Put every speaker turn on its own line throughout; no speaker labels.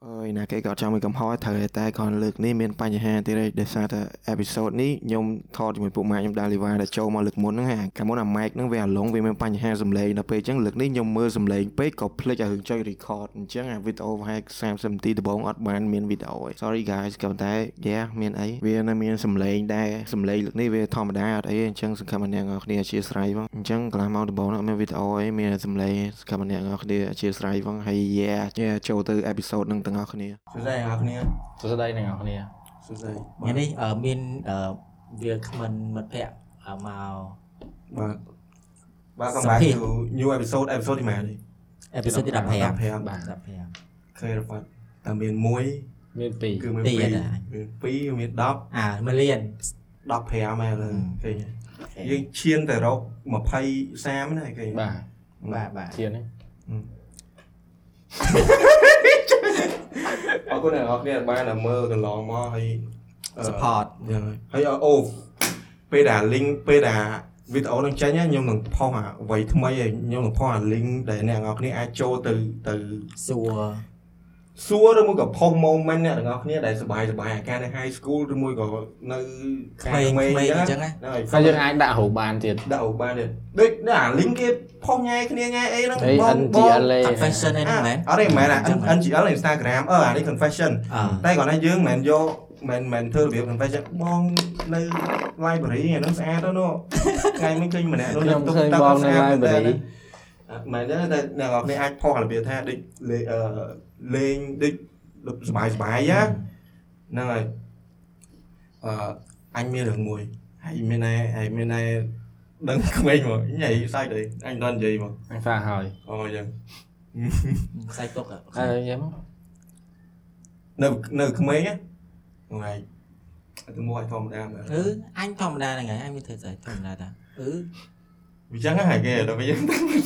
មួយកំហុសត្រូវតែគ្រាន់លើកនេះមានបញ្ហាតិចដោយសារតែអេពីសូតនេះខ្ញុំថតជាមួយពួកម៉ាក់ខ្ញុំដាក់លីវ៉ាដែលចូលមកលើកមុនហ្នឹងហាកាលមុនអាម៉ែកហ្នឹងវាអាឡុងវាមានបញ្ហាសំឡេងដល់ពេលអញ្ចឹងលើកនេះខ្ញុំមើលសំឡេងពេកក៏ភ្លេចឲ្យរឿងចុច record អញ្ចឹងអាវីដេអូប្រហែល30នាទីដំបូងអត់បានមានវីដេអូឯង Sorry guys ក៏ប៉ុន្តែ yeah មានអីវានៅមានសំឡេងដែរសំឡេងលើកនេះវាធម្មតាអត់អីទេអញ្ចឹងសង្ឃឹមថាអ្នកនរគ្នាអធ្យាស្រ័យផងអញ្ចឹងកន្លះម៉ោងដំបូងហ្នឹងអត់មានវីដេអូអីមានតែសំឡេងសង្ឃឹមថាអ្នកនរគ្នាអធ្យាស្រ័យផងហើយ yeah yeah ចូលទៅ episode ហ្នឹងទាំងអស់គ្នា
សួស្ដីអ្នកនរគ្នា
សួស្ដី
សួស្ដី
អ្នកនរគ្នា
ថ្ងៃនេះអឺមានអឺវាគ្មិនមិត្តភ័ក្តិអឺមក
បាទបាទសម្រាប់ new episode episode នេះម៉ែនេះ
អេពីសូតទី15
15
បាទ
ឃើញរវត្តតែមាន1
មានពីរ
គឺមាន2មាន2មាន10
15អាមួយលាន
15ម៉ែលើឃើញយើងឈានទៅរក20 30ណាឃើញ
បាទ
បាទបាទ
ធៀននេះ
អរគុណអ្នកនរគ្នាដែលបានដែលមើលកន្លងមកហើយអឺ
support
យ៉ាងហើយហើយអូពេលដែល link ពេលដែលវីដេអូនឹងចេញណាខ្ញុំនឹងផុសអាអ្វីថ្មីហើយខ្ញុំនឹងផុសអា link ដែលអ្នកនរគ្នាអាចចូលទៅទៅ
សួរ
សួរឬមួយក៏ផុស moment អ្នកទាំងអស់គ្នាដែលសប្បាយសប្បាយអាការនៅ high school ឬមួយក៏នៅ
ក្មេងៗអញ្ចឹងណា
ហ្នឹងហើយ
ហើយយើងអាចដាក់រូបបានទៀត
ដាក់អូបានទៀតដូចណា link គេផុសញ៉ៃគ្នាញ៉ៃអីហ្នឹង
អី NGL ឯង
confession
អ
ឯហ្នឹងមែន
អត់ទេមិនមែនអា
អញ្ចឹង
NGL នៅ Instagram អឺអានេះ confession
អឺ
តែគាត់ថាយើងមិនមែនយកមិនមែនធ្វើរបៀប confession បងនៅ library អាហ្នឹងស្អាតទៅនោះថ្ងៃមិញឃើញម្នាក់នោះ
ខ្ញុំ
ទុក
ឃើញ
ទឹក
បងនៅ
ស្អាតមែនតើ
library
អត់មែនទេតែអ្នកនរគ្នាអាចផុសរបៀបថាដូចលេអឺលេងដូចសบายសบายណាហ្នឹងហើយអឺអញមានរឿងមួយហើយមានឯហើយមានឯ ដឹងក្មេងមកញ៉ៃសាច់ទេអញមិនដល់និយាយមក
អញសាកហើយ
អូយ៉ាង
ខ្សែទុក
អើខ្ញុំ
នៅនៅក្មេងណាហ្នឹងហើយអត់ទៅមកឲ្យធម្មតាមើល
គឺអញធម្មតាហ្នឹងហើយអញមានធ្វើស្អីធម្មតាតាអឺ
វាចឹងហ្នឹងហើយគេដល់វា យើង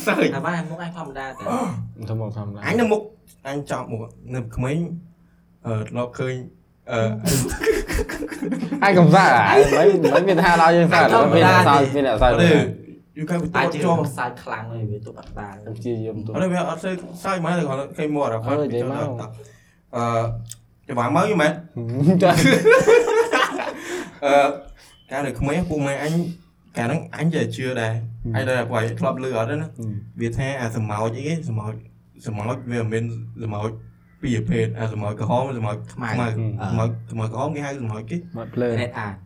សើច
អាបានមុខអញធម្មតាតា
មិនធ្វើមកធម្មតា
អញនៅមុខអញចប់មុខនៅក្មេងអឺធ្លាប់ឃើញអឺ
អញកំសាកអ่ะមិនមិនមានថាដល់យើងសាកដល់មានសាកមានសាក
អត់
ទេ
ទេយូកាវិត
តែជា
ជាប់
ខ្សែខ្លាំងហើយវាទុកអត់បាន
ខ្ញុំជាយមទូ
អត់ទេវាអត់ស្អីស្អាតមកតែគាត់គេមកដល់គាត់
អើនិយាយមក
អឺច្បាស់មកយីមែន
ចា
អឺកាលនៅក្មេងពូម៉ែអញកាលហ្នឹងអញជាជឿដែរអញដល់ពូឲ្យធ្លាប់លឺអត់ទេណាវាថាអាសម៉ោចអីគេសម៉ោចសម៉ោចវាមិនមែនសម៉ោចពីរប្រភេទអាសម៉ោចក្រហមសម៉ោច
ខ្មៅ
ខ្មៅសម៉ោចសម៉ោចក្រហមគេហៅសម៉ោចគេ
មកភ្លើ
រ៉េតអា
អត់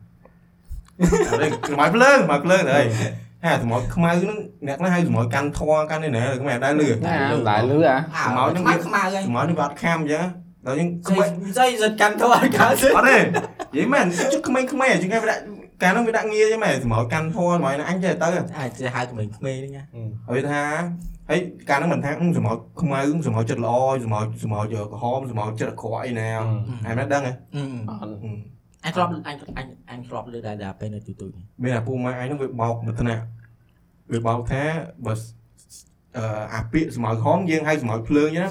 ទេសម៉ោចភ្លើងសម៉ោចភ្លើងទៅហើយហើយអាសម៉ោចខ្មៅហ្នឹងអ្នកខ្លះហៅសម៉ោចកាន់ធွာកាន់នេះណាដល់ខ្មែរដែរលឺ
ណាមិនដែរលឺអា
អា
ខ្មៅហ្នឹងវា
វាខ្មៅហើយ
សម៉ោចនេះវាអត់ខាមអញ្ចឹងណាដល់យើង
ខ្មៅ
ខ្វែ
ស្អីសិតកាន់ទៅអត់កើតទេ
អត់ទេនិយាយមែនជុកក្មេងៗជាងគេវាដាក់កាលនោះវាដាក់ងារចឹងមែនសម្រាប់កាន់ធေါ်សម្រាប់អញចេះទៅ
អាចជាហៅក្មេងៗហ្នឹងណា
ហើយថាហើយកាលនោះមិនថាអឺសម្រាប់ខ្មៅសម្រាប់ចិត្តល្អសម្រាប់សម្រាប់យកក្រហមសម្រាប់ចិត្តអាក្រក់អីណាហើយមិនដឹងហ៎
អឺអញធ្លាប់អញអញអញធ្លាប់លើដែរដែរពេលនៅទូទូច
មានអាពូម៉ែអញនោះវាបោកមួយថ្នាក់វាបោកថាបើអឺអាពាកសម្រាប់ក្រហមយើងហៅសម្រាប់ភ្លើងចឹងណា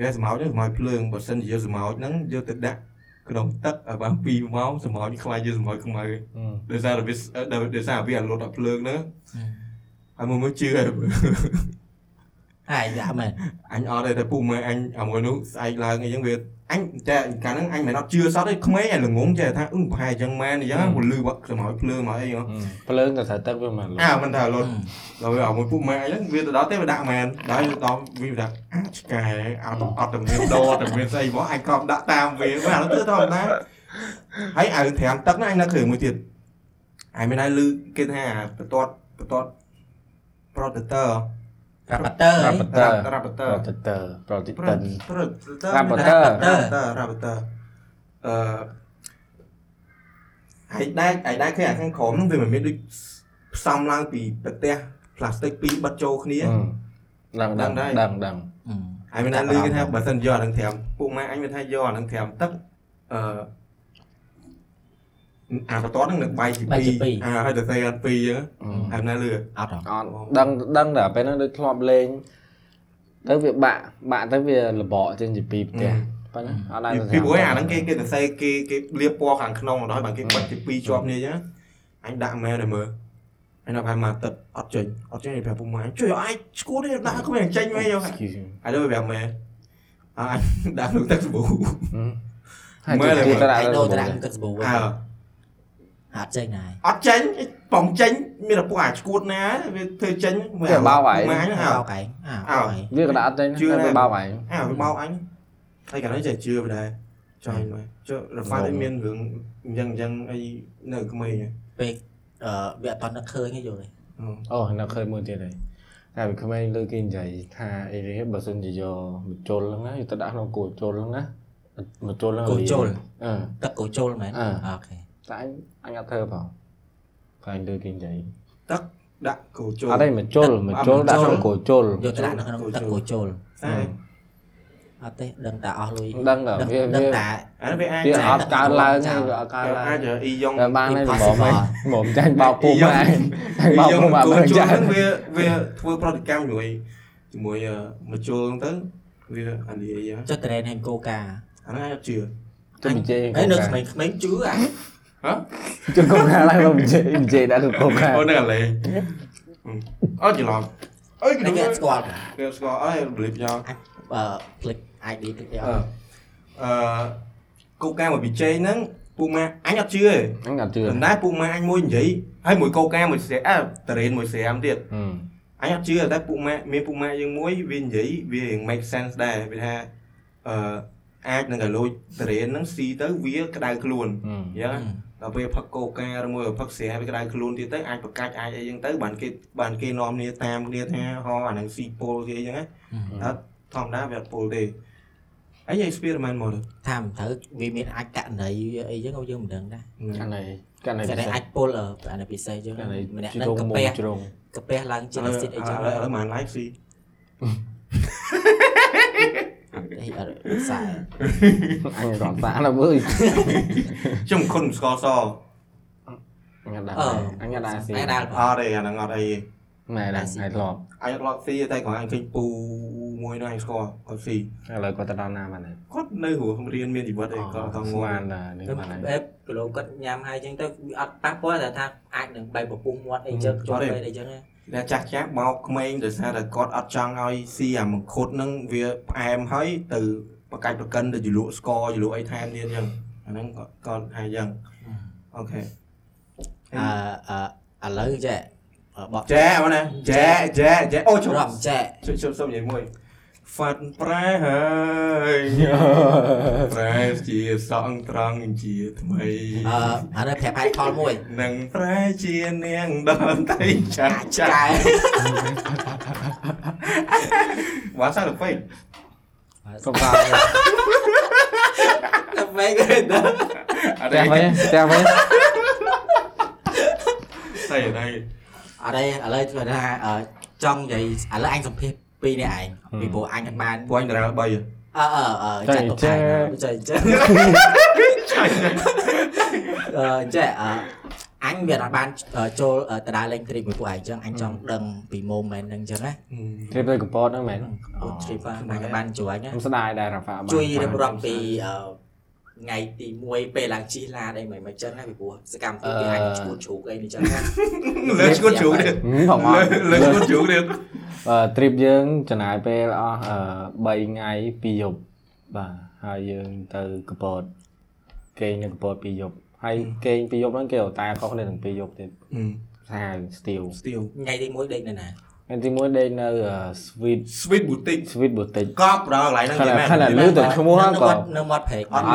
វាសម្រាប់នេះសម្រាប់ភ្លើងបើសិនជាយកសម្រាប់ហ្នឹងយកទៅដាក់ក្នុងទឹកឲ្យបាន2ម៉ោងសម្រាប់នេះខ្លាចយកសម្រាប់ខ្មៅដោយសារតែវាដោយសារវាអត់លត់ដល់ភ្លើងហ្នឹង ហើយមួយមួយជឿ
អាយដាក់មែន
អញអត់ទេតែពូម៉ែអញអាមួយនោះស្អែកឡើងអីចឹងវាអញតែកាលហ្នឹងអញមិនអត់ជឿសោះទេក្មេងឯងល្ងងចេះថាអឺប្រហែលចឹងមែនអញ្ចឹងពលឺសម្រាប់ភ្លើងមកអីហ៎
ភ្លើងទៅត្រូវទឹកវាមិនលឺ
អាមិនថាលុតដល់វាអាមួយពូម៉ែអញហ្នឹងវាទៅដល់ទេវាដាក់មែនដល់ដល់វាដាក់អាឆ្កែអត់អត់តែមានដរតែមានស្អីមកអញក៏ដាក់តាមវាវាឥឡូវទៅធម្មតាហើយអាត្រាំទឹកហ្នឹងអញនៅគ្រឿងមួយទៀតអញមិនដែរលឺគេថាបន្ទាត់បន្ទាត់ predator
រ៉ាប់តើ
រ៉ាប់តើ
predator
ប្រតិទ័រប្រតិទិន
ប្រតើ
Rapporteur
រ៉ាប់តើរ៉ាប់តើអឺហើយដែរហើយដែរឃើញអាខាងក្រោមហ្នឹងវាមិនមានដូចផ្សំឡើងពីប្រទេសផ្លាស្ទិកពីរបិទចូលគ្នា
ដឹងដឹងដឹងដឹង
ហើយមានតែលឺគេថាបើសិនយកអាហ្នឹងត្រាំពួកម៉ែអញវាថាយកអាហ្នឹងត្រាំទឹកអឺអាបន្ទាត់ហ្នឹងនឹងបាយ
បែក
ពី
ជាពីរ
2អាហើយទៅស្អីអត់ពីរអញ្ចឹងហើយណាលឺ
អត់ហ៎
អត់ដឹងដឹងតែពេលហ្នឹងដូចធ្លាប់លេងទៅវាបាក់បាក់ទៅវាលបកចេញពីពីផ្ទះប៉ុណ្ណាអត់ដឹង
ពីព្រោះអាហ្នឹងគេគេទៅស្អីគេគេលាបពណ៌ខាងក្នុងមកដល់បើគេបាច់ជាពីរជាប់គ្នាអញ្ចឹងអញដាក់ម៉ែដែរមើល អញដល់ប្រហែលមួយអាទឹកអត់ចេញអត់ចេញប្រាប់ពុកម៉ែជួយឲ្យអាយឈួតទេដាក់
Ừ.
គ្មានចេញវិញយកហើយដល់ប្រាប់ម៉ែអញដាក់ក្នុងទឹកសាប៊ូ
ហើយ
មើល
គេ
មើ
ទៅ
ល
ដាក់
ឯងដូ
លើ
រ
បប
ទៅដាក់
រ
ក្នុងទឹកសាប៊ូ
អើ
អត់ចេញណាយ
អត់ចេញបំចេញមានតែពួកអាឈួតណាវាធ្វើចេញ
គេបោកឯង
ម៉ាញអើ
បោកឯងអ
អើ
ើបោកឯង
វាក៏ដាក់អត់ទេ
ជឿ
តែ
ណា
វាបោកឯង
អើវាបោកអញហើយកណ្ដាលចេះជឿបណ្ដែរចាញ់មកចុះរ៉ាហ្វាត់
ង
ឯង
ង
មានរឿងអញ្ចឹងអញ្ចឹងអីនៅក្មេងហ៎
ពេកអឺវាអត់តនឹកឃើញទេយល់ទេ
អឺ
អូនៅឃើញមួយទៀតហើយតែវាក្មេងលើគេនិយាយថាអីនេះបើសិនជាយកមជុលហ្នឹងណាយកទៅដាក់ក្នុងគោជុលហ្នឹងណាមជុលហ្នឹង
កូនជុល
អឺ
ទឹកកូនជុលមែន
អើ
អូខេ
តែអញអញអត់ធ្វើផងតែអញលើគេនិយាយ
ទឹកដាក់កូជុល
អត់ទេមជុលមជុលដាក់ក្នុងគោជុល
យកទៅដាក់នៅក្នុងទឹក
កូន
កូន
ជុ
ជុ
ល
ល
ស្អាត
អត់ទេដឹងតែអស់លុយ
ដឹងដល់
ដឹង
វា
ដឹង
វា
តែ
អានេះវាអាច
វា
ចែ
អត់កើនឡើងទេ
ចោល
វាអត់កើន
ក
ឡើង
អាចអ៊ីយ៉ង
តែបានហើយរបប
Impossible
ហ្នឹងមកចាញ់បោកពូម៉ែ
អ៊ី
បោក
យ៉ង
ពូម៉ែ
កូ
មិន
ជុល
ចាញ់
ហ្នឹងវាវាធ្វើប្រតិកម្មជាមួយជាមួយអឺមកជុលហ្នឹងទៅវាអាលីយ៉ា
ចុះ train ហែងគោកា
អាហ្នឹងអាចអត់ជឿ
ចុះនិយាយ
ហើយនៅក្មេងក្មេងៗជឿអា
ចុះកុំថាឡើងមកនិយាយនិយាយដាក់ក្នុងគោខា
អូហ្នឹងអាលេអត់ច្រឡំអើយ
ឯ
គេ
ងគេអត់ស្គាល់អ
គេស្គាល់អីបលីបយ៉ាង
ឺ click ID ទឹកអីអ
អឺ
ត់
អឺកូកាមកវិជ័យហ្នឹងពូម៉ាអញអត់ជឿទេ
ហ្នឹងអត់ជឿ
ប៉ុន្តែពូម៉ែអញមួយនិយាយហើយមួយកោកាមួយស្រាអើតរេនមួយស្រាមទៀត
ហឹម
អញអត់ជឿតែពូម៉ែមានពូម៉ែយើងមួយវានិយាយវារៀង make sense ដែរវាថាអឺអាចនឹងឲ្យលួចតរេនហ្នឹងស៊ីទៅវាក្តៅខ្លួន
ហឹម
អញ្ចឹងដល់ពេលផឹកកោកាឬមួយផឹកស្រាវាក្តៅខ្លួនទៀតទៅអាចប្រកាច់អាចអីអញ្ចឹងទៅបានគេបានគេនាំគ្នាតាមគ្នាថាហោអាហ្នឹងស៊ីពុលគេអញ្ចឹងណាដល់ធម្មតាវាអត់ពុលទេអី experiment មកទៅ
ថាមិនត្រូវវាមានអាចករណីវាអីចឹងក៏យើងមិនដឹងដែរ
កាលនេះកាលនេះ
តែ
ពិសេស
អាចពុលអឺអានេះពិសេសចឹង
កាលនេះ
ម្នាក់
ជ្រ
នឹង
ង
កា
មុ
ពះ
ំជ្រង
កាពះឡើងជា
ឥឡូវឥ
អាស៊ីតអីចឹង
ឡូវមិន live ស៊ី
អីអត់ខ្សែ
អញរត់តាណាវើយ
ខ្ញុំមិនខុនមិនស្គាល់សអ
អញអត់
អឺ
ដែរអញអត់ដែរស៊ី
តែដាល់
អត់ទេអាហ្នឹងអត់អីទេ
ណែដែរថ្ងៃធ្លាប់
អញអត់ឡប់ស៊ីទេតែគាត់អញឃើញពូមួយនោះអញស្គាល់គាត់ស៊ី
ឥឡូវគាត់ទៅដល់ណាបានហើយ
គាត់នៅហួរក្នុងរៀនមានជីវិតអីគាត់អត់តងងា
ស្មាន
ប់
ដែរនេះ
ទៅ
បានហើយ
អេគីឡូគាត់ញ៉ាំហើយអញ្ចឹងទៅវាអត់ប៉ះពាល់តែថាអាចនឹងបែកប្រពុះមាត់អីចឹងចូលទៅអីចឹងណា
តែចាស់ចាស់បោកក្មេងដោយសារតែគាត់អត់ចង់ឲ្យស៊ីអាមង្ឃុតហ្នឹងវាផ្អែមហើយទៅប្រកាច់ប្រកិនទៅជលក់ស្ករជលក់អីថែមទៀតអញ្ចឹងអាហ្នឹងគាត់គាត់ហៅអញ្ចឹងអូខេ
អឺអឺឥឡូវចេះអឺបក
ចែមកណាចែចែចែអូជុំ
រំចេះ
ជុំជុំសុំនិយាយមួយហ្វាត់ប្រែហើយប្រែជាសងត្រង់ជាថ្មី
អឺអានេះប្រាប់ហេតុផលមួយ
នឹងប្រែជានាងដល់តែចាស់
ឆ្កែ
ចាស់វ៉ាសាទៅពេក
សុំតា
តែវិញទៅ
អត់
តែ
ទេ
វិញតែវិញ
ស្អីអត់ទេ
អត់ទេឥឡូវធ្វើថាអឺចង់និយាយឥឡូវអញសម្ភាសពីរនេះឯងពីព្រោះអញអត់បាន
ពួកអញតារា3
អឺអឺអឺចាត់ទុកថាចេះចេះ
ចាញ់
អឺចេះអឺអញវាអត់បានចូលតដាលេងទ្រីមួយពួកឯងអញ្ចឹងអញចង់ដឹងពី moment ហ្នឹងអញ្ចឹងណា
ជ្រាបទៅកប៉ោតហ្នឹងមែន
អូជ្រាបបានបានបានជួយណា
ខ្ញុំស្ដាយដែររ៉ាហ្វាបាន
ជួយរៀបរាប់ពីអឺថ្ងៃទី1ពេលឡើងជិះឡានអីមិនមិនចឹងណាពីព្រោះសកម្មភាពវាអាចឈួតជ្រូកអីនេះចឹងណា
លើឈួតជ្រូកទៀត
ហឹមផងមក
លើឈួតជ្រូកទៀត
អឺទ្រីបយើងចំណាយពេលអស់អឺ3ថ្ងៃ2យប់បាទហើយយើងទៅកប៉ោតគេងនៅកប៉ោត2យប់ហើយគេង2យប់ហ្នឹងគេអត់តែខុសគ្នាទាំង2យប់ទៀត ថាស្ទៀវ
ស្ទៀវ
ថ្ងៃទី1ដេកនៅណា
ថ្ងៃទីមួយដេកនៅ sweet
Sweet Boutique
sweet boutique
កប់ដល់កន្លែងហ្នឹង
ខ
គេ
ណៈ
មែន
ខណៈលើតែឈ្មោះហ្នឹងក៏
នៅមាត់ព្រែក
អត់មក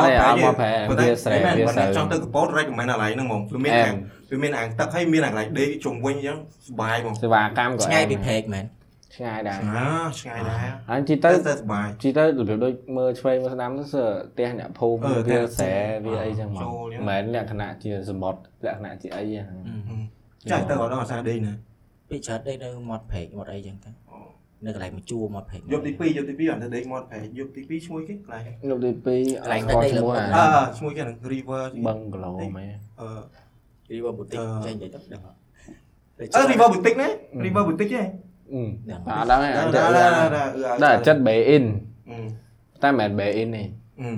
ប្រែទេ
វាស្រីវាស្រី
ចង់ទៅកប៉ោត recommend កន្លែងហ្នឹងហ្មងវាមានអាងវាមានអាងទឹកហើយមានអាកន្លែងដេកជុំវិញអញ្ចឹងសុបាយហ្មង
សេវាកម្មក៏
ឆ្ងាយពីព្រែកមែន
ឆ្ងាយដែរ
អាឆ្ងាយដែរ
ហើយជី
ទៅ
ទៅ
ទៅសុបាយ
ជីទៅរបៀបដូចមើលឆ្វេងមើលស្ដាំទៅសើផ្ទះអ្នកភូមិ
អឺ
វា
ផ្ទះ
ស្រែវាអីចឹងមក
ចូលចឹង
មិនមែនលក្ខណៈជាសមុទ្រលក្ខណៈជាអីហ្នឹង
ចាស់ទៅក៏ដល់អាសាដេកណា
ពីច្រើនដេកនៅមាត់ព្រែកមាត់អីចឹងទៅនៅកន្លែងមួយជួរមាត់ព្រែក
យប់ទី2យប់ទី2អត់ទៅដេកមាត់ប្រែកយប់ទី2ឈ្មោះគេកន្លែង
លោកទី2
កន្លែង
ស្គាល់
នៅ
ឈ្មោះអា
នៅ
អឺឈ្មោះគេហ្នឹង River Ờ,
បឹងគីឡូមែន
អឺ
River Boutique
អឺ
ចេញនិយាយទៅដឹង
អឺ ờ, River Boutique ណា
Ừ. À, dạ,
River Boutique ហ៎
អត់ដឹ
ដឹង
ងទេអត់ដឹងដែរចិត្ត bay in
Ừ.
តែមិនមែន bay in ទេ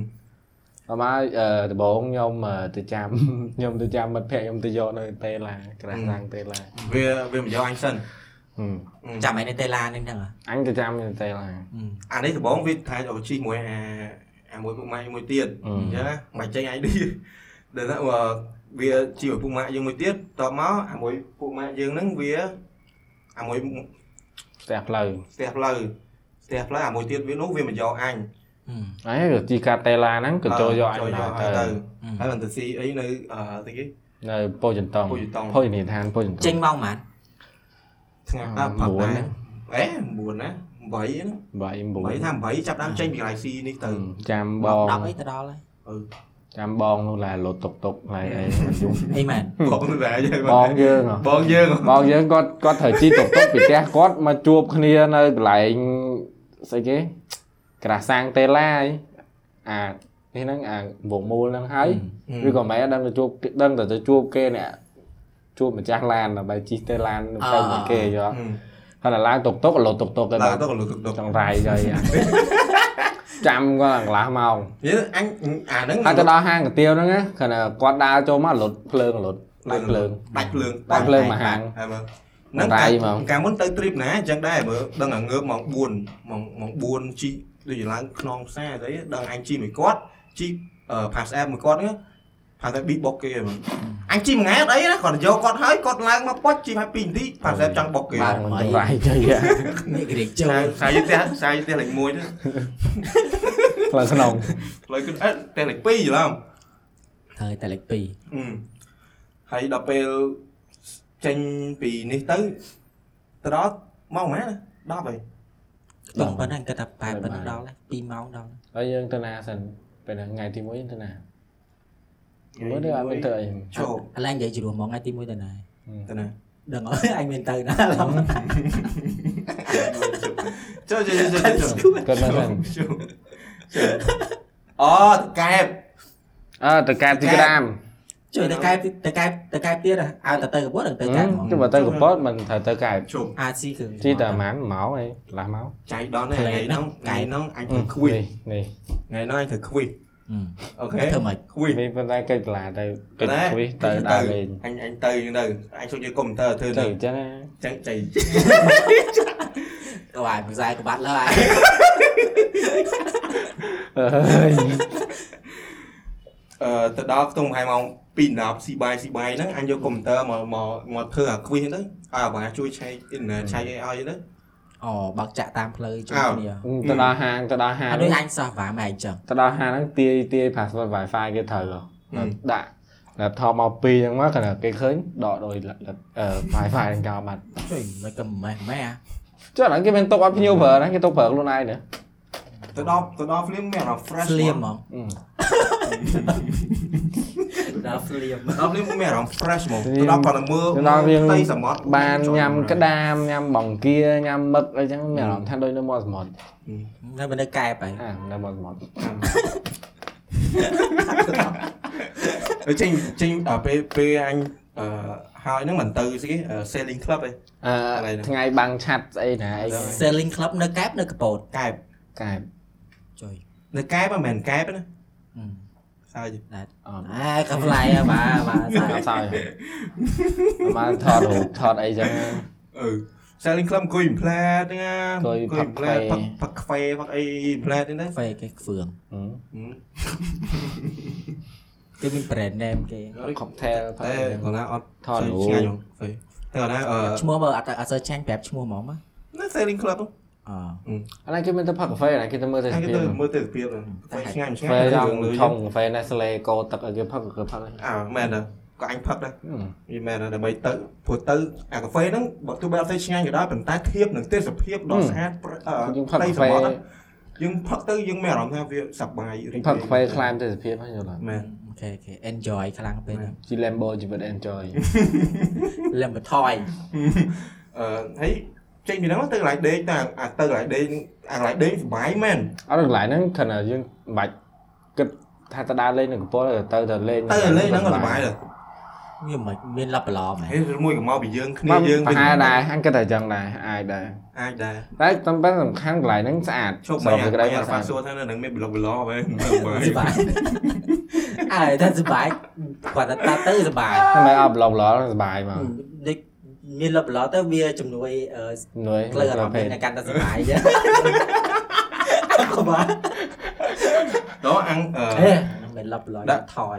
អមហើយអឺដំបងខ្ញុំអឺទៅ ចាំ ខ្ញុំទៅចាំមិត្តភ័ក្តិខ្ញុំទៅយកនៅតេឡាក្រាស់ឡើងតេឡា
វាវាមិនយកអញសិន
ចាំឯងនៅតេឡានេះហ្នឹងហ៎
À,
អញទៅចាំនៅតេឡា
អានេះដំបងវាថាឲ្យជីមួយអា អាមួយពុកម៉ាក់យើងមួយទៀត
អឺ
អញ្ចឹងណាមិនចេញឯ ងទេដល់ថាបើវាជាមួយពុកម៉ាក់យើងមួយទៀតតបមកអាមួយពុកម៉ាក់យើងហ្នឹងវាអាមួយ
ផ្ទះផ្លូវ
ស្ទះផ្លូវស្ទះផ្លូវអាមួយទៀតវានោះវាមិនយកអញ
ហើយក៏ជីកាតេឡាហ្នឹង
Ờ,
ក៏ចូលយកអញ
ចូលយក
ដែរ
ឲ្យ
ទៅ
ទៅហើយបន្តស៊ីអីនៅអឺទីគេ
នៅពោធិ៍ចន្ទង
ពោធិ៍ចន្ទង់
ភោជនីយដ្ឋានពោធិ៍ចន្ទ
ចេ
ង
ញមកហ្មង
ថ្ងៃ
អ่า
ដល់ផឹក
មួ
ដែ
ន
រអេ9ណា8ហ្នឹង
បាទអ៊ីមបូ
8ថា8ចាប់ដើមចេញពី Galaxy នេះទៅ
ចាំប
មក
ង
10អីទៅដល់ហើយ
ចាំបងនោះឡែលោតតុកតុកឡែអីមិនយំ
អីមែន
បងដែរយើ
បងយើងហ៎
បងយើង
បងយើងគាត់គាត់ត្រូវជីតុកតុកពីផ្ទះគាត់មកជួបគ្នានៅកន្លែងស្អីគេក្រាសាំងតេឡាឯងអានេះហ្នឹងអាវងមូលហ្នឹងហើយឬក៏មិនដឹងទៅជួបដឹងតែទៅជួបគេអ្នកជួបម្ចាស់ឡានដើម្បីជីតេឡាននៅផ្ទៃរបស់គេយក
Ừ.
ហើយដល់ឡើងតុកតុកក៏លោតុកតុកគេ
ឡើ
បា
យ
ទ
ទៅកលុកទុកទុក
ចង្រៃទៅអីអា ចាំគាត់កន្លះម៉ោង
យើអញអាហ្នឹង
ហើយទៅដល់ហាងកាទៀវហ្នឹងណាគ្រាន់តែគាត់ដើរចូលមកលុតភ្លើងលុតដាច់ភ្លើង
ដាច់ភ្លើង
ដាច់ភ្លើងមកហាង
ហើយមើលហ្នឹង
បាត់ដៃ
កា
ហ្មង
កាលមុនទៅទ្រីបណាអញ្ចឹងដែរមើលដឹងតែងើបម៉ោង4ម៉ោងម៉ោង4ជីដូចឡើងខ្នងផ្សារទៅអីដឹងអញជីមួយគាត់ជី pass app មួយគាត់ហ្នឹងផាសតែ beat box គេហ្មងអញជីមួយថ្ងៃអត់អីណាគ្រាន់តែយកគាត់ហើយគាត់ឡើងមកប៉ុចជីឲ្យ2នាទី pass app ចង់ box គេ
បានមិនចង្រៃទៅអា
នេះគេរៀងចូល
សាយសាយផ្ទះសាយផ្ទះលេខ1ទៅ
ផ្លូវស្នង
ផ្លូវគឺអេផ្ទះលេខ2ច្រឡំ
ហើយតែលេខ2
អឺហើយដល់ពេលចេញពីនេះទៅទៅដល់ម៉ោងម៉ែណា10ហើយ
បងប៉ុណ្ណឹងគាត់ថាប៉ែប៉ុណ្ណឹងដល់ហើយ2ម៉ោងដល់
ហើ
ហើយ
យយើងទៅណាសិនពេលហ្នឹងថ្ងៃទី1យើងទៅណាមើលទៅអត់មានទៅអី
ឈប់
ឥឡូវនិយាយជារួមមកថ្ងៃទី1ទៅណា
Ừ.
ទៅណា
ដឹង អើយអញមានទៅណាឡើយ
ចូលចូលចូលចូលចូល
គាត់មកសិន
ចូលអូតកែប
អើទៅកែបទីក្ដាម
ជួយទៅកែបទៅកែបទៅកែបទៀតហ៎ឲ្យតែទៅកបួតដល់ទៅកែបហ្មង
គឺបើទៅកំពតមិនត្រូវទៅកែប
ជប់
អាចស៊ីគ្រឿង
ជីតែប្រហែលម៉ោងអីកន្លះម៉ោង
ចៃដល់ហ្នឹងថ្ងៃហ្នឹងថ្ងៃហ្នឹងអញ
Ừ,
ធ្វើខ្វីស
នេះ
ថ្ងៃហ្នឹងអញធ្វើខ្វីសអូខេ
ធ្វើមក
ខ្វីស
នេះប៉ុន្តែកិច្ចកន្លះទៅកិច្ច
ប៉ុន្តែ
គួយទៅដើរលេង
អញអញទៅហ្នឹងទៅអញចូលយកកុំព្យូទ័រធ្វើ
ទៅ
ហ្នឹង
អញ្ចឹងណា
ចៃចៃ
ទៅឲ្យមួយខ្សែក្បាត់លើឲ្យ
អើយ
អឺទៅដល់ខ្ទង់ប្រហែលម៉ោង2ដល់ស៊ីបាយស៊ីបាយហ្នឹងអញយកកុំព្យូទ័រមកមកមកធ្វើអាខ្វីសហ្នឹងទៅឲ្យអាបងជួយឆែកអ៊ីនធឺណែតឆែកអីឲ្យហ្នឹង
អូបើកចាក់តាមផ្លូវជួយ
អើ
គ្នា
ទៅដល់ហាងទៅដល់ហាង
អាដូចអញសោះវាមែនអញ្ចឹង
ទៅដល់ហាងហ្នឹងទាយទាយ password wifi គេត្រូវហ៎
ហឹម
ដាក់ laptop មកពីរហ្នឹងមកគាត់គេឃើញដកដោយ ờ, wifi ហ្នឹងចោលបាត់
ជួយមិនក៏មិនម៉េះម៉េះ
ចុះហ្នឹងគេមានទុកឲ្យភ្ញៀវប្រើហ្នឹងគេទុកប្រើខ្លួនឯងណា
ទៅដល់ទៅដល់ភ្លាមមានអារម្មណ៍ fresh
ស្លៀមហ្មង
ដល់ភ្លាមដល់ភ្លាមមានអារម្មណ៍ fresh ហ្មងទៅដល់គាត់នឹងមើល
ទៅដល់រៀង
ផ្ទៃសមុទ្រ
បានញ៉ាំ
ច
ក្ដាមញ៉ាំបង្គាញ៉ាំមឹកអីចឹងមានអារម្មណ៍ថាដូចនៅមាត់សមុទ្រ
នៅមិននៅកែបហើយ
អានៅមាត់សមុទ្រ
អឺចេញចេញដល់ពេលពេលអញអឺហើយហ្នឹងមិនទៅស្អីគេអឺ selling club ឯងអី
អឺ
ហ្នឹង
ថ្ងៃបាំងឆាត់ស្អីណាអីហ្នឹង
Selling Club នៅកែបនៅកបោត
កែប
កែប
ជួយ
នៅកែបហ្នឹងមិនមែនកែបទេណាសើច
អត់
អាកំឡៃអាបាទបាទ
អ ត់សោយមកថតរូបថតអីចឹង
អឺ selling club អង្គុយផ្លែតហ្នឹងណា
អង្គុយផឹក
ផ្លែ
ខ្វេ
ផឹកផឹកខ្វេផឹកអីផ្លែតហ្នឹងទៅ
ហ្វេគេខ្វឿង
ហឹម
គេមាន brand name គេ
ខុកថែលផឹ
តែ
កអីចឹង
គាត់ណាអត់
ថតរូប
ឆ្ងាយហ្នឹងហ្វេតែគាត់ណាអឺ
ឈ្មោះបើអត់អត់សូវចាញ់ប្រាប់ឈ្មោះហ្មងណា
នៅ Sailing Club ហ្នឹង
អឺ
អាហ្នឹងគេមានទៅផឹកកាហ្វេណាគេទៅមើលទៅ
តែគេ
ស្ពា
ទៅ
ន
មើលទៅពីហ្នឹង
តែ
ហ្វេឆ្ងាយមិន
កា
ឆ្ងាយ
ហ្វេ
ទៅ
ដល់
រឿងលុយ
ឆុងកាហ្វេ Nestle កោទឹកអីគេផឹកក៏ផឹកអី
អើមែនដែរក៏អញផឹកដែរ
ហឹម
វាមែនដែរដើម្បីទៅព្រោះទៅអាកាហ្វេហ្នឹងបើទោះបីអត់ទៅឆ្ងាយក៏ដោយប៉ុន្តែធៀបនឹងទេសភាពដ៏ស្អាតប្រអឺ
យើងផឹក
ដី
កា
ស
ហ្វេ
មុទ្រហ្នឹងយើងផឹកទៅយើងមានអារម្មណ៍ថាវាសប្បាយរីក
ផឹកកាហ្វេខ្លាមទេសភាពហ្នឹងយល់អត់
មែន
អូខេអូខេ enjoy ខ្លាំងពេកហ្នឹង
ជី Lambo ជីវិត enjoy
លំបថយ
អឺហើយចេញពីហ្នឹងទៅកន្លែងដេកតែអាទៅកន្លែងដេកអាកន្លែងដេកសប្បាយមែន
អត់កន្លែងហ្នឹងគ្រាន់តែយើងមិនបាច់គិតថាទៅដើរលេងនៅកំពតទេទៅទៅលេង
ទៅលេងហ្នឹងក៏សប្បាយដែរ
វាមិនមានលັບប្រឡំហ៎
ហើយមួយក៏មកពីយើងគ្នា
មកយើ
យើង ង
ប្រ
វិញ
ហែលដែរហាងគិតតែចឹងដែរអាចដែរ
អាចដែរ
តែតាមពិតសំខាន់កន្លែងហ្នឹងស្អាត
ជប់
ស
មិ
ម្រាប់
ញអា
ក្ដី
ក្ដី
មកស្អា
ហ្វា
ត
សួរថានៅនឹងមានប្លុកប្លោហ៎
សុបាយ អើតែសុបាយគាត់ថាទៅសុបាយ
តែមិនអត់ប្លុកល្អសុបាយមក
ដូចមានលັບប្រឡំទៅវាជំនួយអឺ
នួយ
ផ្លូវអារម្មណ៍
ភេ
គេ
ទ
នៅកាន់តែសុបាយចឹងក៏បាន
đó ăn ờ,
អេមិនលប់លយ
ដាក់
ថយ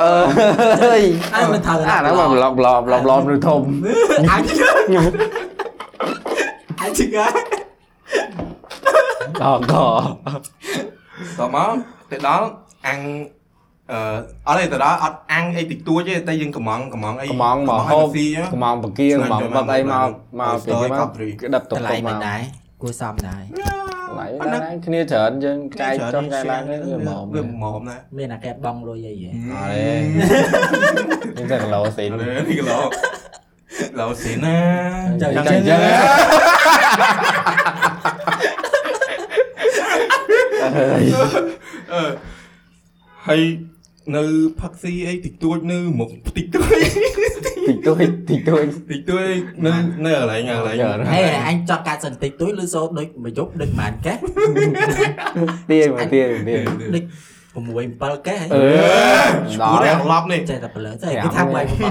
អើយ
អាមិនត្រូវ
អាហ្នឹងមកប្លុកប្លុកប្លុកប្លុក ឬធំ
អញអញជិះ
អកក
ต่อมาទៅដល់អាំងអឺអត់ទេទៅដល់អត់អាំងអីតិចតួចទេតែយើងកំងកំងអី
កំងមកហូប
ស៊ីណា
កំងបកា
ស្នាញ់
កំងបឹកអីមកមកពី
ស្ទើរ
នេះមក
top three
ក្តាប់ទុក
តម្លៃ
ទុកម
មិន
ក
ដែរគួរសមដែរ
តម្លៃ
ប៉ុណ្ណឹង
ហ្នឹងគ្នាច្រើនយើងចែកចុះចែកឡើងនេះវាហ្ម
វា
ក
ហ្មងណា
មានអាកែបបងលុយអី
អរេ
ហ៎
នេះតែគីឡូស៊ីន
អរេនេះក៏ឡោឡោស៊ីណា
ចឹងចឹងចឹង
អឺ ហើយនៅផឹកស៊ីអីតិចតួចនៅ មុខតិចតួច
តិចតួចតិចតួច
តិចតួចនៅនៅកន្លែងកន្លែង
Giờ
ហេអញចង់កាត់សន្តិចទួយឬសូដូចមួយយប់ដូចប្រហែលកែ
ទាយមកទាយមកទាយ
ដូច6 7កែ
អឺ
គួរតែអង្ឡប់នេះ
ចេះតែប្រលើចេះគេថាបាយបំផុត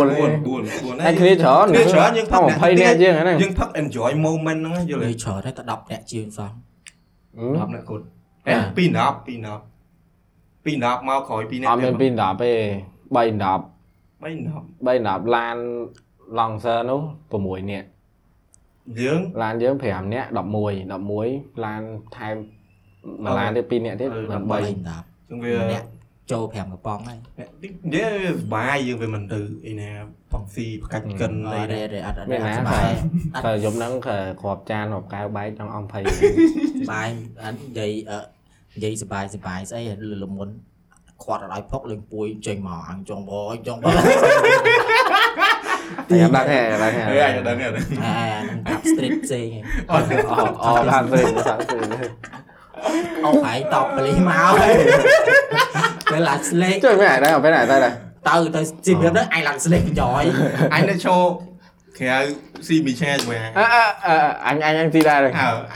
4 4
4
4
4
4តែគ្នាច្រើន
គ្នាច្រើនយើងផឹក
20នាក់យើងហ្នឹង
យើងផឹក enjoy moment ហ្នឹងយល់ទេ
លុយច្រើនតែ10នាក់ជាងសោះ
10អ្នកគាត់អេពី10 20 20 20មកក្រោយ2អ្នក
អត់មានពី10ទេ3 10
3
3 10ឡាន Longser នោះ6នាក់
10យើង
ឡានយើង5នាក់11 11ឡានថែមមួយឡានទៀត2នាក់ទៀត
អឺ
8
3
ជា
10
ងវា
ម្នាក់ចូល5កំប៉ុងហើយ
អ្នកតិចនិយាយវាសុបាយយើងវាមិនទៅអីណាផងស៊ីផ្កាច់កិនអី
អត់
ណា
រេអត់អត់
មានណា
សុបាយអត់
តែយប់ហ្នឹងក៏គ្របចានគ្របកែវបែកចង់អង្គ20
សុបាយអត់និយាយអឺនិយាយសុបាយសុបាយស្អីលលមុនគាត់អត់ឲ្យផុកលេងពួយចេញមកអញចង់បងអញចង់បង
តែអត់ដឹងទេអត់ដឹងទេ
អីអាចដឹងទេ
អាហ្នឹងកាប់ street ផ្សេងអត់
អត់អត់ដល់ទេដល់ទេ
អស់ហើយតបប៉លីសមកហើយតែឡាក់ស្លេក
ជួយមិនអាចដែរអត់ពេលណាតែដែរ
ទៅទៅជីវិតហ្នឹងឯងឡាក់ស្លេកយ៉យ
anh đã cho kéo si mì cha mà
អ่าអញអញអញទីដែរ
à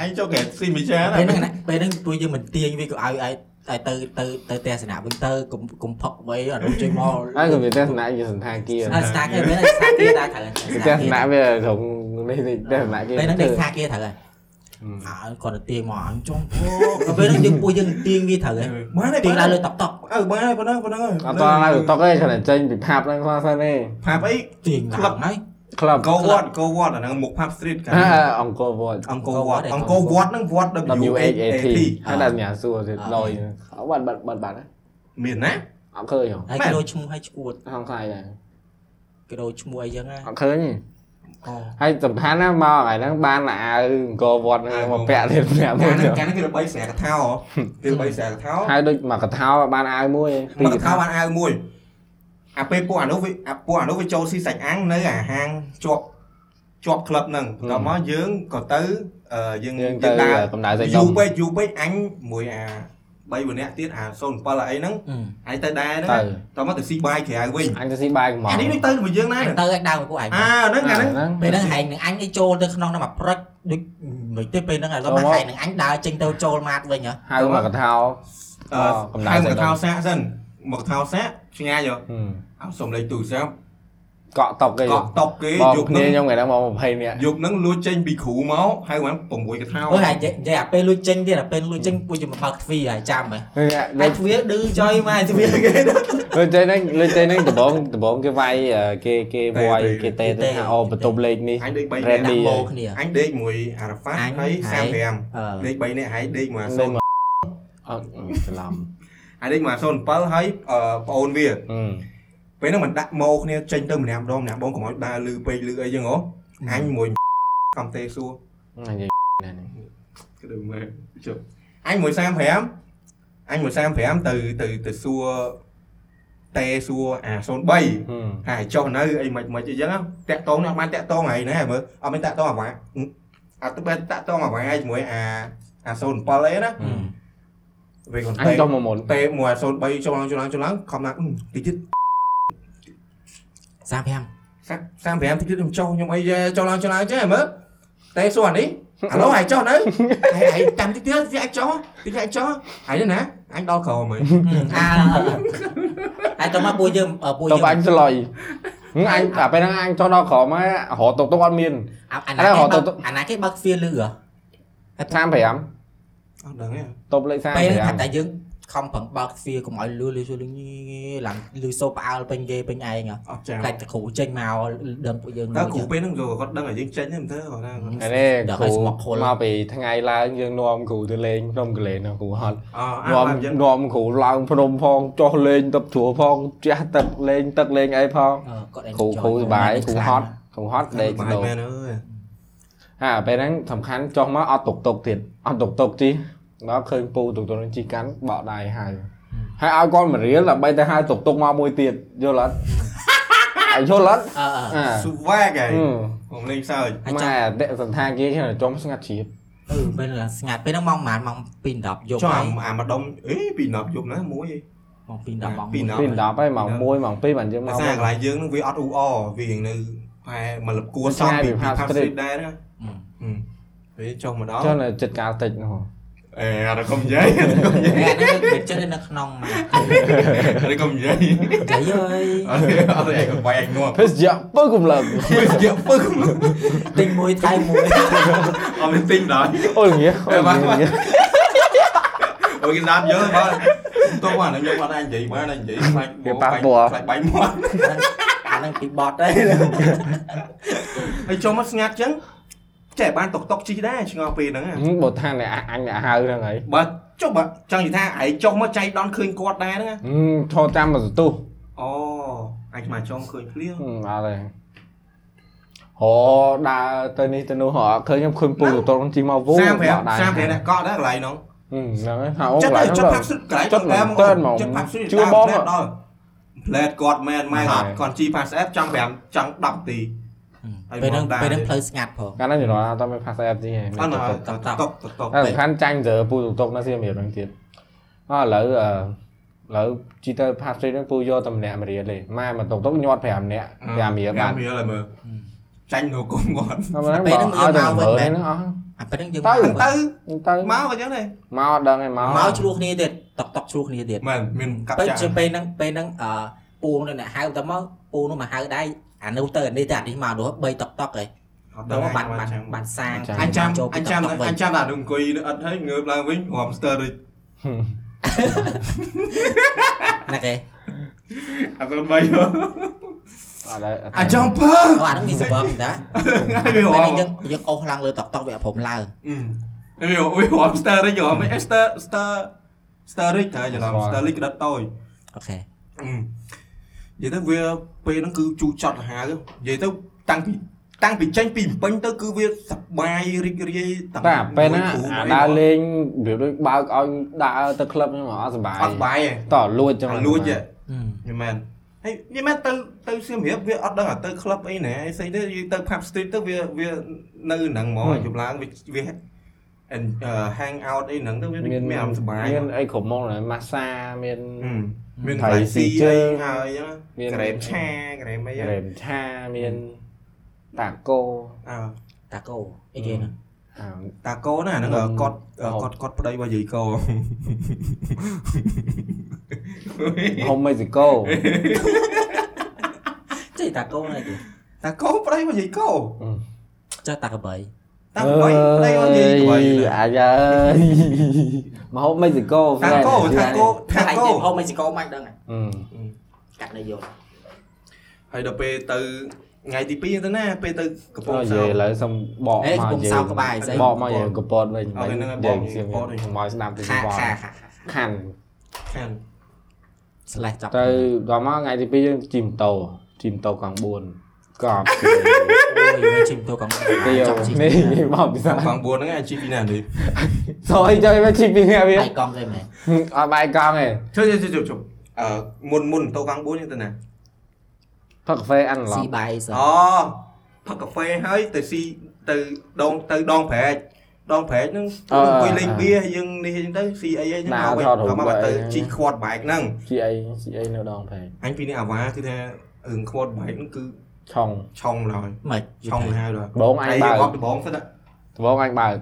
anh cho kéo si mì cha
ពេល
đó
ហ្នឹងណាពេលហ្នឹងពួកយើងមិនទាញវាក៏ឲ្យឲ្យឲ្យទៅទៅទៅទស្សនៈវិញទៅកុំកុំផឹកអីអត់ដូចចេញមក
អញក៏មានទស្សនៈជាសន្តាគារ
អត់ស្ថាគារមែនស្ថាគារតែត្រូវ
ទស្សនៈវាត្រង់នេះទស្សនៈគេ
ពេលហ្នឹងដេកស្ថាគារត្រូវហើយអើគាត់ទៅទាញមកអញចង់ពោដល់ពេលហ្នឹងយើងពួកយើងទាញវាត្រូវហើយ
Ừ, bán
ទាញ
đấy
ដ
bán
ល់លើ
đấy
តុកតុក
ừ bán đấy bán đấy bán đấy
អត់តឡើងទៅតុកទេគ្រាន់តែចេញពីផាប់ហ្នឹងខ្លះសិនទេ
phạp Ừ. ấy
ទាញឡើងហើយ
ក្លឹប
go what go what là nó một phạp street
អ่า
cả
អង្គរវត្ត
ông go
Go What
what
đấy,
ông
Go
go what nó what w a
WHAT
t
ហើយដល់ញ៉ាសួរទៀត
អ่า
លយអត់បាត់បាត់បាត់បាត់
miền á
អត់ឃើញហ៎
ហើយគេដូចឈ្មោះឲ្យឈួត
ហងខ្លាយដែរ
គេដូចឈ្មោះអីចឹងហើយ
អត់ឃើញទេហើយសំខាន់ណាមកថ្ងៃហ្នឹងបានអាអាវអង្គរវត្តហ្នឹងមកពាក់ទៀតប្រាក់មួយ
cái này cái này cái bay xẻ cái thao hả cái bay xẻ cái thao
ហើយដូចមកកថាបានអាវមួយ
mà cái thao bạn ai mui à pe po à nó với à po à nó với cho si sạch ăn nơi à hang chọp chọp club nâng
Ừ.
đó mà dướng còn tới ờ, dương
យើង
dương
ទៅ
ta
កំដៅសេច
យូរ
ក្ដី
ពេកយូរពេកអញមួយអា3 4នាក់ទៀតអា07អីហ្នឹងអញទៅដែរហ្នឹង
ទៅ
តោះមកទៅស៊ីបាយក្រៅវិញ
អញទៅស៊ីបាយកំង
អានេះដូចទៅជាមួយយើងដែរ
អញ
អា
ទៅឲ្យដើមពួកឯង
ហ្នឹងអាហ្នឹង
ហ្នឹង
ពេលហ្នឹងឯងនឹងអញឲ្យចូលទៅក្នុងនោះមកប្រិចដូចមិនទេពេលហ្នឹងឥឡូវមកឯងនឹងអញដើរចេញទៅចូលម៉ាត់វិញហ៎
ហៅមកកថា
អឺហើយមកថោសាក់សិនមកថោសាក់ឆ្ងាយយោអោសុំលេខទូរស័ព្ទ
កក់តុកគេ
កក់តុបគេ
បង
យប់
គ្នា
ហ្នឹង
ខ្ញុំថ្ងៃហ្នឹងមក20នាក់
យប់ហ្នឹងលួចចេញពីគ្រូមកហើយបាន6កថា
អូហើយនិយាយអាពេលលួចចេញទៀតអាពេលលួចចេញពួកយើងមកបើកទ្វារហើយចាំហ៎ហើយទ្វារឌឺចុយមកទ្វារគេ
លើចេហ្នឹងលើចេហ្នឹងដំបងដំបងគេវាយគេគេវាយគេតេទៅថាអូបន្ទប់លេខនេះ
អញដេក3
ដា
នា
ក់
ក់
នេះ
ម៉ូគ្នា
អញដេកមួយអារ៉ាហ្វាត់ហើយ35
អឺ
ដេក3នាក់ហើយដេកមួយអា
នៅ
0
មកអត់ច្រឡំ
ហើយដេកមួយអា07ហើយអឺប្អូនវា ពេលហ្នឹងមិនដាក់ម៉ោគ្នាចេញទៅម្នាក់ម្ដងម្នាក់បងកុំឲ្យដើរលឺពេកលឺអីចឹងហ៎អញ មួយកំទេសួរ
និយាយ
គឺដូចមើលជប់អញមួយ35អញមួយ35ទៅទៅទៅសួរតេសួរអា03ហើយចុះនៅអីមិនមិនអីចឹងហ៎តាក់តងនេះអត់បានតាក់តងហើយណាមើលអត់មានតាក់តងអាវ៉ាអត់ទៅបានតាក់តងអាវ៉ាជាមួយអាអា07អីណាវាគាត់
អញ
តេ
ចុះមកមុន
តេមួយអា03ចុះឡើងចុះឡើងចុះឡើងខំណាស់តិចទៀត
35
សាសាមប្រាំតិចទៀតខ្ញុំចុះខ្ញុំអីចុះឡើងចុះឡើងចេះមើលតែសួរអានេះអាឡូហើយចុះនៅហើយហើយតាមតិចទៀតវាអាចចុះតិចអាចចុះហើយនេះណាអញដល់ក្រោមហើយ
អាហើយតើមកពួកយើងអឺពួក
ទៅ
យើង
បាញ់ស្លុយ ហ្នឹងអញតែពេលហ្នឹងអញចុះដល់ក្រោមហើយរត់តុកតុកអត់មាន
អាអា
ឥឡូវ
ណា
ហៅ
គេ
ទៅ
បើកអាណាគេបើកទ្វារលឺអ្ហ៎
អ
35
ត់ដឹងទេ
តុបលេខ
ពេលថាតែ
35
យើងខំប្រឹងបើកទ្វារកុំឲ្យលឺលឺចូលលឺញីឡើងលឺសូរផ្អើលពេញគេពេញឯងអ្ហ៎
អត់ចាំ
ខ្លាចតែគ្រូចេញមកដឹងពួកយើង
តើ
លឺ
គ្រូ
យើង
ពេលហ្នឹងចូលគាត់ដឹងតែយើងចេញហ្នឹងមិនធ្វើគាត់ថាគាត់
អីនេះ
ដល់ឲ្យ
គ្រូ
ស្មុ
ម
គខុល
កពីថ្ងៃឡើងយើងនាំគ្រូទៅលេងភ្នំកលែនណាគ្រូហត់
អអា
នាំ
ឡើងយ៉ាង
នាំគ្រូឡើងភ្នំផងចុះលេងទឹកជ្រួផងជះទឹកលេងទឹកលេងអីផង
អឺគាត់ឯង
គ្រូ
ចូល
គ្រូសបាយគ្រូហត់គ្រូហត់ដេក
បា
ដូ
យ
រ
មែនអើយ
ហាពេលហ្នឹងសំខាន់ចុះមកអត់តុកតុកទៀតអត់តុកតុកជីដល់ឃើញពូតុកតុកនឹងជីកាន់បោកដៃហៅហើយឲ្យគាត់មករៀលដើម្បីទៅហៅតុកតុកមកមួយទៀតយល់អត់ ឲ្យយល់អត់
អឺអឺ
អា
ស៊ូវ៉ាកឯង
អឺ
ខ្ញុំលេងសើច
ហើយចាំ
ម៉ែអតិសន្តាគារខ្ញុំចុំស្ងាត់ជ្រាប
អឺពេលហ្នឹងស្ងាត់ពេលហ្នឹងម៉ោងប្រហែលម៉ោង2:10យប់
ចុះ
ហើ
អា
យ
អាម្ដុំអេពី10យប់ណាមួយឯង
ម៉ោង2:10ម៉ោង
ពី10
1
ពី10ហើយម៉ោង1ម៉ោង2បានយើង
ភា
មក
សាកន្លែងយើងហ្នឹងវាអត់អ៊ូអវារៀងនៅផែមកលបគួសំពីផាស្ទ្រីតដែរណាហឹមពេលចុះមកដល់
ចុះនៅចិត្តការតិចនោះ
អេអត់កុំនិយាយអត់កុំនិយាយ
អាហ្នឹងវាចិត្តនៅក្នុងម៉ា
អត់កុំនិយាយ
ចាយអើយ
អត់ទេអត់ទេឯងកុំបាយឯងងាប់
ភេសជ្ជៈពើកំឡឹង
វាស្គាល់ពឹក
ទិញមួយថៃមួយ
អត់មានទិញដល់
អូយងាអូយងា
អូគេដាប់យកបើតោះមកហ្នឹងយកអត់ឯងនិយាយបានឯងនិយាយខ្លាចខ្លាចបាញ់មាត់
អាហ្នឹងពីបត់ហើយ
ហើយចុះមកស្ងាត់ចឹងចេះបានតុកតុកជីដែរឆ្ងល់ពេលហ្នឹង
បើថាអ្នកអអញអ្នកហៅហ្នឹងហើយ
បើចុះបើចង់និយាយថាឯងចុះមកចៃដន់ឃើញគាត់ដែរហ្នឹង
ហឹមឈរតាមមកសន្ទុះ
អូអញខ្មៅចុំឃើញភ្លៀង
ហឹមអត់ទេអូដើរទៅនេះទៅនោះហ៎ឃើញខ្ញុំឃើញពូតូនជីមកវង
35
ដៃ
35អ្នកកក់ដែរកន្លែងហ្នឹង
ហឹមហ្នឹងហើយថាអូក
ចិត្ត
ន្លែង
ទៅ
ហ្នឹ
ចិត្ត
ង
ផាប់ស៊ុតកន្លែង
ចិត្តមែន
ចិត្តផា
តើហ្មង
ប់ស៊ុត
ជឿបង
ដល់ផ្លែតគាត់មែនម៉ែ
ហើ
គា
យ
ត់គាត់ជីផាសអេបចង់5ចង់10នាទី
ពេលហ្នឹង
ហើយមកដែរ
ពេលហ្នឹងផ្លូវស្ងាត់ផង
កាលហ្នឹងយល់អត់តមិនផាសអេបទេ
អ
ហ៎
ត់ណា
តុ
តុ
ក
កតុក
តុក
តុកតុក
តែសំខាន់ចាញ់ទៅពូតុកនៅសៀមរាបហ្នឹងទៀតអឥឡូវអឺឥឡូវជីទៅ pass trade ហ្នឹងពូយកតែម្នាក់ម្រៀលទេម៉ែមកតុកតុកញាត់5នាក់5រៀល
Ừ,
បា
បាន នរៀលហើយមើលចាញ់នៅគុំគាត់
តែ
តែ
មិនហ្នឹង
ពេលហ្នឹង
បើឲ្យតែ
យើងមក
មើល
វិញ
ហ្នឹងអស់
អាពេលហ្នឹ
ទៅ
ងយើង
ទៅមកអ
ទៅ
ញ្ចឹងដែរ
មកអត់ដឹងឯងមក
មកឆ្លោះគ្នាទៀតតុកតុកឆ្លោះគ្នាទៀត
មែនមានកាប់
ពេល
ចាក់
ជាពេលហ្នឹងពេលហ្នឹងអឺពូនៅអ្នកហៅទៅមកពូនោះមកហៅដែរអានោះទៅអានេះទៅអានេះមកនោះ3តុកតុកឯង
អត់
ទៅ
ដឹង
មកបា
បាន
ត់បា
បាន
ត់បា
បាន
ត់សាង
អញចាំ
ចូល
អ
ពី
ញ
តុ
ចាំ
កតុកវិញ
អញចាំដល់អង្គុយនៅអត់ហើយងើបឡើងវិញរំស្ទើរដូច
ហឹម
ណាគេ
អត់បានបាយ
អត់ដឹង
អញចាំពើ
អូអាហ្នឹងមានសបឹង តា
ហើយវា
ពេល
រំ
ហ្នឹងយើងយើងអោសឡើងលើតុកតុកវាព្រមឡើង
អឺអូយហមស្ទើររីកហមអេស្ទើស្ទើស្ទើរីកតែច្រឡំស្ទើរីកក្តិតតូច
អូខេ
និយាយទៅវាពេលហ្នឹងគឺជូរចត់សាហាវនិយាយទៅតាំងពីតាំងពីចេញពីបំពេញទៅគឺវាសប្បាយរីករាយ
តែពេលណាអាដើរលេងវាដូចបើកឲ្យដើរទៅក្លឹបហ្នឹងអត់សុបាយ
អត់បាយ
តោះលួចចឹ
ទេ
ង
អាលួចទេមិនមែនហើយនេះមែនទៅទៅសៀមរាបវាអត់ដឹងអាទៅក្លឹបអីណែអីផ្សេងទេយើងទៅ pub street ទៅវាវានៅហ្នឹងហ្មងយប់ឡើងវាវា hang out អីហ្នឹងទៅវា
មាន
មានអារម្មណ៍សុបាយ
មានអីគ្រប់មុខហ្នឹងម៉ាសាមាន
មាន
ថៃ
ថៃ
ស៊ី
ស៊ី
ជើ
ជើ
ង
ងហើយ
មា
ហ្នឹងក្រែ
ន
មឆាក្រែមអី
រ៉េមឆាមានតាកូ
អើ
តាកូអីគេហ្នឹង
អើ
តាកូណាហ្នឹង
នំ
គាត់
ហូប
គាត់គាត់ប្តីរបស់យាយកោ
ហុំមេស៊ីកូ
ចេះតាកូនហ្នឹងទេ
តាកូប្តីរបស់យាយកោ
ចុះតាកបី
តាបីប្តីរបស់យាយកោ
អើយអាយ៉ាមកហូបមេស៊ីកូ
តាកូតាកូតា
តែ
កូ
គេហូបមិនស៊ីកូមិនដឹងហ៎
អឺ
កាត់នៅយក
ហើយដល់ពេលទៅថ្ងៃទី2ទៅណាពេលទៅកំព
អូ
ង់
និ
សោ
យាយ
ម
ឥឡូវសុំបក
អេ
មក
កំពុង
និយា
សោក
យ
ក្បាយស្អី
បកមកយើងកពតវិញ
អូហ្នឹងហើយបកយើងកពតវិញ
ខ្ញុំមកស្ដាប់ទៅ
ខា
បក
ខាខា
ខាន់
ខាង
ស្លេះចាប់
ទៅដល់មកថ្ងៃទី2យើងជីម៉ូតូជីម៉ូតូកង់4កប់
អូយ វាជិះ ទៅកំពុង
ពី
ចង់ជិះ
នេះមកពិសា
ខាង4ហ្នឹងឯងជីពីណានេះ
សអីចូលមកជីពីនេះវា
ហើយកង់ទេមែន
អត់បាយកង់ទេ
ជុំជុំជុំជុំអឺមុនមុនទៅខាង4ហ្នឹងទៅណា
ផឹកកាហ្វេអានឡ
ស៊ី
ប់
បាយសោះ
អូផឹកកាហ្វេហើយទៅស៊ីទៅដងទៅដងប្រែកដងប្រែកហ្នឹងអង្គុយលេងបៀយើងនេះហ្នឹងទៅស៊ីអីហ្នឹងមកវិញមកមកទៅជីខ្វាត់បែកហ្នឹង
ជីអីជីអីនៅដងផែ
អញពីនេះអាវ៉ាគឺថារឿងខ្វាត់បែកហ្នឹងគឺ
ឆុង
ឆុងឡើយ
មិនយ
ឆុង
ល់
ហើយឡើយ
បងអញ
ហើយ
បើ
អ
ក
ត់ដបងសិន
បងអញបើក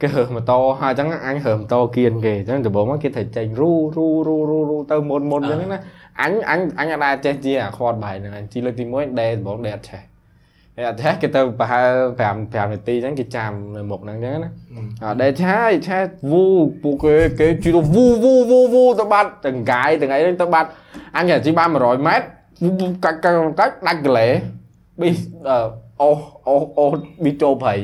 គេហើម៉ូតូហើយអញ្ចឹងអញហើម៉ូតូគៀនគេអញ្ចឹងដំបូងមកគេត្រូវចេញរੂរੂរੂរੂរੂទៅមុនមុនអញ្ចឹងណាអញអញអញអត់ដែរចេះជាអាខ្វាត់បាយហ្នឹងអញជីលើកទី1ដេដំបូងដេអត់ចេះដេអត់ចេះគេទៅប្រហែល5 5នាទីអញ្ចឹងគេចាំនៅមុខហ្នឹងអញ្ចឹងណាអត់ដេឆាយឆាវូពួកគេគេជីទៅវូវូវូវូទៅបាត់ទាំងកាយទាំងអីហ្នឹងទៅបាត់អញជីបាន100ម៉ែត្រវូវូកាច់កាច់កាច់ដាច់កលេប៊ីអូអូអូប៊ីចូលព្រៃ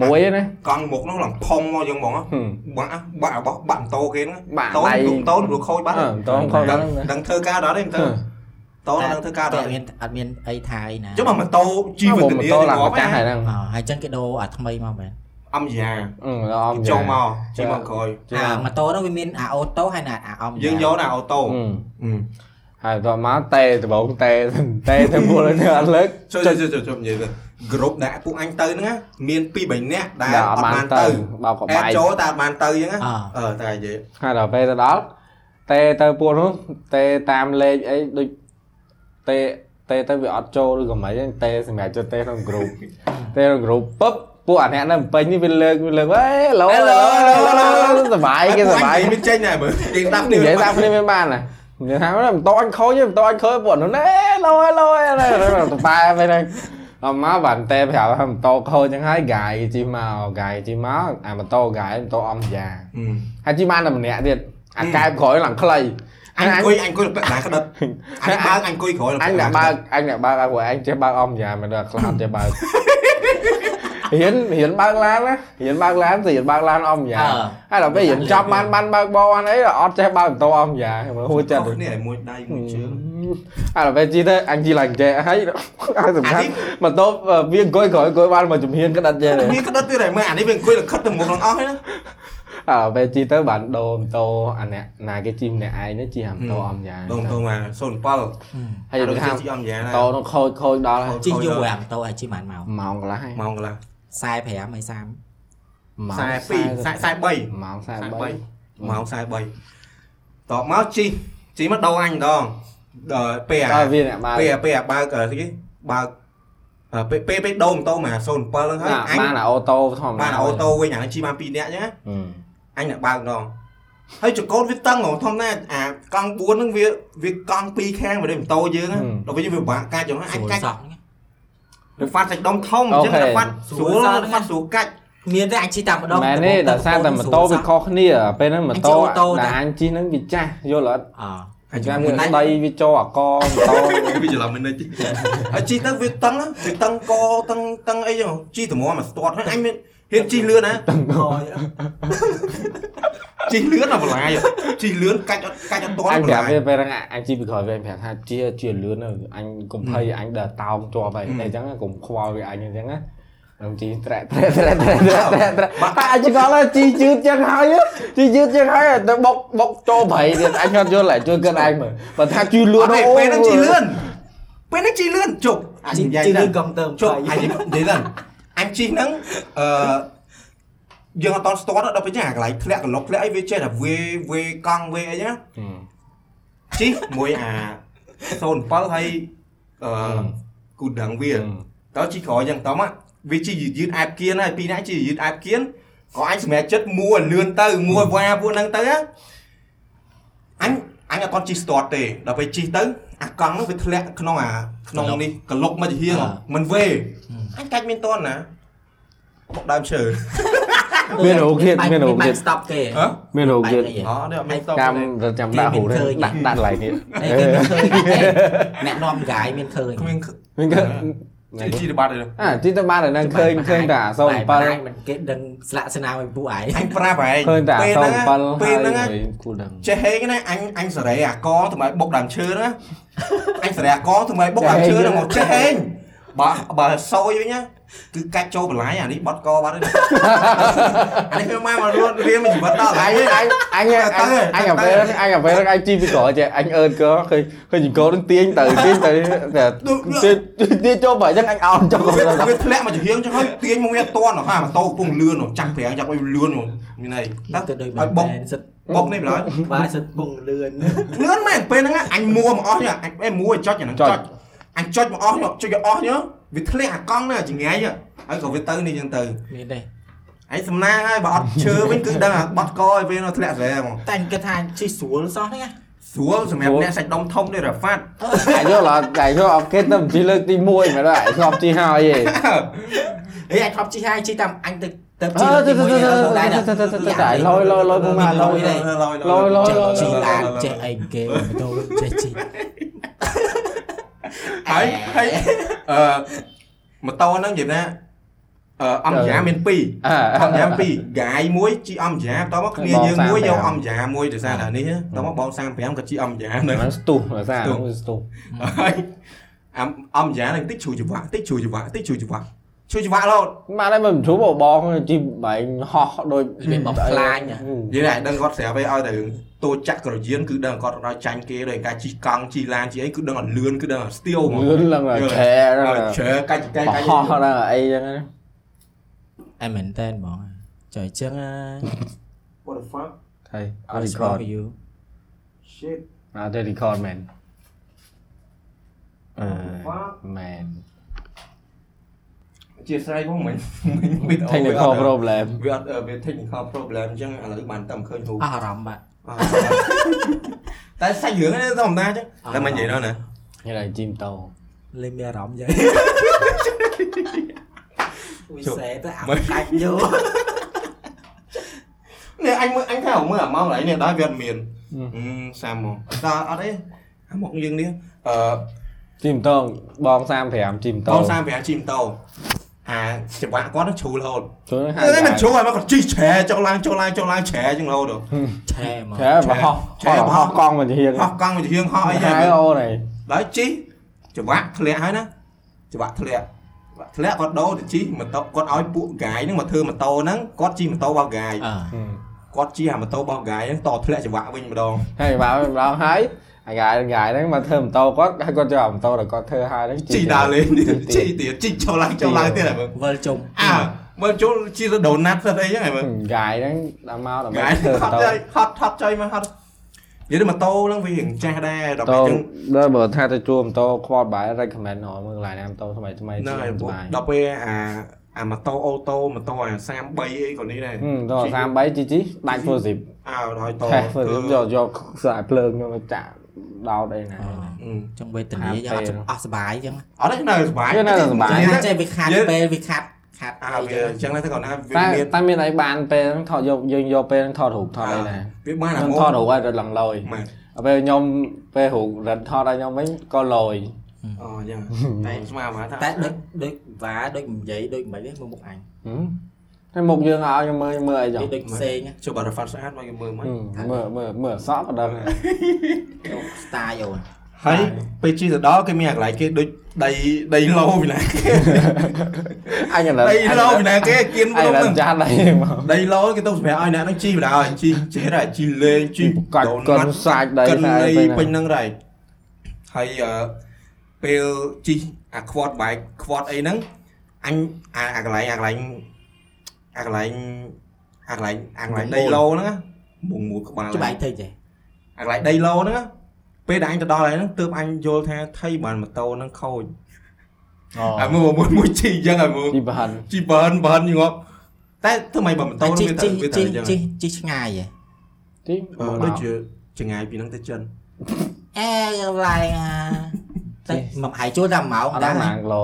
មួយឯណា
កង់មុខហ្នឹងឡើងផុងមកយើងហ្មងហ៎
ហឹម
បាក់អាបាក់របស់បាក់ម៉ូតូគេហ្នឹង
បាក់
តូ
ដៃ
នទូតូនព្រោះខូចបាត់
អឺតងខំ
ដ
ហ្នឹង ងណា
ដឹងធ្វើការដល់ទេមិនទៅ
ហឹម
តូនដឹងធ្វើការដល់
តែមានអត់មានអីថាអីណា
ចុះមកម៉ូតូជីវិត
ម៉ូ
នា
តូ
ងា
ឡើង
ប់
ម្ចាស់ហើយ
ណា
ហ្នឹង
អោហើយអញ្ចឹងគេដូរអាថ្មីមកមែន
អំយ៉ា
អឺអម
ចុះមកជីមកក្រោយ
ចា
អាម៉ូតូហ្នឹងវាមានអាអូតូហើយណាអាអំ
យើងយកណាអូតូ
អឺ
អឺ
ហើយតោះមកតេដបងតេតេទៅមួយនេះអត់លើក
ចុះចុះចុះចុះចុះនិយាយទៅក្រុមដែលពួកអញទៅហ្នឹងណាមាន2 3នាក់ដែល
ដែល
អ
អត់
ត់
បា
បាន ន
ទៅ
ទៅ
បោកក
អែ
បាយ
ចូលតែអត់បានទៅអញ្ចឹងណា
អើ
អឺតែនិយាយ
ហើយដល់ពេលទៅដល់តេទៅពួកនោះតេតាមលេខអីដូចតេតេទៅវាអត់ចូលឬក៏មិនអីចឹងតេសម្រាប់ចូលតេក្នុងក្រុមតេក្នុងក្រុមពឹបពួកអាអ្នកនៅពេញនេះវាលើកវាលើកអេឡូឡូឡូសុបាយគេសុបាយ
មិនចេញដែរមើលគេស្ដាប់
និយាយតាមគ្នាមានបានណានិយាយថាមិនតអញខូចទេមិនតអញខូចពួកនោះណែឡយឡយណែទៅប៉ែទៅហ្នឹងអមមកបានតែប្រាប់ថាមិនតខូចចឹងហើយហ្កាយជីមកហ្កាយជីមកអាម៉ូតូហ្កាយម៉ូតូអមយ៉ាហើយជីបានតែម្នាក់ទៀតអាកែបក្រោយឡើងខ្លីអញ
anh
អញ
cùi anh cùi đá cái đất anh ba anh cùi khỏi
អ
là
ញអ្នកបើកអញអ្នកបើកឲ្យពួកឯងចេះបើកអមយ៉ាមិនដល់ខ្លាប់ចេះបើករៀនរៀនបើកឡានណារៀនបើកឡានទៅរៀនបើកឡានអម
អ
យ៉ាហើយដល់ពេលរៀនចប់បានបានបើកបោអានអីអត់ចេះបើកម៉ូតូអមយ៉ាហួចចិត្ត
cái này mua đây mua chứ
អាឡូវជីទៅអញជីឡើងចេះហើយ ហើយសំខាន់មកតបវាអង្គុយក្រោយអង្គុយបានមកជំហានក្តិតចេះ
mi cái đất thế này mà anh ấy bên cùi là khất từ một lần óc đấy
អាឡូវជីទៅបានដូរម៉ូតូអាអ្នកណាគេជីម្នាក់ឯងនេះជីហាម៉ូតូអមយ៉ាង
đồng tôi mà sồn pal
ហើយយើងថា
chị ông già
ម៉ូតូ
này
នោះខូចខូចដល់ហើយ
ជីយូរអាម៉ូតូហើយជីបានមក
ម៉ោងកន្លះហើយ
mong là
45ហើយ30
sai pi sai sai bay
ម៉ោង
sai Ừ.
43
bay mong sai bay tọ máu chi chi mất đâu anh đó đờ pe
ហើយ
à
វាអ្នកបើក
pe à pe à ba cái gì ba ờ, pe pe pe đâu tôi mà sồn pal
ណា
hết
បាន
anh
អាអូតូធម្ម
Dạ, ba
តា
là ô tô quay nhà anh chi ba pi nè nhá
អឺ
អញអ្នកបើកម្ដងហើយចង្កូតវាតឹងហ្មងធម្មតាអាកង់4ហ្នឹងវាវាកង់ពីរខាងមកដូចម៉ូតូយើងណា
ហឹម
ដល់ពេលយើងវាពិបាកកាច់ចឹងណាអាច
ស្រួល
កាច់
សោះហ្នឹង
វាហ្វាត់សាច់ដុំធំអញ្ចឹង
អូខេ
វាហ្វាត់ស្រួល
ស្រួលសោះ
ហ្វាត់ស្រួលកាច់
មានតែអញជីតាមម្ដង
មែនទេដល់សារតែម៉ូតូវាខុសគ្នាពេលហ្នឹងម៉ូតូដែលអញជីហ្នឹងវាចាស់យល់អត់
អ
ហើយចាំមួយដៃវាចូលអាកម៉ូតូ
វាច្រឡំមិននេះ ហើយជីទៅវាតឹងណាវាតឹងកតឹងតឹងអីចឹងជីតម្រាំមកស្ទាត់ហើយអញមានហ៊ានជីលឿនណាជីលឿនអាបន្លាយជីលឿនកាច់អត់កាច់អត់ទាន់
អញ
អាបន្លាយ
ប្រាប់វាពេលហ្នឹងអអញជីពីក្រោយវាអញប្រាប់ថាជាជាលឿនទៅអញកុំភ័យអញដើរតោងជាប់ហើយ
អឺ
តែអញ្ចឹងកុំខ្វល់វាអញអញ្ចឹងណាខ្ញុំជីត្រែកត្រែកត្រែកត្រែកត្រែកត្រែកត្រែក
បាក់
តែអញក៏ឡើយជីយឺតចឹងហើយជីយឺតចឹងហើយទៅបុកបុកចូលព្រៃទៀតអញអត់យល់ឡើយជួយគិតអញមើលបើថាជីលឿ
អ
ន
ត់ទេ
អូ
ពេលហ្នឹងជីលឿនពេលហ្នឹងជីលឿនជប់
ា
អា
ជី
និយាយ
ជី
ទៅ
លឿនកុំទៅ
ជប់អញនិយាយទៅអញជីហ្នឹងអឺយើងអត់តស្ទាត់ទេដល់ពេលចឹងអាកន្លែងធ្លាក់កន្លុកធ្លាក់អីវាចេះតែវេវេកង់វេអីណាជីមួយអា07ហើយអឺគូដឹងវាតើជីក្រោយចឹងតោះមកវាជីយឺតៗអែបគៀនហើយពីរនាក់ជីយឺតៗអែបគៀនក៏អញសម្រេចចិត្តមួលឿនទៅមួវ៉ាពួកហ្នឹងទៅណាអញអញអត់តជីស្ទាត់ទេដល់ពេលជីទៅអាកង់ហ្នឹងវាធ្លាក់ក្នុងអាក្នុងនេះកន្លុកមកជាហៀងមិនវេ អញកាច់មានតនណាបុកដើមឈើ
ស្តប់
ហ៎
គេ
មានរោគទៀត
អត់ទេអត់មានតន
ចាំទៅចាំដាក់ហូរទេដាក់ដាក់កន្លែងនេះ
អីគេមានឃើញអ្នកនាំហ្គាយមានឃើញ
គ្មាន
វិញក៏
ជីជីរបស់ទេ
អាជីទៅបានតែហ្នឹងឃើញឃើញតែអាសូន7
មិនគេដឹងស្លាកស្នាមឲ្យពួកឯង
អញប្រាប់ហែង
ឃើញតែអក្សរ7ហើយ
ពេលហ្នឹងណា
គូដឹង
ចេះហេងណាអញអញសរេអាកថ្មីបុកដើមឈើណាអញសរេអាកថ្មីបុកដើមឈើហ្នឹងមកចេះហេងបើបើសយវិញណាគឺកាច់ចូលបន្លាយអានេះបត់កបាត់ហើយអានេះគឺមកមករួនរៀនមួយជីវិតដល់ហើយ
anh ấy anh anh anh
Tới rồi,
anh anh ở
tới
về
rồi.
đó, anh ở về đó, anh chi bị cỏ chứ anh ơn có khi khi chỉ có đến tiếng từ tiếng từ để
Được, được.
tiếng tiếng cho vậy chắc anh on cho con
វាធ្លាក់មកជាហៀងចឹងហើយទាញមកវាអត់តន់ហ៎អាម៉ូតូកំពុងលឿនហ៎ចាំប្រាំងចាំឲ្យលឿនហ៎មានអី
តែគេដូច
ឲ្យបុក
សិត
បុកនេះម្ល៉េះ
បាទសិតពងលឿន
លឿនមែនពេលហ្នឹងអញមួមកអស់នេះអញពេលមួចុចអាហ្នឹងចុ
ចុច
ចអញចុចមកអស់នេះចុចឲ្យអស់នេះវាធ្លាក់អាកង់ហ្នឹងអាចង្ងាយហ៎ហើយក៏វាទៅនេះចឹងទៅ
មានទេ
ឯងសំណាងហើយបើអត់ឈើវិញគឺដឹងអាបាត់កឲ្យវានៅធ្លាក់ស្រែហ្មង
តែខ្ញុំគិតថាជិះស្រួលសោះហ្នឹងណា
ស្រួលសម្រាប់អ្នកសាច់ដុំធំនេះរ៉ាហ្វាត់
អាយល់អត់អាយល់អត់គេទៅជីលើកទី1មែនទេអាយខ្ញុំជីហើយឯង
អីអញធ្លាប់ជិះហើយជិះតាមអញទៅទៅ
អឺ
ជិះលើកទីមួយ
ទៅទៅ
ហ្នឹងដែរណា
ទៅទៅទៅទៅទៅឲ្យលយលយលយពុកម៉ាលយ
ចេះ
លយលយ
ជិះឡានចេះអីគេមិនទៅចេះជិះ
ហើយហើយអឺម៉ូតូហ្នឹងនិយាយណាអឺអំយ៉ាមាន2
អើ
អំយ៉ា2កាយមួយជីអំយ៉ាតមកគ្នា
បង
យើងមួយ
35
យកអំយ៉ាមួយដោយសារតែនេះណាតមកបង35ក៏ជីអំយ៉ាហ្នឹង
ហ្នឹងស្ទុះភាសាហ្នឹងវាស្ទុះ
ហើយអំអំយ៉ាហ្នឹងតិចឈូចង្វាក់តិចឈូចង្វាក់តិចឈូចង្វាក់ឈូចង្វាក់រហូត
ម៉ាក់ដែរមិនធូបបងជីបែងហោះដូច
មានបំផ្លាញហ៎
និយាយណាដឹងគាត់ស្រាប់ឯឲ្យតែរឿងតូចចាក់ក្រយានគឺដឹងគាត់រត់ដល់ចាញ់គេដោយការជីកង់ជីឡានជីអីគឺដឹងអត់លឿនគឺដឹងអត់ស្ទាវហ្មង
លឿនឡើង
យល់
ឆែហ្នឹង
ហើយឆែកាច់កាច់កាច់
ហោះហ្នឹងអីចឹងណា
អែមែនតើបងចុះអញ្ចឹង
What the fuck
ហើយអត់
I'll
Ờ, record
record you
shit
អត់ទេ record មែនអឺមែន
អធិស្ឋានផងមិញ មិញវីដេអូ
technical problem
វាអត់វា technical problem អញ្ចឹងឥឡូវបានតែមិនឃើញហូប
អស់អារម្មណ៍បាទ
À. តែសាច់រឿងនេះធម្មតាអញ្ចឹង
អ่า
តែមិននិយាយដល់ណា
នេះឡើងជីមតោ
លេងមានអារម្មណ៍យ៉ាងវិសេសទៅអាកាច់យោ
នេះអញមើលអញថាមើលអាម៉ោងឡើយនេះដល់វាអត់មានហឹមសាមមកដល់អត់ទេអាមកយើងនេះអឺ
ជីមតោបង35ជីមតោ
បង35ជីមតោអាច្បាក់គាត់នឹងជ្រូលហូត
ជួយហៅ
តែមិនជ្រូលឲ្យមកគាត់ជីឆែចុះឡើងចុះឡើងចុះឡើងឆែចឹងរហូត
ឆែមក
ឆែបហោះហោះកង់មកជាហៀង
ហោះកង់មកជាងហោះអីចឹ
ហៅ
ង
អូនេះ
ដល់ជីច្បាក់ធ្លាក់ហើយណាច្បាក់ធ្លាក់ច្បាក់ធ្លាក់គាត់ដូរទៅជីម៉ូតូគាត់ឲ្យពួកហ្គាយហ្នឹងមកធ្វើម៉ូតូហ្នឹងគាត់ជីម៉ូតូរបស់ហ្គាយ
អើ
គាត់ជីអាម៉ូតូរបស់ហ្គាយហ្នឹងតធ្លាក់ច្បាក់វិញម្ដង
ហើយបើឡើងហើយអាយ៉ាយ៉ាហ្នឹងមកធ្វើម៉ូតូគាត់ហើយគាត់យកម៉ូតូដែលគាត់ធ្វើហើយហ្នឹង
ជីដើរលេងនេះជីទៀតជីចូលឡើងចូលឡើងទៀតហើយមើល
វិលជុំ
អើមើលចូលជីទៅដូណាត់ស្អីចឹងហើយមើល
យ៉ាយហ្នឹងដល់មកដល់
ហ្គាយ
ធ្វើ
ហ្នឹងហ
ម៉ូ
ត់
តូ
ហើយហត់ហត់ចុយមកហត់និយាយទៅម៉ូតូហ្នឹងវារៀងចាស់ដែរដល់
តោ
ពេលចឹង
ដល់បើថាទៅជួលម៉ូតូខ្វល់បាយ recommend អស់មើលកន្លែងណាម៉ូតូថ្មីថ្មី
ហ្នឹងហើយពួក
ថ្មី
ដល់ពេលអាអាម៉ូតូអូតូម៉ូតូអា33អីក៏នេះដែរ
ហឹមដល់33ជីជីដាច់ full zip
អើដល់ត
តែ full
គឺ
zip យកយកស្អាតភ្លើងយកមកចាក់ដោតអីណា
អឺ
Ừ. À. ចង់វេទនាយ៉ាងអត់អស់សុបាយចឹង
អត់ទេនៅសុបាយ
យើនៅសុបាយ
តែចេះវាខាត់ពេលវាខាត់ខាត់
អាវាអញ្ចឹងទៅគាត់ណាវា
តែ
មាន
តែមានអីបានពេលហ្នឹងថតយកយើងយកពេលហ្នឹងថតរូបថ
à,
តអីណា
វាបានអា
ខ្ញុំ
ម៉ូ
ថតរូបឲ្យរត់ឡើងលយ
ម៉ែ
ដល់ពេលខ្ញុំពេលរូបរត់ថតឲ្យខ្ញុំវិញក៏លយ
អូអញ្ចឹងតែស្មានមកថា
តែដូចដូចវ៉ាដូចមិននិយាយដូចមិនវិញមើលមុខអញ
ហឹមតែមុខយើងឲ្យខ្ញុំមើលមើលអីចឹង
ដូចផ្សេងណា
ជួបបារ៉ាហ្វាត់ស្អាតមកគេមើលមក
ហឹមមើលមើលមើលអសក់ក៏
Ờ.
ដឹងដែរ
ស្តាយអូន
ហើយពេលជិះទៅដល់គេមានអាកន្លែងគេដូចដីដីឡូពីណាគេ
អញឥឡូវ
ដីឡូពីណាគេគៀន
អញឥ
ភ្នំ
ឡូវ
ហ្នឹង
ចាស់ហើយមក
ដីឡូគេទៅសម្រាប់ឲ្យអ្នកហ្នឹងជីបណ្ដោយឲ្យជីចេះតែជីលេងជី
កាច់កុនសាច់ដី
កិន
តែ
នៃពេ
ពេ
ញ
ញ
ហ្នឹងដែរហើយអឺពេលជីអា quad bike quad អីហ្នឹងអញអាអាកន្លែងអាកន្លែងអាកន្លែងអាកន្លែងអាកន្លែងដីឡូហ្នឹងណាមុំមួយក្បាលហ្នឹង
ច្បាស់ទៅចេះ
អាកន្លែងដីឡូហ្នឹងណាពេលដែលអញទៅដល់ហើយហ្នឹងទើបអញយល់ថាថៃបានម៉ូតូហ្នឹងខូចអាមួយមួយមួយជីអញ្ចឹងអាមួយ
ពីបាន
ជីបឺនបឺនញប់តែធ្វើម៉េចបើម៉ូតូ
ជី
ហ្នឹង
ជី
វា
ជី
ត្រូវវាត្រូវអញ្ចឹ
ជី
ង
ជីឆ្ងាយហ៎
ទី
អឺដូចជាចងាយពីហ្នឹងទៅចិន
អេឡាយណាតែមកហើយជួលតាមម៉ោង
អត់
ដែ
ដឹង
រ
ម៉ាងឡូ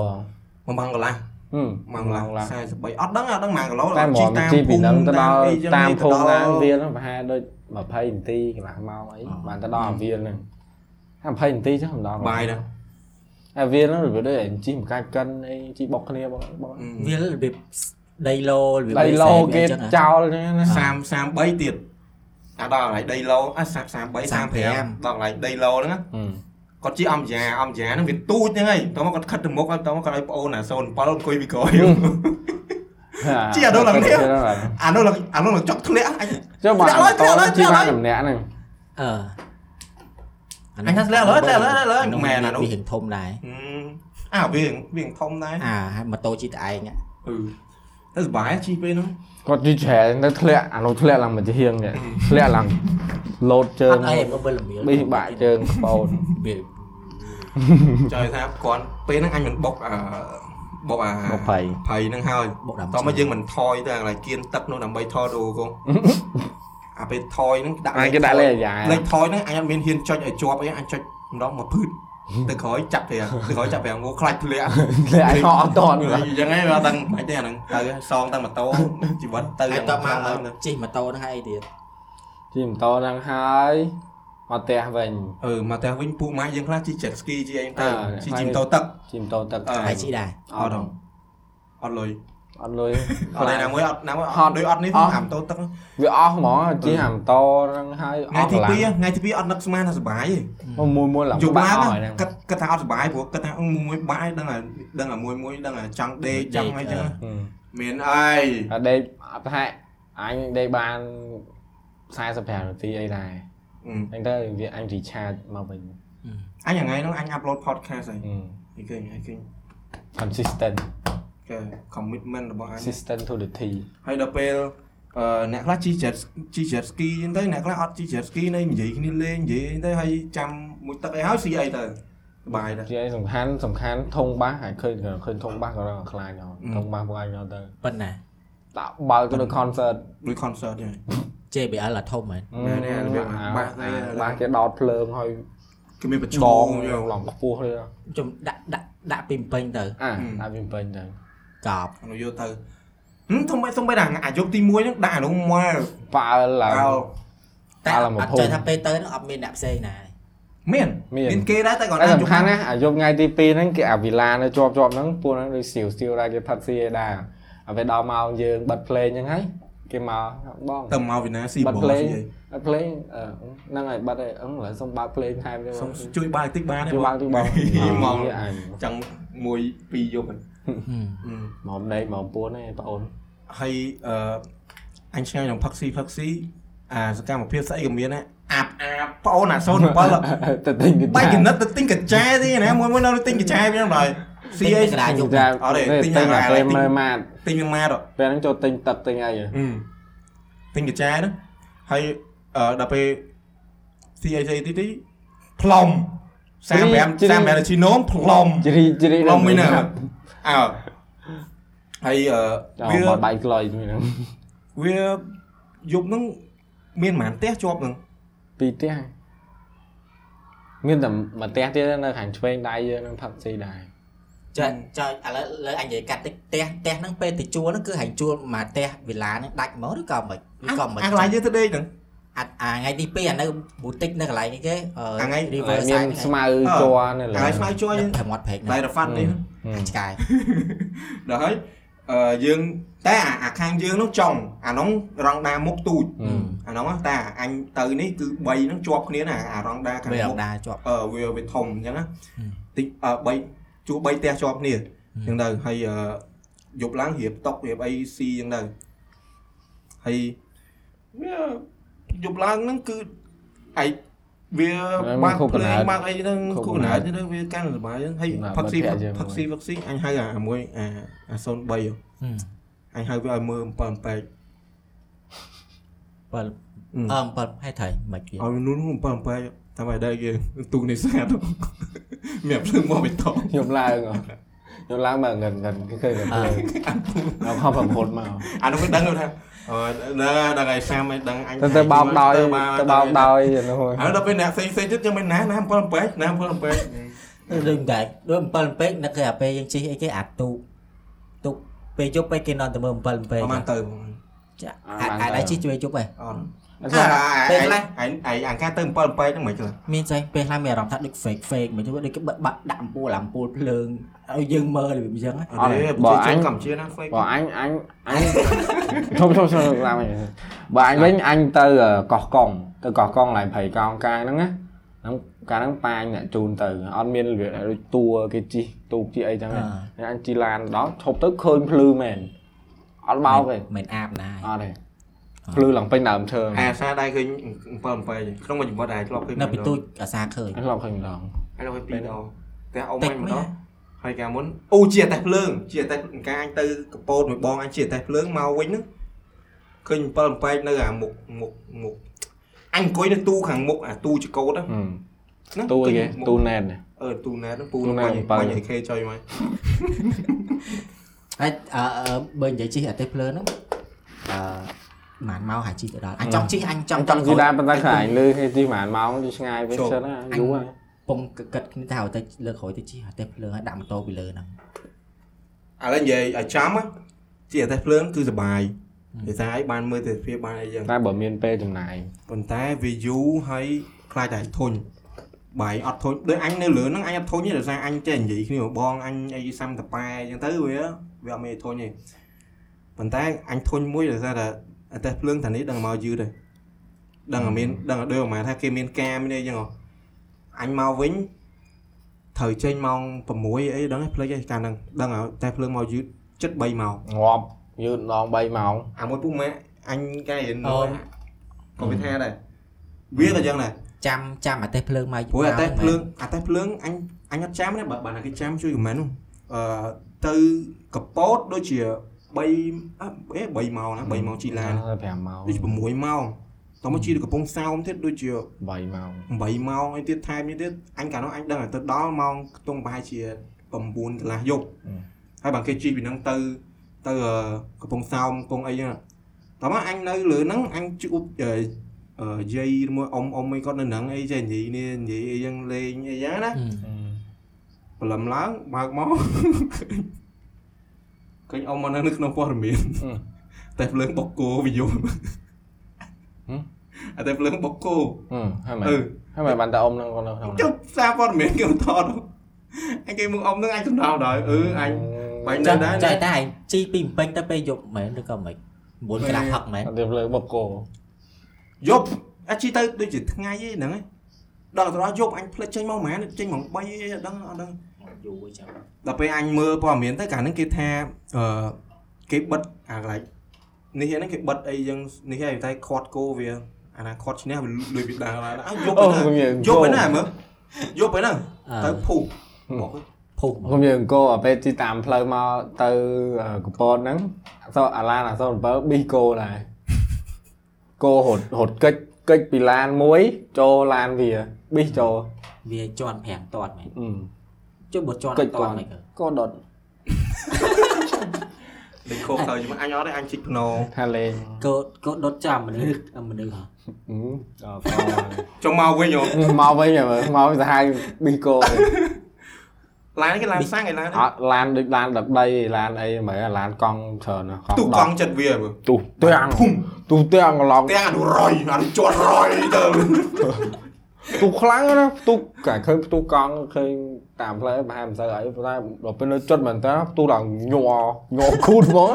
មួយម៉ោងកន្លះ
ហឹម
ម៉ោងកន្លះ
ឡា
43អត់ដឹងអត់ដឹងម៉ោងកន្លះ
តែហ្មងជីពីនឹងទៅដល់តាមភូមិណាវា
វា
លហ្នឹងប្រហែលដូច20នាទីកន្លះម៉ោងអី
អ่า
បានទៅដល់អាវាលហ្នឹងតែ20នាទីចឹងមិនដល់
បាយណា
អាវាលហ្នឹងរបៀបដូចជីមកកាច់កិនអីជីបុកគ្នាបងបង
វារបៀបដីឡូរបៀប
ដៃឡូគេ
ផ្សេងៗអញ្
ចោលចឹងណា
30 33ទៀតអាដល់កន្លែងដីឡូអា33 35ដល់កន្លែងដីឡូហ្នឹងណា គាត់ជាអំយ៉ាអំយ៉ាហ្នឹងវាទូចហ្នឹងហើយតោះមកគាត់ខិតទៅមុខហើយតោះមកគាត់ឲ្យប្អូនអា07អង្គុយពីក្រោយ ជីអាដល់ឡើងនេះ អានោះឡើងអានោះឡើងចប់ធ្លាក់អញ
ចុះមក
ធ្លាក់ហើយ
អង្គ
ធ្លា
ជី
ក់ហើ
បាន
យ
ម្នាក់ហ្នឹង
អឺ
អញថាធ្លាក់លើធ្លាក់លើធ្លាក់លើមិនមែនអានោះ
វាហិងធំដែរ
ហឹមអាវាវាធំដែរ
អាហើយម៉ូតូជីតឯងហ្នឹង
អឺតែសុបាយជីពេលហ្នឹង
គាត់ជីច្រែទៅធ្លាក់អានោះធ្លាក់ឡើងមកជាហៀងនេះធ្លាក់ឡើងលោតជើ
អ
ង
ត់អីមើលវិលមៀល
បិះបាក់ជើង ក្បូន
វា
ចង់និយាយថាគាត់ពេលហ្នឹងអញមិនបុកអឺ បុកអា
បុកភ័យ
ភ័យហ្នឹងហើយ
បុកដាំ
តោះមកយើងមិនថយទៅកន្លែងគៀនទឹកនោះដើម្បីថតរូបកូនអាពេលថយហ្នឹងដាក់
អញគេដាក់លេខអាយ៉ា
លេខថយហ្នឹងអញអត់មានហ៊ានចុចឲ្យជាប់អីអញចុចម្ដងមកភឺត ទៅក្រោយចាប់ទៅទៅក្រោយចាប់វាងូខ្លាច់ធ្លា ក់
លេខអញហោះអត់តន់
អញ្ចឹងហ្នឹងដល់តាំងមិនទេអាហ្នឹងទៅសងតាំងម៉ូតូជីវិតទៅ
ហើយ
យ៉ាង
តបមក
ហ្នឹង
ជិះម៉ូតូហ្នឹងហើយទៀត
ជិះម៉ូតូហ្នឹងហើយមកផ្ទះវិញ
អឺមកតែវិញពួកម៉ាក់យើងខ្លះជី jet ski ជីអីទៅជីជីម៉ូតូទឹក
ជិះម៉ូតូទឹក
អ่า
ហើយជិះដែរ
អត់ដល់អត់លុយ
អត់លុយ
អត់ណាមួយអត់ណាមួយអត់ដូចអត់នេះអាម៉ូតូទឹក
វាអស់ហ្មងជិះអាម៉ូតូហ្នឹងហើយអ
ថ្ងៃ
ស់
ទី
ក
2
ន្លះ
ថ្ងៃទី2អត់នឹកស្មានថាសុបាយទេ
មកមួយមួយឡើង
យប់ឡើង
បាក់អស់ហើយហ្នឹង
គិតគិតថាអត់សុបាយព្រោះគិតថាមួយបាយដឹងតែដឹងតែមួយមួយដឹងតែចង់ដេកចង់អីចឹង
ហឹម
មានអី
តែដេកអត់ប្រហែលអញដេកបាន45នាទីអីដែរអញទៅវាអញរីឆាតមកវិញ
អញថ្ងៃហ្នឹងអញអាប់ឡូត podcast ហើយ
ហឹម
ឃើញឃើញ
consistent
commitment របស់អញ
consistent to the T
ហើយដល់ពេលអឺអ្នកខ្លះជី jet ជី jet ski ហ្នឹងទៅអ្នកខ្លះអត់ជី jet ski នៅនិយាយគ្នាលេងនិយាយហ្នឹងទៅហើយចាំមួយទឹកអីហើយស៊ីអីទៅសบายដែរ
ជាអីសំខាន់សំខាន់ធុងបាសហើយឃើញឃើញធុងបាសក៏រឹងខ្លាចដល់
អឺ
ធុងបាសពួកអញដល់ទៅ
ប៉ុណ្ណា
ដាក់បើកទៅនៅ concert
ដូច concert ហ្នឹង
JBL ឡាធំហ្នឹង
មែនទេអារបៀប
អា
បា
បា
ស
ស
អី
បាសគេដោតភ្លើងហើយ
គេមានប្រជ
ដ
ុំ
ង
យ
ឡើង
ល់
ឡើងខ្ពស់ទៀត
ខ្ញុំដាក់ដាក់ដាក់ពីម្ពិញទៅ
អាដាក់វាពេញទៅ
កប់
អនុយោទៅហឹមធំបែបធំបែបដល់អាយុទី1ហ្នឹងដាក់អនុមក
ប៉ើឡើង
អោ
តែ
អាឡម
អត់
ភូមិ
ចេះថាពេលទៅហ្នឹងអត់មានអ្នកផ្សេងណា
មាន
មាន
មានគេដែរតែគាត់
តែ
ដាក់
សំខាន់ណាអាយប់ថ្ងៃទី2ហ្នឹងគេអាវីឡានៅជាប់ជាប់ហ្នឹងពួកហ្នឹងដូចសៀវសៀវដែរគេផាត់ស៊ីឯដែរអាពេលដល់មកយើងបិទភ្លេងហ្នឹងហើយគេមកបង
ទៅមកវិណាស៊ី
បិទ
បង
ភ្លេង
ស៊ីអី
បិទភ្លេងអឺហ្នឹងហើយបិទហើយអឹងឥឡូវសុំបើកភ្លេងថែមទៀត
សុំជួយបើកតិចបានទេ
ជួយបើកជួយបើក
មក
អញ
ចង់មួយពីរយប់ហ្នឹងហឹម
មកណៃមកពួនឯងបងអូន
ហើយអឺអញឆ្ងាយនឹងផឹកស៊ីផឹកស៊ីអាសកម្មភាពស្អីក៏មានដែរអាប់អាប់ប្អូនអា07
ទៅទិញគេ
បាច់គណិតទៅទិញកាចែទេណាមួយមួយនៅទិញកាចែវិញដល់ស៊ីអី
កណ្ដាលយប់
ចា
អត់ទេទិ
ទិ
ញ
ញ
តែក
តែ
ន្លែង
គេ
ទិញ
មើលម៉ាត
ទិញនឹងម៉ាត
ពេលហ្នឹងចូលទិញទឹកទិញអី
ទិញកាចែហ្នឹងហើយអឺដល់ពេលស៊ីអីស៊ីទីទីផ្លុំ35 35ជីណូមផ្លុំ
ជ្រីជ្រី
ផ្លុំមួយណាអើហើយអឺ
វា
វា
បាច់ក្លុយមួយហ្នឹង
វាយប់ហ្នឹងមានប្រហែលផ្ទះជាប់ហ្នឹង
ពីរផ្ទះមានតែមួយផ្ទះទៀតនៅខាងឆ្វេងដៃយើងនឹងផាត់ស៊ីដែរ
ចុចចុចឥឡូវលើអញនិយាយកាត់តិចផ្ទះផ្ទះហ្នឹងពេលទៅជួលហ្នឹងគឺហែងជួលមួយផ្ទះវិឡាហ្នឹងដាច់មកឬក៏មិនឬ
អា
ក៏មិន
អាកន្លែងយើងទៅដេកហ្នឹង
អាអាថ្ងៃទី2អានៅប៊ូទិកនៅកន្លែងនេះគេអ
អាថ្ងៃ
តែ
River
មាន
Side ហ្នឹង
ស្មៅជ័រនៅ
ក
លើ
ន្លែងស្មៅជួយ
ឯ
យើង
ងតែមាត់ព្រែក
ដៃ
ហ្នឹង
រ៉ាហ្វាត់នេះ
ឆ្កែ
ដល់ហើយអឺយើងតែអាអាខាងយើងនោះចង់អានោះរងដាមុខទូចអានោះតែអាអញទៅនេះគឺ3នោះជាប់គ្នាណាអារងដាខាង
វាអ
មុខ
ត់ដាជាប់
អឺវាវាធំអញ្ចឹងណាតិចអឺ3ជួ3ផ្ទះជាប់គ្នាអញ្ចឹងទៅហើយអឺយប់ឡើងរៀបតុករៀបអីស៊ីអញ្ចឹងទៅហើយវាយប់ឡើងហ្នឹងគឺឯងវាបាក់ភ្លេងបាក់អីហ្នឹងគូកណ្ដាលទៅវាកាន់សុបាយហ្នឹងហើយ ផឹកស៊ីផឹកស៊ីផឹកស៊ីអញហៅអាមួយអាអា03ហ៎អញហៅវាឲ្យមើល7 8ពេក
បើអឺ7ហើយត្រូវមិនវា
ឲ្យនោះនោះ7 8តាមឲ្យដែរ គេទូកនេសាទមានភ្លើងមកបេតុង
ខ្ញុំឡើងហ៎ខ្ញុំឡើងមកងិនងិនគេឃើញតែភ្លើងដល់ខំប្រពន្ធមក
អានោះវាដឹងថាអឺដល់ថ្ងៃសាមឲ្យដឹងអញ
ទៅទៅបោកដោយទៅបោកដោយនោះ
ហើយដល់ពេលអ្នកផ្សេងផ្សេងទៀតយើងមិនណាណា7 8ណា7 8
ដូចតែដូច7ពេកនឹកឃើញអាពេលយើងជិះអីគេអាទូកទូកពេលយប់ពេកគេនอนតែមើល7ពេក
ប្រហែលទៅ
ចាអាចអាចដែរជិះជួយយប់ឯ
អត់
ង
ពេលខ្លះឯងឯងអាការទៅ7 8ហ្នឹងមិនខ្លះ
មានស្អីពេលខ្លះមានអារម្មណ៍ថាដូច fake fake មិនដូចគេបាក់ដាក់អំពូលអំពូលភ្លើងឲ្យយើងមើលរបៀបអញ្ចឹង
អត់បើអញកម្ពុជាណា fake
បើអញអញអញ ធំធំធំឡើងវិញបើអញវិញអញទៅកោះកុងទៅកោះកុងឡើងព្រៃកោងកាយហ្នឹងណាហ្នឹងកាលហ្នឹងប៉ាញអ្នកជូនទៅអត់មានរបៀបដូចតួគេជីទូកជីអីចឹងហ្នឹងអញជីឡានដល់ឈប់ទៅឃើញភ្លឺមែនអត់បោកទេ
មិនអាបណា
អត់ទេភ្លឺឡើងពេញដើមឈើ
អាសាដែរឃើញ7 8ក្នុងមួយជីវិតដែរធ្លាប់ឃើញ
នៅពីទូកអាសាឃើញ
អញឡប់ឃើញម្ដង
អញធ្លាប់ឃើញពីរដងតែអ៊ំ
តិ
អញ
ច
ម្ដ
មែន
ងហើយកាលមុនអូជាតែភ្លើងជាតែការអញទៅកពតមួយបងអញជាតែភ្លើងមកវិញហ្នឹងឃើញ7
Ừ.
8នៅអាមុខមុខមុខអញអង្គុយនៅទូខាងមុខអាទូចកោតហ្នឹង
ហឹម
ហ្នឹង
ទូ
ទិញ
គេ
មក
ទូណែន
អឺទូណែតហ្នឹងពូ
ទូ
នឹង
ណែ
បា
ត
ញ់
អំពៅ
បាញ់ឲ្យគេចុយមក
ហើយអឺអឺបើនិយាយជិះអាទេភ្លើហ្នឹងអឺមិនមកហាជីទៅដល់អញចង់ជិះអញច
ច
ង់
ង់ចង់ជិះដែរប៉ុន្តែខ្លាច
អញ
លឺគេជិះប្រហែលម៉ោងជិះឆ្ងាយវិញសិនណាយូរហើយ
ពងកឹតគ្នាថាឲ្យទៅលើក្រោយទៅជិះអាទេភ្លើហើយដាក់ម៉ូតូពីលើហ្នឹង
ឥឡូវនិយាយឲ្យចាំណាជាអាទេសភ្លើងគឺសុបាយនិយាយថាឲ្យបានមើលទេសភាពបានអីយ៉ាង
តែបើមានពេលចំណាយ
ប៉ុន្តែវាយូរហើយខ្លាចតែធុញបាយអត់ធុញដូចអញនៅលើហ្នឹងអញអត់ធុញទេដោយសារអញចេះនិយាយគ្នាមកបងអញអីសាំតប៉ែអញ្ចឹងទៅវាវាអត់មានធុញទេប៉ុន្តែអញធុញមួយដោយសារតែអាទេសភ្លើងថានេះដឹងមកយឺតហើយដឹងតែមានដឹងតែដូចប្រហែលថាគេមានការមានអីអញ្ចឹងហ៎អញមកវិញ ត្រូវចេញម៉ោង6អីដឹងឯងភ្លេចឯងកាលហ្នឹងដឹងហើយតែភ្លើងមកយឺតជិត3ម៉ោង
ងាប់យឺតម្ដង3ម៉ោង
អាមួយពុកម៉ាក់អញកែរៀន
អូ
មួយក៏វាថាដែរវាក៏យ៉ាងដែរ
ចាំចាំអាទេភ្លើងមក
ព្រោះអាតែភ្លើងអាតែភ្លើងអញអញអត់ចាំទេបើបានតែគេចាំជួយខមមិននោះអឺទៅកប៉ោតដូចជា3អេ3ម៉ោងណា3ម៉ោងជីឡាន
5ម៉ោង
ដូច6ម៉ោងតោះមកជីទៅកំពង់សោមទៀតដូចជា
8ម៉ោង
8ម៉ោងអីទៀតថែមនេះទៀតអញកាលនោះអញដឹងតែទៅដល់ម៉ោងខ្ទង់ប្រហែលជា9កន្លះយប់ហើយបើគេជីពីហ្នឹងទៅទៅអឺកំពង់សោមកំពង់អីហ្នឹងណាតោះមកអញនៅលើហ្នឹងអញជួបអឺអឺយាយមួយអ៊ំអ៊ំអីគាត់នៅហ្នឹងអីចេះនិយាយនេះនិយាយអីហ្នឹងលេងអីយ៉ាងណាព្រលឹមឡើងបើកមកឃើញអ៊ំមកហ្នឹងនៅក្នុងព័ត៌មានតែភ្លើងបុកគោវាយំអត់តែភ្លើងបុកគោ
ហើយមែន
អឺ
ហើយមែនបានតែអ៊ំនឹងគាត់នៅក្នុង
ចុះសារព័ត៌មានគេមិនថតហ៎អញគេមកអមនឹងអញសំដៅដល់អឺអញបាញ់
ចាំ
នៅដែរ
ចៃតែអញជីពីម្ពិញទៅពេលយប់មែនឬក៏មិនមុនកន្លះហឹកមែន
អត់ទេលើបុកគោ
យប់អាចជីទៅដូចជាថ្ងៃឯហ្នឹងឯងដល់ទៅដល់យប់អញផ្លិចចេញមកហ្មងចេញមក3ឯងអត់ដឹងអត់ដឹង
យូរចាំ
ដល់ពេលអញមើលព័ត៌មានទៅកាលហ្នឹងគេថាអឺគេបិទអាកន្លែងនេះឯហ្នឹងគេបិទអីយ៉ាងនេះឯងតែខាត់គោវាអនាគតឈ្នះវាលុយវាដើរឡើងអាយប់
អូ
ឯណា
ខ្ញុំយើង
យប់ឯណាមើលយប់ឯណាទៅភូប
ភុក
ខ្ញុំយើងអង្គរពេលទីតាមផ្លូវមកទៅកពតហ្នឹងអសអាឡានអស7ប៊ីគោដែរគោហត់ហត់កិច្ចកិច្ចពីឡានមួយចូលឡានវាប៊ីចូល
វាជន់ប្រាំងតាត់មែនចុះបើជន់
កិច្ច
តា
គា
ត់
ត់
មិនគឺ
ក៏ដុត
លេខខោទៅជាមួយអញអត់ទេអញជីកភ្នោ
ថាលេង
កូនកូដុតចាំមនុស្សមនុស្សហ៎
អត់ផង
ចុះមកវិញហ៎
មកវិញហើយមើលមកវិញសាហាយប៊ីកូវិញ
ឡានគេឡានសាំងឯឡាន
អត់ឡានដូចឡានដដីឯឡានអីមើលអាឡានកង់ច្រើនណាស់
ទូក
ដ
ង់ចិត្តវាមើល
ទូទាំង
ភុំ
ទូទាំងកន្លង
ទាំងអនុរយអនុជាន់រយទៅ
ទូខ្លាំងណាស់ទូកាឃើញផ្ទូកង់ឃើញតាមផ្លូវប្រហែលមិនសូវអីប៉ុន្តែដល់ពេលនៅចុចមែនតើផ្ទូឡើងញ័រញ័រគូតហ្មង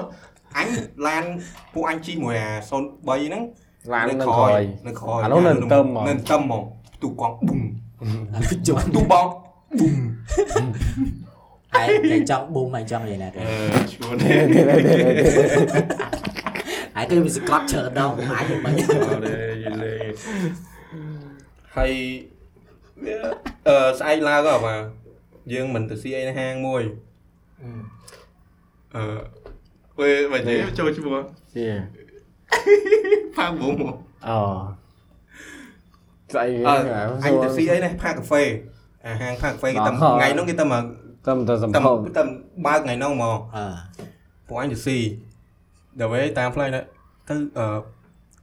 អញឡានពួកអញជីមួយអា03ហ្នឹង
ឡាន
នៅ
នឹង
ក្រោ
ក្រោ
យ
យ
នៅក្រោយ
អានោះនៅនឹងទឹមហ្មង
នៅនឹងទឹមហ្មងទូកង់ប៊ុំ
អានោះជន់
ទូបោក
ឯងតែចង់ប៊ូមឯងចង់និយាយណាទៅ
អឺឈួនទេទេ
ឯងគឺវាសកត់ច្រើនដងអាចមិន
យីលេហើយវាអឺស្អែកឡើងហ៎បាទយើងមិនទៅស៊ីអីនៅហាងមួយអឺពេលបើនិយាយចូលឈ្មោះ
ជា
ផាំងបងមក
អូស្អីគេ
អឺ
ហ
អ
่
ញទៅស៊ី
អី
អីនេះផាកាហ្វេអាហាងផាកាហ្វេគេតែ
អ่า
ថ្ងៃនោះគេតែមក
តាមទៅសំ
តែ
ភោគ
តែបើកថ្ងៃនោះមក
អឺ
ពួកអញទៅស៊ីដល់ពេលតាមផ្លូវទៅទៅអឺ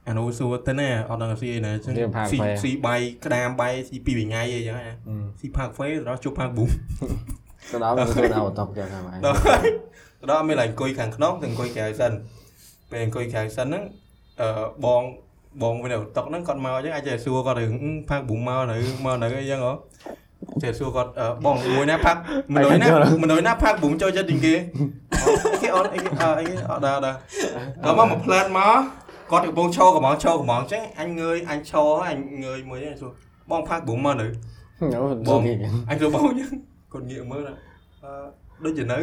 អានោះសួរទៅណាអត់ដឹងស៊ីអីណាអញ្ចឹងស៊ីស៊ីបាយក្តាមបាយស៊ីពីរថ្ងៃអីចឹងណាស៊ីផាកាហ្វេទៅដល់ជួបផាកប៊ូ
ទៅដល់ទៅដល់អត់តបយ៉ាងហ្នឹង
ដល់ទៅដល់មានឡើងអង្គុយខាងក្នុងទៅអង្គុយក្រៅសិនពេលអង្គុយក្រៅសិនហ្នឹងអឺបងបងវិញនៅតុកហ្នឹងគាត់មកអញ្ចឹងអាចតែសួរគាត់រឿងផាកប៊ូមកនៅមកនៅអីចឹងហ៎ ចេះសួរគាត់អឺបងមួយណាផាក់មនុស្សណាមនុស្សណាផាក់ប៊ុំចូលចិត្តជាងគេអត់គេអត់អីគេអត់អីគេអត់ដែរដែរដល់មកមកផ្លែតមកគាត់កំពុងឈរកំងឈរកំងអញ្ចឹងអញងើយអញឈរហើយអញងើយមួយនេះសួរបងផាក់ប៊ុំមកនៅ
បង
អញសួរបងអញ្ចឹង គាត់ងាកមើលណាអឺដូចជានៅ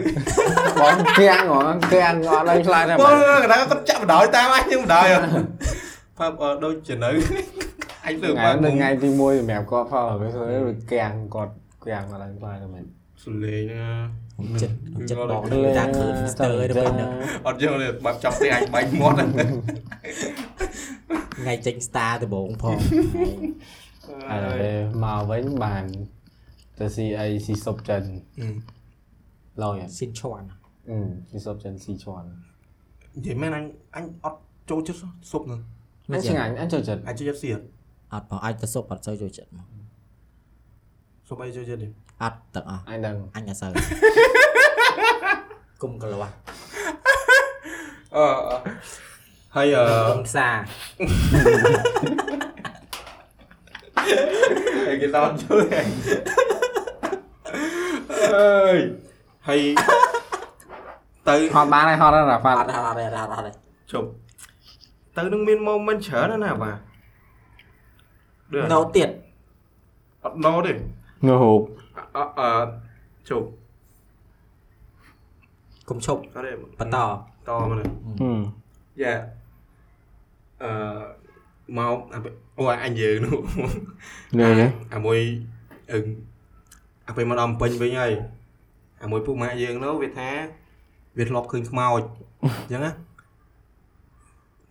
បងធាងហ្មងធាងអត់ដឹងខ្លាំងទេ
ប
បង ង
កណ្ដាលគាត់ចាក់បណ្ដោយតាមអញខ្ញុំបណ្ដោយហ៎ផាក់អឺដូចជានៅអញលើ
ថ្ងៃ
ផាក់ប៊ុំ
ថ្ងៃទី1សម្រាប់គាត់ផងវាស្អីវាគាំងគាត់គាំងអត់ដឹងខ្លាំងទេមែន
សលេងណា
ចិត្តចិត្តបងតាឃើញស្ទើរទៅពេលហ្នឹង
អត់យល់ទេបាត់ចង់ទេអញបាញ់មាត់ហ្នឹង
ថ្ងៃចេញ star ដំបូងផង
À, អើមក មកវិញបានទៅស៊ីអីស៊ីសុបចិនឡយអត់
ស៊ីនឈន់
អឺស៊ីសុបចិនស៊ីឈន់
និយាយមែនអញអញអត់ចូលចិត្តសុបហ្នឹង
អញឆ្ងាញ់អញចូលចិត្ត
អញចូលចិត្តសៀត
អត់បងអាចទៅសុបអត់សូវចូលចិត្តមក
សុបអីចូលចិត្តទេ
អត់ទាំងអស់
អញដឹង
អញអត់សូវ គុំកលាស់
អឺហើយអ
គុំផ្សារ
ឺគេដល់ជួយ អើយហើយទៅ
ហត់បានហើយហត់ហើយរ៉ាហ្វា
អ
ត់
ត់អត់អត់អត់អត់
ជប់ទៅនឹងមាន moment ច្រើនណាស់ណាបាទដូច
ណូទៀត
អត់ដល់ទេ
ងើហូប
អអជប់
គុំឈប់
អត់ទេ
ប
ត
ន្ត
មកនេះ
ហឹម
dạ ờ mau à, ôi anh về nữa
នេះ
à môi ừ à bên mà đầm pin bên nhây à môi phụ mẹ dương nữa việt thá việt lọp khơi mau chẳng á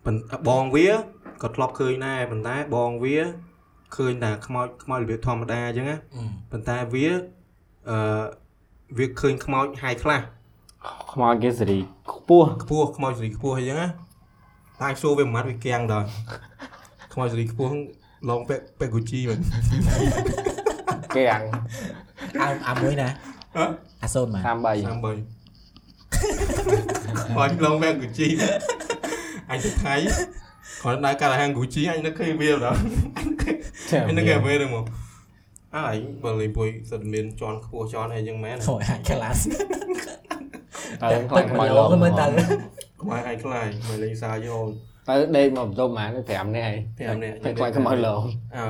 mình bòn vía có lọp khơi này mình tá bòn vía khơi là mau mau là việc thòm đa chẳng á
អឺ
mình tá vía ờ việc khơi mau hai class
ខ្មោចគេសេរីខ្ពស់
ខ្ពស់ខ្មោចសេរីខ្ពស់អីចឹងណាតែសួរវាមិនម៉ាត់វាគាំងដល់ ខ្មោចសេរីខ្ពស់ហ្នឹងឡងពេកពេកគូជី មែន
គេអាំង
អាអាមួយណាអាសូនមក
38
38ខ្មោចឡងពេកគូជីមែនអញទៅថៃគាត់ដើរកាត់អាហាងគូជីអញនឹកឃើញវា ដល់អញនឹកគេវាទៅមកអើយបើលេងពួយសិតមានជន់ខ្ពស់ជន់អីចឹងមែ ន
អូយអាក្លាស
ទៅខ្មោចខ្មោចលោ
លោ
ក
មើលទៅ
ខ្មោចអញខ្លាចមិនលេងសារយោ ល
ទៅដេកមកបន្ទប់ហ្មង5នាក់
ប្រាំ
ហើយ
នាក់
ទៅខ្មោចខ្មោចលោក
អើ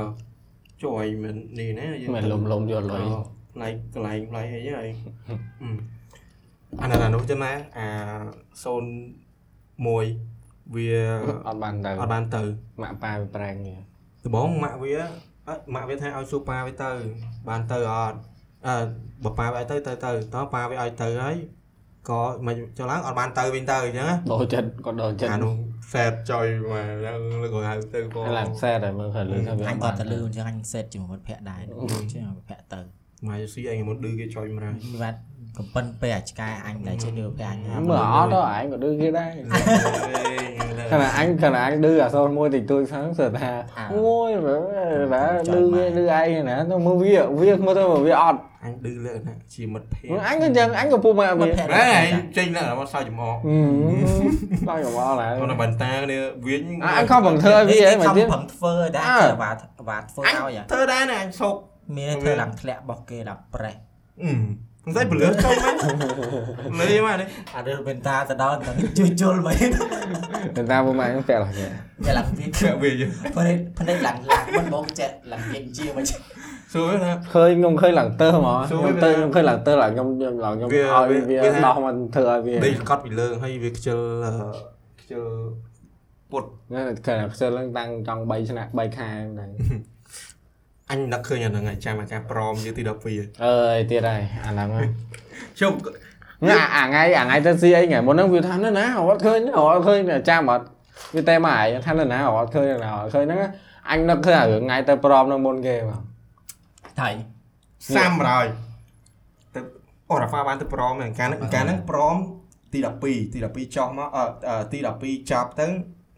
ជួយមិននេះណាយើង
មិន
ទៅ
លុំលុំយកលុយ
ផ្នែកកន្លែងផ្នែកអីហ្នឹងហើយអាណានោះចឹងណាអា01វា
អត់បានទៅ
អត់បានទៅ
ម៉ាក់ប៉ាវាប្រែងគ្នា
ដំបងម៉ាក់វាអត់ម៉ាក់វាថាឲ្យសួរប៉ាវាទៅ បានទៅអត់អើបើប៉ាវាឲ្យទៅទៅទៅតោះប៉ាវាឲ្យទៅហើយក៏មិនចុះឡើងអត់បានទៅវិញទៅអញ្ចឹងណា
ដោចិត្តគាត់ដោចិត្ត
អានោះសែតចុយមកហ្នឹងលើកហៅទៅបង
ឡើងសែតហើយមើលឃើញលឺថាវា
អញ
អត់
អ
បា
ត់
ន
ទៅលឺអញ្ចឹងអញសេតជាមួយមិត្តភក្តិដែរជាមិត្តភក្តិទៅ
មកយូស៊ីអីមុនឌឺគេចុយមកហើយ
មិនបានកំពិនពេលអាឆ្កែអញដែរជាលឺពេលអញហ្នឹង
មើលអត់ទៅឯងក៏ឌឺគេដែរ
Ừ. អេ
ខណៈអញខណៈអញឌឺអាសូនមួយតិចតួចខាងសើថាអូយមើលណាឌឺគេឌឺឯងណាទៅមើលវាវាមើលទៅមើលវាអត់
anh đưa lên nè chỉ mật
មើល
phe
អញក៏យ៉ាងអញក៏ពុំមកវា
đấy chênh là nó sao chùm họ
Ừ. ដល់យ៉ាងអត់ហើយ
còn là bàn ta nè viễn
អញខំបង្ធ្វើឲ្យវាអីមកទៀត
ខំបំធ្វើដែរ
អើ
វ៉ាវ៉ាធ្វើឲ្យ
anh thơ đá nè anh sộp
មានន័យធ្វើឡើងធ្លាក់របស់គេដល់ប្រេះ
ừ không thấy bự lớn không á lấy mà đi
អារឿងបេនតាទៅដល់តែ ជួយជុលមក
តែតាមពុំមកអញប្រែឡើងគ្នា
តែឡើងវាភ្នែ
kẹo về chứ
កភ្នែកឡើងឡើងមិនបងចេះឡើងវិញជាមួយ
xuống nè
ឃើញខ្ញុំឃើញឡើងទើហ្មងខ្ញុំទៅខ្ញុំឃើញឡើងទើឡើងខ្ញុំខ្ញុំឡើងខ្ញុំឲ្យវាដោះមកធ្វើឲ្យវា
đây cắt bị lớn hay việc chờ chờ bột
ហ្នឹងគេខ្ជិលហ្នឹងតាំងចង់3ឆ្នាំ3ខែហ្នឹង
anh đã khơi nhà là ngày cha mà cha prom như tí đập về
អើយទៀតហើយអាហ្នឹងហ
chụp
៎អាអាថ្ងៃអាថ្ងៃទៅស៊ីអីថ្ងៃមុនហ្នឹងវាថានៅណាអត់ឃើញអត់ឃើញចាំអត់វាតែមកឯងថានៅណាអត់ឃើញណាអត់ឃើញហ្នឹងអញនឹកឃើញអារឿងថ្ងៃទៅប្រមនៅមុនគេបង
ថៃ
sam rồi Tự- Ồ, là pha bán từ prom này, cá nắng cá nắng prom tí đập pi, tí đập pi cho mà ờ ờ, tí đập pi chọc tới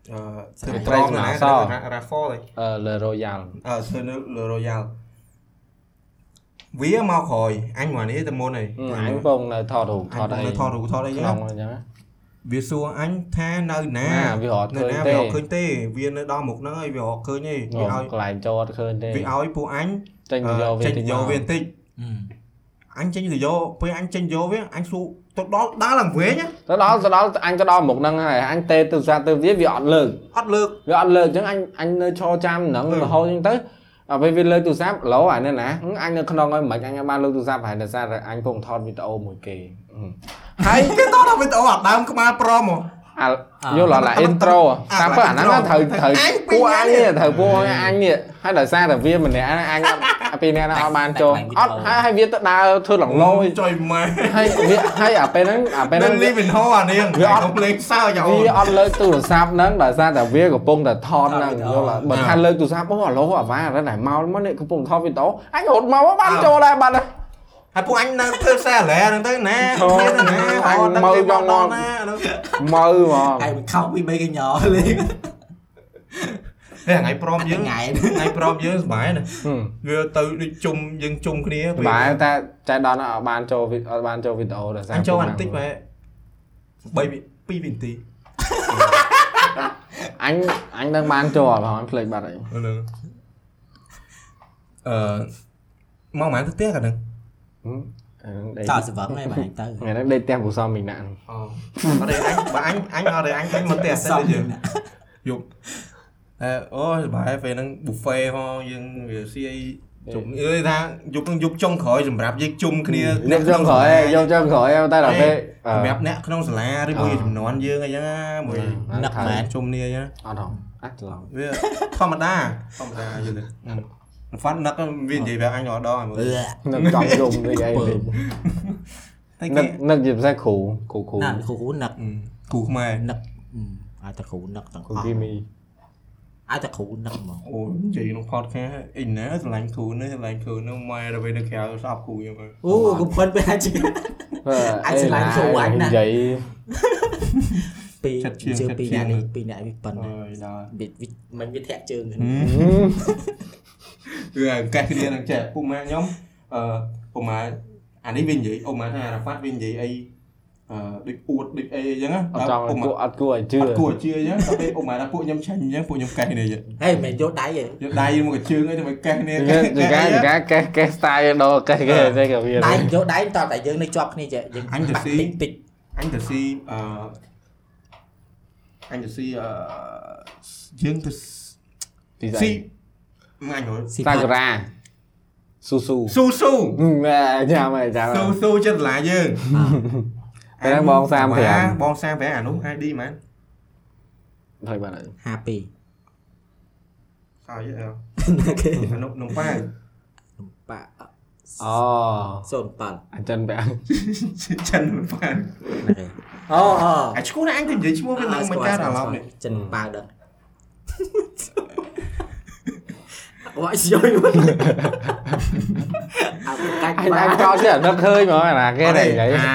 ờ từ
Sài
prom
Gòn
này
sao?
ra ra pho rồi.
អឺលើ Royal
អឺធ្វើនៅលើ Royal វាមកក្រោយអញមកនេះតែមុនហើយ
អញកំពុងនៅថតរូបថ
អ
ត
ញ
អី
ទៅថតរូបថតអីចឹ
ក្នុង
ង
អញ្ចឹងណា
វាសួរអញថានៅណា
ណាវាអត់
នៅ
ឃើញ
ណា
ទេ
វាអត់ឃើញទេវានៅដល់មុខហ្នឹងហើយវាអត់ឃើញទេវាឲ្យក
ន្លែងចូលអត់ឃើញទេ
វាឲ្យពួកអញ
ចេញ
អឺ
យកវា
ចេញយកវាបន្តិចអញចេញទៅយកពេលអញចេញយកវាអញសួរទៅដល់ដល់ឡើងវិញណា
ទៅដល់ទៅដល់អញទៅដល់មុខហ្នឹងហើយអញទេទៅសាទៅវាវាអត់លើក
អត់លើក
វាអត់លើកអញ្ចឹងអញអញនៅឈរចាំហ្នឹង
អឺ
រហូតអញ្ចឹងទៅដល់ពេលវាលើកទូរស័ព្ទឡូអានេះណាអឺអញនៅក្នុងហើយមិនអញអាចបានលើកទូរស័ព្ទហើយដោយសារតែអញកំពុងថតវីដេអូមួយគេហឹមហើយ
គេតោះដល់វីដេអូអាដើមក្បាលប្រមហ៎
អាយល់អត់ឡា intro តាមពិតអាហ្នឹងណាត្រូវត្រូវពួកអញនេះត្រូវពួកអញនេះហើយដោយសារតែវាម្នាក់ហ្នឹងអញអត់ពីរនាក់ហ្នឹងអត់បានចូលអត់ហើយហើយវាទៅដើរធ្វើលងលោយ
ចុយម៉ែ
ហើយវាហើយអាពេលហ្នឹងអាពេល
នៅ
ហ្នឹង
លីវិនហោអានេះ
វា
វា
អ
អ
ត់
ត់ភ្លេងសើចអូន
វាអត់លើកទូរស័ព្ទហ្នឹងបើសារតែវាកំពុងតែថតហ្នឹងយល់អត់បើ
ណា
ថាលើកទូរស័ព្ទអូឥឡូវអាវ៉ារ៉ែតែមកមកនេះកំពុងថតវីដេអូអញរត់មកបានចូលដែរបាត់ហើយ
ហើយពួកអញនៅធ្វើសារឡែហ្នឹងទៅណា
ធំ
គ្នាទៅណា
អញ
អត់ដឹង
មើល
ទេ
យ
ប
ង
ង
ង
ដល់
ង
ណាហ្នឹង
មើលហ្មង
ឯងមិនខោពីបីកញ្ញោលេង
តែថ្ងៃព្រមយើង
ថ្ងៃ
ថ្ងៃព្រមយើងសុបាយណាស់
ហឹម
វាទៅដូចជុំយើងជុំគ្នា
តែបែរតែចៃដន្យអត់បានចូលវីដេអូអត់បានចូលវីដេអូដោយសារ
អញចូលអានតិចបែ3 2វិនាទី
អញអញដឹងបានចូលអត់បងអញភ្លេចបាត់ហើយ
ហ្នឹងអឺមកម៉ានទៅផ្ទះកាលហ្នឹង
ហឹមអាហ្នឹងដេក
តោះសង្វឹងឯងបងឯងទៅ
ថ្ងៃហ្នឹងដេកផ្ទះពូសំមីណាក់ហ្នឹង
អូ អត់ទេអញបើអញអញអត់ទេអញទៅមកផ្ទះសិនទៅយើង យប់តែអូយសบายពេលហ្នឹង buffet ផងយើងវាស៊ីអីជុំអើយថាយប់ហ្នឹងយប់ចុងក្រោយសម្រាប់យើងជុំគ្នា
យកចង់ក្រោយឯងយកចង់ក្រោយឯងតែដល់ពេលអឺ
សម្រាប់អ្នកក្នុងសាលាឬមួយ
អ่า
ចំនួនយើងអីចឹងណាមួយ
នឹកមែន
ជុំគ្នាអីចឹង
អត់ហងអត់ច្រឡំ
វាធម្មតាធម្មតាយល់ទេហ្វាន់នឹកវានិយាយប្រាប់អញអត់ដល់ឲ្យមើល
អឺ
នឹកចង់យំនេះ
តែ
ឯងនឹ
គេ
កនឹកជាពិសេសគ្រូគ្រូគ្រូ
ណាស់គ្រូនឹក
គូខ្មែរ
នឹកអឺអាចតែគ្រូនឹកទាំងអ
គ្រូ
ស់
គីមី
អាចតែគ្រូនឹកហ្មង
អូយនិយាយក្នុង podcast អីណាស្រឡាញ់គ្រូនេះស្រឡាញ់គ្រូនោះម៉ែដល់ពេលនៅក្រៅស្អប់គ្រូយើងមើល
អូកំពិនពេលអាច
Ờ,
អាចស្រឡាញ់គ្រូអញណា
និ
ស់
យាយ
ពីរជើងពីរអ្នកនេះពីរអ្នកនេះប៉ុណ្ណា
អើយដល់
វាវាមិនវាធាក់ជើងគ្នា
ừ,
គឺអាកាសគ្នានឹងចេះពុកម៉ាខ្ញុំអឺពុកម៉ាអានេះវានិយាយអូម៉ាថារ៉ាហ្វាត់វានិយាយអីអឺដូចអួតដូចអីអញ្ចឹងណា
អត់ចង់ឲ្យគួរអត់គួរឲ្យជឿ
អត់គួរជឿអញ្ចឹងដល់ពេលពុកម៉ាថាពួកខ្ញុំឆាញ់អញ្ចឹងពួកខ្ញុំកេះគ្នាអញ្ចឹង
ហេមិនយកដៃទេ
យកដៃមកកជើងអីទៅមកកេះគ្នា
ចង្កាចង្កាកេះកេះ style ដល់កេះកេះតែក៏វា
ដៃយកដៃតោះតែយើងនៅជាប់គ្នាចេះយើង
អញទៅស៊ី
តិចតិច
អញទៅស៊ីអឺអញទៅស៊ីអឺយើងទៅស៊ីអញហៅ
ស៊ី
សា
ផាត់
កូរ៉ាស៊ូស៊ូ
ស៊ូស៊ូ
អឺញ៉ាំហើយញ៉ាំហើ
ស៊ូ
យ
ស៊ូចិត្តឡាយើង
តែបង35
35បង35អានោះ ID មែន
ហើយបាទហើយ
52
សើចអើ
ណាគេ
អានោះនំប៉ាវ
ប៉ា
អូ Ờ,
07
អញ្ចឹងបែប
ចិននំប៉ាវ
ណាគេអូអូ
អាឈ្មោះណាអញទៅនិយាយឈ្មោះ
À,
វានឹងមិនកើតអារម្មណ៍នេះ
ចិនប៉ាវ ដឹងវ៉ៃយយអា
អ
កាច់
ញ
ប៉ា
អញចោលចេះអត់នឹកឃើញហ្មងអា
Ờ,
ណាគេតែនិយាយ
à.
អូ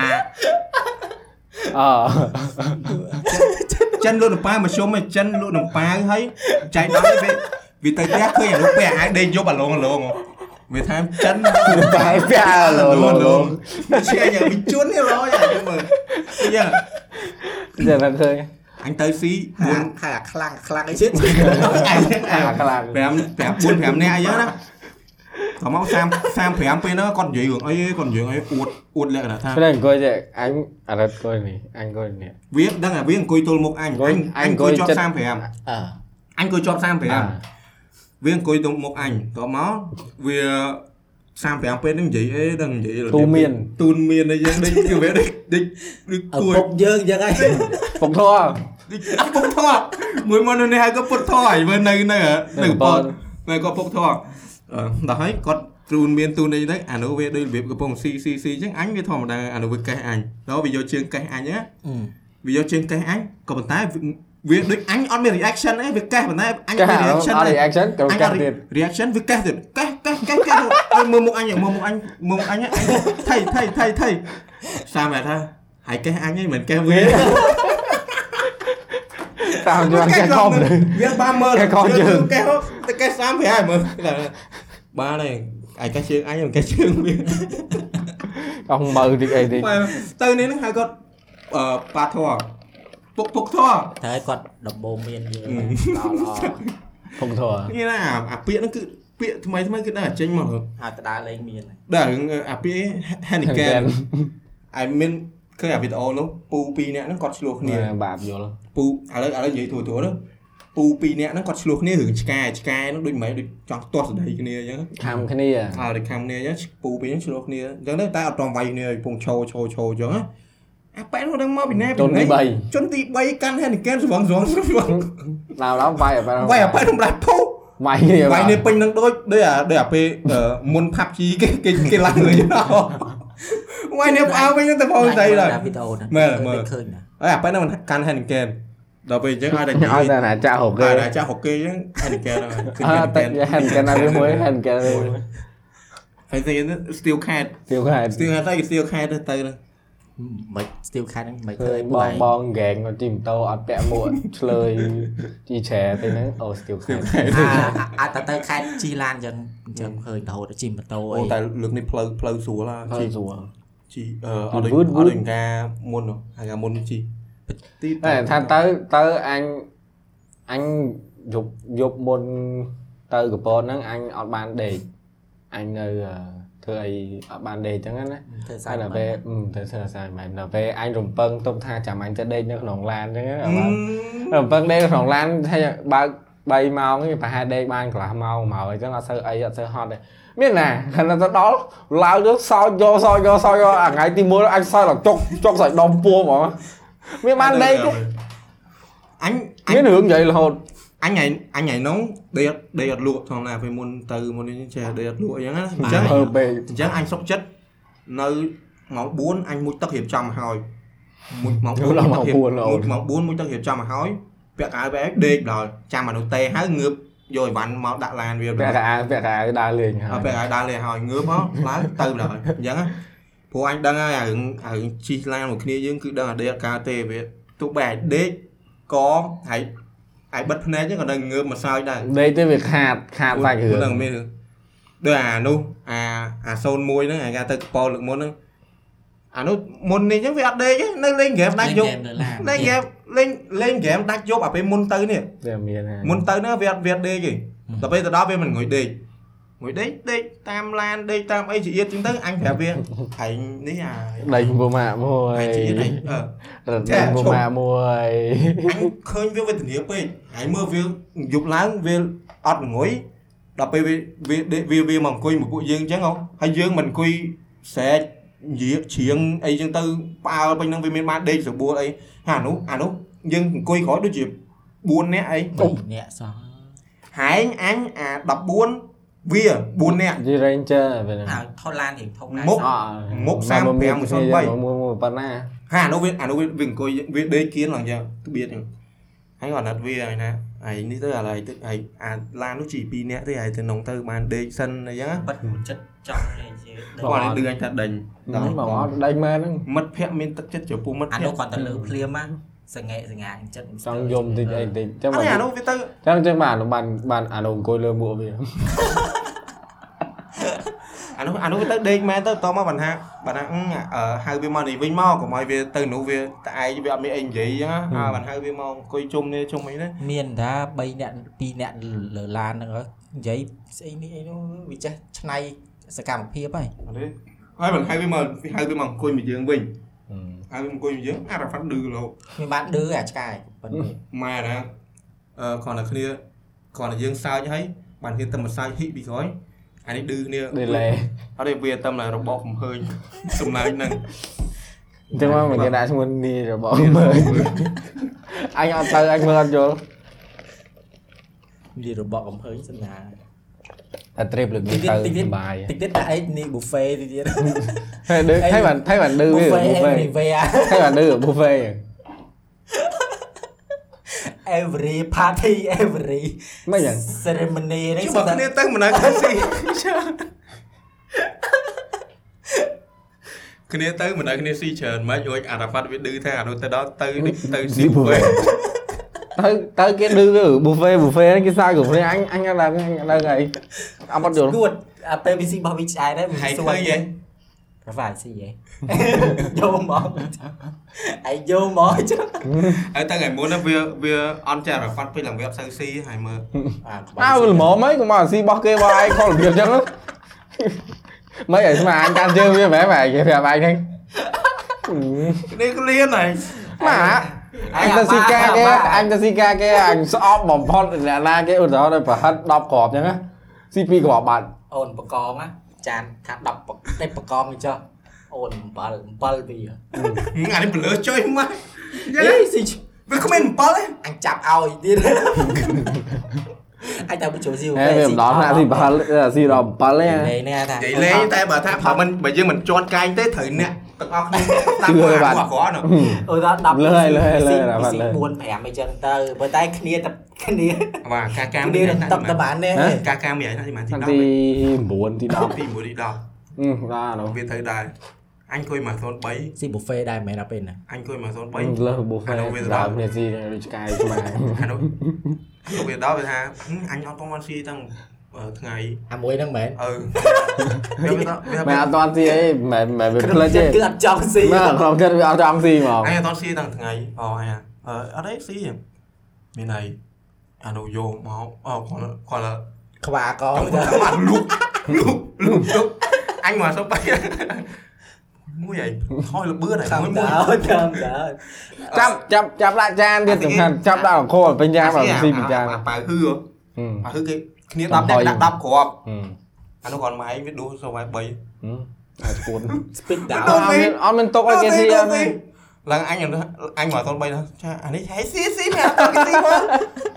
ចិនលក់នំប៉ាវមធ្យមឯងចិនលក់នំប៉ាវហើយចៃដល់វាវាទៅផ្ទះឃើញអានោះពេលអាយដេកយប់អាឡងអាឡងហ៎វាថាចិន
បែបប្អាលូលូ
ជាអញវាជន់នេះរយអាមើលយ៉ា
ចេះនឹកឃើញ
អញទៅស៊ី
មួ
មួ
ន
ន
ហើយអាខ្លាំងខ្លាំងអីជិត
អញអញ
អាខ្លាំង
ប្រាំប្រាំ4 5នាក់អីចឹងណាដល់មក30 35ពេលហ្នឹងគាត់និយាយរឿងអីគាត់និយាយអីអួតអួតលក្ខណៈថា
ព្រោះអង្គុយចេះអញអរិតអង្គុយនេះអញអង្គុយនេះ
វាដឹងថាវាអង្គុយទល់មុខអញអញអញអង្គុយជាប់35
អើ
អញអង្គុយជាប់35វាអង្គុយទល់មុខអញដល់មកវា35ពេលហ្នឹងនិយាយអីដឹងនិយាយ
ទូមាន
ទូនមានអីចឹងដូចវាដូចដូចដូចគួយ
ឪពុកយើងយ៉ាងហី
ពុកធေါ်
ដូចពុកធေါ်មួយមុននេះហើយក៏ពុកធေါ်ហើយមើលនៅនៅនៅកប៉ុន ថ្ងៃគាត់ពុកធေါ်អឺដល់ហើយគាត់ទ្រូនមានទូនអីទៅអានោះវាដូចរបៀបកំពុងស៊ីស៊ីស៊ីអញ្ចឹងអញវាធម្មតាអានោះវាកេះអញដល់វាយកជើងកេះអញណាវាយកជើងកេះអញក៏ប៉ុន្តែវាដូចអញអត់មាន reaction ទេវាកេះប៉ុន្តែអញ
ចេះ
មាន
អត់
reaction ទេ
reaction ទៅ
អញអ
កាត់
ត់ reaction វាកេះ
ទៀត
ទៀតកេះកេះកេះកេះឲ្យមើលមុខអញមើលមុខអញមើលមុខអញអញថៃថៃថៃថៃសាមតែថាហើយកេះអញហ្នឹងមិនកេះវា
តាមយ៉ាងកែខំ
វាបានមើល
កេះខំជើង
កេះទៅកេះ35ហើយមើលបានហើយអាយកេះជើងអញមិនកេះជើងវា
អស់មើលតិចអីតិច
បើទៅនេះហ្នឹងហៅគាត់អឺប៉ាធေါ်ពុកពុកធေါ်
ត្រូវឲ្យគាត់ដំបូងមានយើង
ដល់អពុកធေါ်
នេះណាអាអាពាក្យហ្នឹងគឺពាក្យថ្មីថ្មីគឺដឹងតែចេញមក
ហៅតដាលេងមានហើយ
ដែររឿងអាពាក្យ Hanigan អាមានឃើញអាវីដេអូនោះពូពីរនាក់ហ្នឹងគាត់ឆ្លោះគ្នា
បាបយល់
ពូឥឡូវឥឡូវនិយាយទូទៅទៅពូពីរនាក់ហ្នឹងគាត់ឆ្លោះគ្នារឿងឆ្កែឆ្កែហ្នឹងដូចមិនដូចចង់ទាស់សម្ដីគ្នាអញ្ចឹង
ខំគ្នា
អើដូចខាំគ្នាអញ្ចឹងពូពីរនាក់ឆ្លោះគ្នាអញ្ចឹងទៅតែអត់តំវាយគ្នាឲ្យពងឈោឈោឈោអញ្ចឹងណា អាប៉ែនោះដឹងមកពីណា
ជនទីបី
ជនទី3កាន់ហេនីកែនស្រងស្រងស្រងស្រង
ឡើងឡើងវាយអត់
វាយអាប៉ែនោះមិនដាច់ធូរ
វាយនេះ
វាយនេះពេញនឹងដូចដូចអាដូចអាពេលអឺមុនផាប់ជីគេគេគេឡើងលើយន្តហោះវាយនេះផ្អើពេញនឹងតែបងស្រីឡើយ
វីដេអូហ្នឹង
មើលមើល
ឃើញឃើញណា
អើអាពេលហ្នឹងមិនកាន់ Heineken ដល់ពេលអញ្ចឹងឲ្យតែនិ
ឲ្យ
យាយ
តែអាចារ្យហកគេ
ឲ្យតែចាស់ហុកគេអញ្ចឹង Heineken ហ្នឹងគឺ
អើតែ
Heineken
ហែនកាណាវាមួយហែនកាណាវាមួយ
ហើយស្អីហ្នឹង Steel Cat
ទៀវខែ
Steel Cat ទៅ Steel Cat ទៅទៅហ្នឹង
មិនស្ទីលខាត់ហ្នឹងមិន
ឃើ
ឃើ
ញ
ញ
បង
ប
បង ងហ្គេងគាត់ជីម៉ូតូអត់ពាក់មួកឆ្លើ យជីច្រែទៅហ្នឹងអូស្ទីលខែ
អាតទៅខេតជីឡានអញ្ចឹងអញ្ចឹងឃើញរហូតដល់ជីម៉ូតូអី
អូតែលើកនេះផ្លូវផ្លូវស្រួលហ่า
ហើយ
ជី
ស្រួល
ជីអឺអត់ដូច
Wood,
អ
wood.
ត់ដូចការមុនហ៎ហើយការមុនជីទី
តែថាទៅទៅអញអញយប់យប់មុនទៅកពតហ្នឹងអញអត់បានដេកអញនៅអឺធ្វើអីអត់បានដេកអញ្ចឹងណា
ធ្វើ
តែ
សារ
ដល់ពេលអឺទៅធ្វើសារមិនដល់ពេលអញរំពឹងទុកថាចាំអញទៅដេកនៅក្នុងឡានអញ្ចឹង
Ừ.
ណាអត់បានរំពឹងដេកនៅក្នុងឡានថាបើក3ម៉ោងនេះប្រហែលដេកបានកន្លះម៉ោងម៉ោងអីចឹងអត់សូវអីអត់សូវហត់ទេមានណាខណៈទៅដល់ឡើងទៅសោចយកសោចយកសោចយកអាថ្ងៃទី1អញសោចដល់ចុកចុកសោចដុំពោះហ្មងមានបានដេកទេ
អញអញ
មានរឿងvậy là hồn
អញថ្ងៃអញថ្ងៃនោះដេកដេកអត់លក់ធម្មតាពេលមុនទៅមុននេះចេះដេកអត់លក់អីចឹងណាអញ្ចឹង
hơi bề
អញ្ចឹងអញសុកចិត្តនៅម៉ោង4អញមុជទឹករៀបចំមកហើយមុជម៉ោង
យល់ដល់ម៉ោង
មុជទឹករៀប
4ឡូវ
មុជម៉ោង4មុជទឹករៀបចំមកហើយពាក់កៅបែកដេកដល់ចាំមនុស្សទេហើយងើបយកអីវ៉ាន់មកដាក់ឡានវាដល់
vẽ cả ai vẽ cả ai đa liền
អ
hả
ត់ពេលឲ្យដើរលេហើយងើបមក ឡើងទៅដល់អញ្ចឹងណាព្រោះអញដឹងហើយអារឿងអារឿងជីកឡានមួយគ្នាយើងគឺដឹងអាដេកកើតទេវាទោះបីអាដេកកហើយអាយបិទភ្នែកហ្នឹងក៏នៅងើបមកសើចដែរ
đây tới việc hạt hạt vài
ហ្នឹង
hưởng
មានដូចអានោះអាអា01ហ្នឹងអាគេទៅកប៉ោលើកមុនហ្នឹងអានោះមុននេះអញ្ចឹងវាអត់ដេកទេនៅលេងហ្គេមដាច់យប់
នៅឡាន
លេងហ្គេមលេងលេងហ្គេមដាច់យប់អាពេលមុនទៅនេះ
để miền hả
មុនទៅហ្នឹងវាអត់វាអត់ដេកទេដល់ពេលទៅដល់វាមិនងុយដេកងុយដេកដេកតាមឡានដេកតាមអីជាទៀតចឹងទៅអញប្រាប់វាឯងនេះអា
đây mua mạ mua
ឯងជាទៀតឯងអឺ
rồi
Chà,
đây mua
chục.
mạ mua
អញឃើញវាវេទនាពេកហើយមើលវាយប់ឡើងវាអត់ងុយដល់ពេលវាវាដេកវាវាមកអង្គុយមួយពួកយើងអញ្ចឹងហ៎ហើយយើងមិនអង្គុយស្រែកញាកជ្រៀងអីអញ្ចឹងទៅផ្អើលពេញហ្នឹងវាមានបានដេកស្បួលអីហើយអានោះអានោះយើងអង្គុយក្រោយដូចជា4នាក់អី
3នាក់សោះ
ហែងអញអា14វា4នាក់
đi ranger về
À,
Ờ,
ហើយថតឡានរៀងធំណាស់
មុខ
សោះ
Múc sang bèo một son bay.
mua mua mua bắn na
ហើយអានោះវាអានោះវាវាអង្គុយវាដេកគៀនឡើងយ៉ាងទៅបៀតហ្នឹងហើយគាត់អត់វាហើយណាហើយនេះទៅឥឡូវទៅហើយអាឡាននោះជី2នាក់ទេហើយទៅនងទៅបានដេកសិនអីចឹងណា
បាត់ចិត្តចង់លេងជាដេក
គាត់ឲ្យឌឺអញថាដេញ
đấy bảo ngót đây mà nó
មិត្តភ័ក្តិមានទឹកចិត្តចំពោះមិត្ត
អា
ភ័ក្តិ
នោះគាត់ទៅលើភ្លាមណាសង្ហេសង្ហាចិត្ត
trong dùng thì thì- thì chắc
អត់ទេអា
mà
នោះវាទៅ
chắc chắc mà nó bàn bàn à đồng côi lơ mua về
អានោះអានោះវាទៅដេកមែនទៅតមកបានថាបានថាអឺអឺហៅវាមកនេះវិញមកកុំឲ្យវាទៅនោះវាតែឯងវាអត់មានអីនិយាយចឹងណាហើយបានហៅវាមកអង្គុយជុំនេះជុំអីណា
មានថា3នាក់2នាក់លើឡានហ្នឹងហើយនិយាយស្អីនេះអីនោះវាចេះឆ្នៃសកម្មភាពហើយ
អត់ទេហើយបានហៅវាមកហៅវាមកអង្គុយមួយយើងវិញ ហៅវាមកអង្គុយមួយយើងអារ៉ាហ្វាត់ឌឺរហូត
មានបានឌឺអាឆ្កែប៉ុន្តែ
ម៉ែណាអឺគ្រាន់តែគ្នាគ្រាន់តែយើងសើចហើយបានគ្នាទៅមិនសើចហ៊ីពីក្រោយអានេះឌឺគ្នា
đây lè
អត់ទេវាតាមតែរបបកំហើញ សំឡេងហ្នឹង
chắc mà
vâng.
mình cái đã xong mình đi rồi bỏ mơ anh ăn tới anh mơ ăn vô
និយាយរបបកំហើញសិនណា
តែត្រេបលើកនេះទៅសុបាយ
តិចទៀតដាក់អីនេះ buffet ទៅទៀត
ហើយដូចថៃបានថៃបានឌឺ វា
buffet
ប៊ូហ្វេ
everywhere
ថៃបានឌឺប៊ូហ្វេ
every party every
មិនយ៉ាង
ceremony ហ្នឹង
ជួបគ្នាទៅមិនដឹងគ្នាស៊ីគ្នាទៅមិនដឹងគ្នាស៊ីច្រើនម៉េចរួចអារ៉ាហ្វាត់វាឌឺថាអានោះទៅដល់ទៅនេះទៅស៊ី
ស៊ី
ពេ
ពេក ទៅទៅគេឌឺវាប៊ូហ្វេប៊ូហ្វេហ្នឹងគេសើចគ្រប់គ្នាអញអញអត់ដឹងអញអត់ដឹងអីអត់បាត់យល់
គួតអា PVC របស់វាឆ្អែតហើយ
ហើយ
សួ
ឃើ
យ
ញហ៎
ប្រវ៉ាស៊ី ហ៎យកមក អាយយកមកចុះ
ហើយទៅថ្ងៃមុនណាវាវាអន់ចារ៉ាហ្វាត់ពេញឡើងវាអត់សូវស៊ីហើយមើល
អាក្បា
អើ
ច់
ល្មមហីកុំមកស៊ីបោះគេបោះឯងខុសរបៀបចឹងមិនឲ្យស្មានអញកាន់ជើងវាមែនមែនគេប្រាប់ឯងហ្នឹង
នេះគ្លៀនហើយ
ម៉ាអញទៅស៊ីកាគេអញទៅស៊ីកាគេអញស្អប់បំផុតអ្នកណាគេឧទាហរណ៍ដូចប្រហិត10គ្រាប់ចឹងណាស៊ី2គ្រាប់បាត់
អូនបកងណាចានថា10បកតែបកងអីចុះ អូន7 7វា
អានេះបើលើចុយមកយេ
យេស៊ី
វាគ្មាន7ទេ
អញចាប់ឲ្យទៀតអញតែបញ្ចូលស៊ី
ហេវាម្ដងអាស៊ីបាល់អាស៊ីដល់7ទេ
លេងហ្នឹងថា
និយាយលេងតែបើថាបើមិនបើយើងមិនជន់កែងទេត្រូវអ្នកទាំងអស់គ្នាតាមគាត់អាគាត់គាត់ហ្នឹង
អូដល់10
លើហើយលើហើយលើ
ពី
បាទ
ស៊ី
លើ
4 5អីចឹងទៅបើតែគ្នាតែ គ្នា
បាទការការ
គ្នាតបតបានទេ
ហ៎
ការការមានអាយណាទី
ខាង
10
ទី
ទី
9ទី10
10ទី1ទី10
អឺបាទនោះ
វាត្រូវដែរអញគួយមក03
ស៊ីប៊ូហ្វេដែរមែនដល់ពេលហ្នឹង
អញគួយមក03
លើប៊ូហ្វេដល់គ្នាស៊ីដូចឆ្កែឆ្មា
អានោះអានោះវាដល់វាថាហ៊ឹមអញអត់បងអត់ស៊ីតាំងអឺថ្ងៃ
អាមួយហ្នឹងមែន
អឺវាវាដល់វា
មែ
វា
នអត់តាន់ស៊ីអីមែនមែនវា
ខ្ញុំ
ផ្លិចទេ
គឺអត់ចង់ស៊ី
មែនខ្ញុំគិតវាអត់ចង់ស៊ីហ្មង
អញអត់តស៊ីតាំងថ្ងៃអូអញអ่ะអឺអត់អីស៊ីមានអីអានោះយកមកអូគាត់គាត់
ខ្វាក
ចង់គាត់មកលុកលុកលុកលុកអញមកសុបបាយមួយអីថយលបឿនអី
ខំ
មួយ
ដើ
មួយ
រខំដើរ
ចាប់ចាប់ចាប់ដាក់ចានទៀតសំខាន់ចាប់ដាក់អង្គពេញចានបើ
à?
ស៊ីពីចាន
អាប៉ៅហឺ
អឺ
ប៉ៅហឺគេគ្នា10
បា
ដាប់
ក់ហុយ
ដាក់10គ្រាប់
អឺ
អានោះគាត់មកឯងវាដួសសូវឲ្យ3
អាចគួន
ស្ពេចដើរ
អត់មានអត់មានទុកឲ្យគេស៊ីអត់ទេ
ឡើងអញអញមកតន3ដល់ចាអានេះហេស៊ីស៊ីមែនតគេស៊ីមក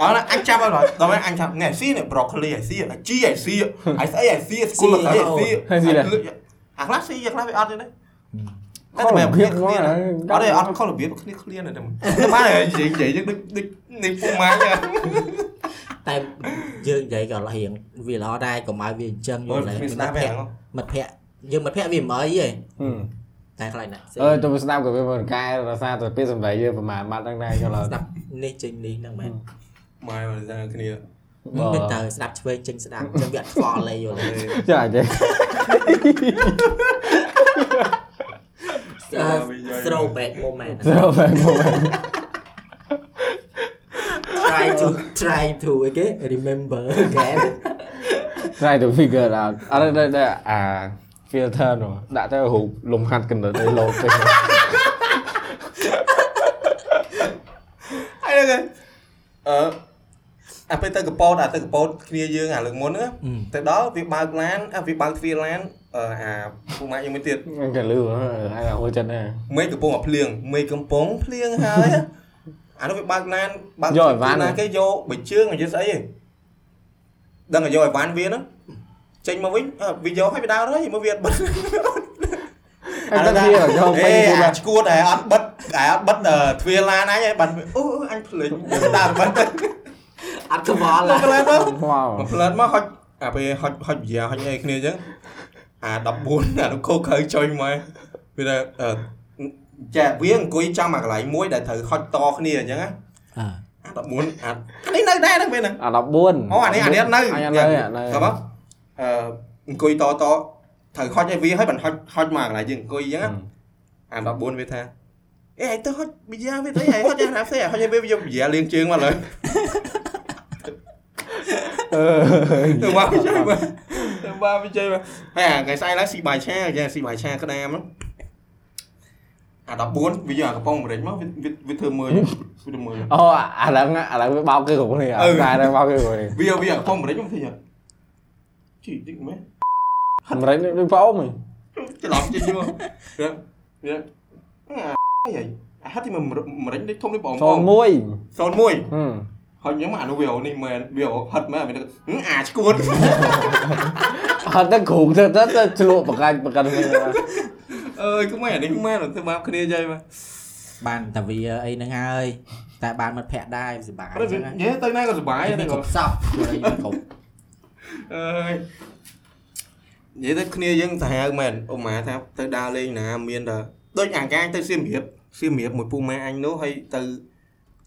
អរអញចាប់ឲ្យដល់អញចាប់នេះស៊ីនេះប្រូកូលីហេស៊ីជីហេស៊ីហេស្អីហេស៊ីស្គូលហេស៊ីអាខ្លះស៊ីអាខ្លះវាអត់ទេតែតែភាពគ្នាអត់ទេអត់ខុសរបៀបគ្នាគ្នាតែបាននិយាយនិយាយដូចដូចនេះពុកម៉ាក់
តែយើងនិយាយក៏រៀងវាល្អដែរកុំឲ្យវាអញ្ចឹងយ
អូ
ល់ឡើយ
មាន
មិត្ត
ស្ដាប់
ភ
វា
ក្តិមិត្តភក្តិយើងមិត្តភក្តិវាមិនអីទេ
អឺ
តែខ្លាចណាស់
អើទៅស្ដាប់ក៏វាមិនកែរសាទៅពេលសម្ដែងយើងប្រមាណបាត់ហ្នឹងដែរចូលឡើយ
ស្ដាប់នេះចេញនេះហ្នឹងមែន
ម៉ែមកតែគ្នា
បើ
មិន ទៅស្ដាប់ឆ្វេងចេញស្ដាប់អញ្ចឹងវាអត់ខ្វល់អីយល់ ទេ
ចាអញ្ចឹង
throwback moment
throwback moment
try to try to អីគេ remember again
try to figure À, it out អត់ទេទេអា filter នោះដាក់ទៅរូបលំហាត់កណ្ដិតឲ្យលោកទៅ
អីហ្នឹងអឺអាពេលទៅកប៉ោតអាទៅកប៉ោតគ្នាយើងអាលើកមុនហ្នឹង ទៅដល់វាបើកឡានអ่ะវាបើកទ្វារឡានអឺអាពូម៉ាក់យើងមួយទៀត
មិនក៏លឺហើយហួចិត្តណា
មេឃកំពុងតែភ្លៀងមេឃកំពុងភ្លៀងហើយអានោះវាបើកឡានបើក
យកអីវ៉ាន់
ទ្វារឡាគេយកបិជើងយកស្អីហ៎ដឹងតែយកអីវ៉ាន់វាហ្នឹងចេញមកវិញអ่ะវាយកហើយវាដើរហើយមកវាអត់បិទ
ហើយទៅវាយ
អេ
កពេញខ្លួន
អាឈួតហើយអត់បិទហើយអត់បិទអឺទ្វារឡានអញហើយបាត់វាអូអូអញភ្លេចដើរបិទ ទៅ
អត់ខ្វល់
មកផ្លែមក
ខ្វល់
មកផ្លើតមកហុចអាពេលហុចហុចវាហុចអីគ្នាអញ្ចឹងអា14អានោះគោខើចុញមកវាថាអឺចាវាអង្គុយចាំអាកន្លែងមួយដែលត្រូវហុចតគ្នាអញ្ចឹងណាអា14អានេះនៅដែរហ្នឹងពេលហ្នឹង
អា14
អូអានេះអានេះនៅ
អានេះនៅនៅ
ក៏មកអឺអង្គុយតតត្រូវហុចឲ្យវាហើយបានហុចហុចមកអាកន្លែងយើងអង្គុយអញ្ចឹងណា
Ừ.
អា14វាថាអេឯងទៅហុចប៊ីយ៉ាវាទៅឯងហុចយ៉ាងណាផ្សេងហុចឲ្យវាយកប៊ីយ៉ាលៀងជើងមកឡើយ
អឺ
ទៅមកវិជ័យ មកទៅមកវិជ័យមកហើយអាថ្ងៃស្អែកឡើងស៊ីបាយឆាចាស៊ីបាយឆាក្តាមហ្នឹងអា14វាយកអាកំប៉ុងម្រេចមកវាវាវាធ្វើមើលវាធ្វើមើល
អូអាឡើងអាឡើងវាបោកគេគ្រប់គ្នា
អឺ
តែឡើងបោកគេគ្រប់គ្នា
វាវាអាកំប៉ុងម្រេចមកធ្វើយ៉ាងជីតិចមែន
មិនរិចដូចប្អូនហ៎
ច្រឡំជិះមកវាវាអាយអាហាត់ទីមកម្រេចនេះធំនេះបង
ចូល
បង
មួយ
01
ហឹម
ហើយអញ្ចឹងមកអានោះវាអូនេះមែនវាអូហិតមែនអាមានអាឈួត
អត់ទៅគ្រូទៅទៅទៅឆ្លក់បង្កាច់បង្កាច់គ្នា
អើយគឺមិនអានេះមែនទៅមកគ្នាយាយមក
បានតែវាអីហ្នឹងហើយតែបានមិត្តភក្តិដែរវាសុបាយអ
ព្រោះ
ញ្ចឹងណា
និយាយទៅណាក៏សុបាយ
វា
ដែរក៏
កុំសក់វាគ្រប់
អើយនិយាយទៅគ្នាយើងសាហាវមែនអ៊ុំម៉ាថាទៅដើរលេងណាមានតែដូចអាកាទៅសៀមរាបសៀមរាបមួយពូម៉ែអញនោះហើយទៅ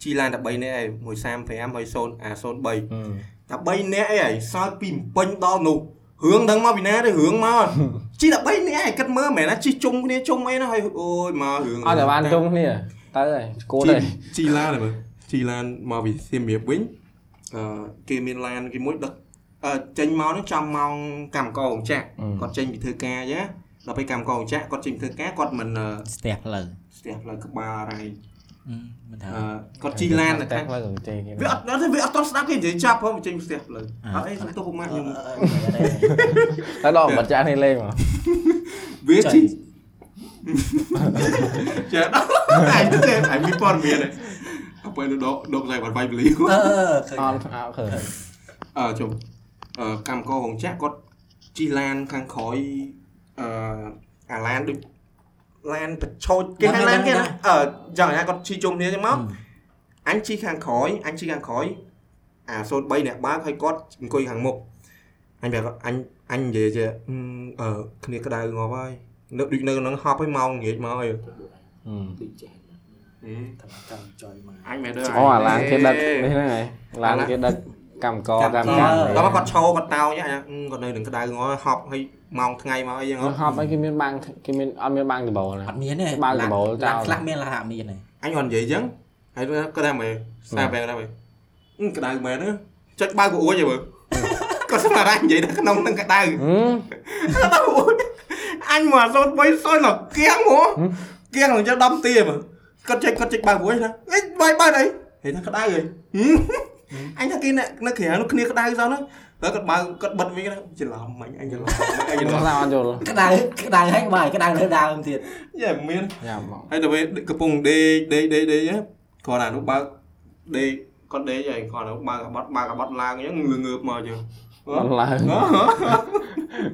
ជីឡានតែ3នាក់ឯង135ហើយ0អា03តែ3នាក់ឯងសើចពីម្ពិញដល់នោះរឿងដឹងមកពីណាទេរឿង មកជីតែ3នាក់ឯងគិតមើលមែនណាជីជុំគ្នាជុំអីណាហើយអូយមករឿង
អត់តែបានជុំគ្នាទៅហើយស្គូ
ជី
ទៅ
ជីឡានហ្នឹងមើលជីឡានមកពីសៀមរាបវិញអឺគេមានឡានគេមួយដឹកអឺចេញមកហ្នឹងចំម៉ោងកម្មកោអង្ចាក់ គាត់ចេញពីធ្វើការអញ្ចឹងណាដល់ពេលកម្មកងចាក់គាត់ចេញពីធ្វើការគាត់មិនអឺ
ស្ទះផ្លូវ
ស្ទះផ្លូវក្បាលអី
មិនថា
អឺគាត់ជីឡានតែ
តែ
ខាង
ផ្លូវទៅគេ
វាអត់ដល់ទេវាអត់តស្ដាប់គេនិយាយចាប់ផងវាចេញពីស្ទះផ្លូវ
អ่า
អត់អីសុំទោសពុក
Ờ,
ម៉ាក់ខ្ញុំ
តែដល់បាត់ចាស់នេះលេងមក
វា
ចុះ
ជី ចេះ ដល់ឯងទៅទេឯងមានព័ត៌មានទេអពុយទៅដកដកតែបាត់វាយពលីគាត់
អឺឃើញ
អ
ហើ
ត់អ
យ
ត់ឃើញ
អឺជុំអឺកម្មកររោងចក្រគាត់ជីឡានខាងក្រោយអឺអាឡានដូចឡានប្រឆោតគេ
ដឹង
ហៅឡាន
ដឹង
គេ
ដឹង
ណាអឺយ៉ាងណាគាត់ជីជុំគ្នាចឹងមកអញជីខាងក្រោយអញជីខាងក្រោយអា03អ្នកបើកហើយគាត់អង្គុយខាងមុខអញប្រាប់អញអញនិយាយជាអឺអឺគ្នាក្តៅងាប់ហើយនៅដូចនៅក្នុងហប់ហើយម៉ោងងាកមកហើយ
ដូចចេះតែតាមចុយមក
អញមិនដឹង
អូអាឡានគេដឹកនេះហ្នឹងហើយឡានគេដឹកកម្មកតា
តាម មកានដ
កាន
កម្មរ
ល់មកគាត់ឈោគាត់តោញអញថាអឺគាត់នៅនឹងក្តៅងាប់ហើយហប់ហើយម៉ោងថ្ងៃមកអីចឹងហ៎
ហប់អីគេមានបាំងគេមានអត់មានបាំងដបណា
អត់មានទេ
បើកដំបូលចោល
ខ្លះមានឡានអត់មានទេ
anh còn vậy chứ hay là có đang mày sao về đang mày ừ, cái đàn mày nữa chắc ba của ủa vậy mà có sao mà ra anh vậy đó cái nông đang cái đàn
ហឹម
anh mà sao mấy soi là kiêng
Ừ.
hả kiêng là cho đâm tiền mà con chạy con chạy ba của ấy đó ấy bay bay đây thì nó cái đàn rồi Ừ. anh thằng kia nè nó khỉa nó kia cái đàn sao nó đó con ba con bật với cái đó chỉ làm mày anh chỉ làm mày, anh chỉ
ខ្ញុំ
làm
ថាអត់យល់
ក្តៅក្តៅហើយបាយក្តៅលើដើមទៀត
vậy mà miên
ញ៉ាំមក
ហើយទៅពេលកំពុងដេកដេកដេកដេកណាគាត់អានោះបើកដេកគាត់ដេកហើយគាត់អានោះបើកអាបត់បើកអាបត់ឡើងអញ្ចឹងងើងើបមកចឹង
អត់ឡើង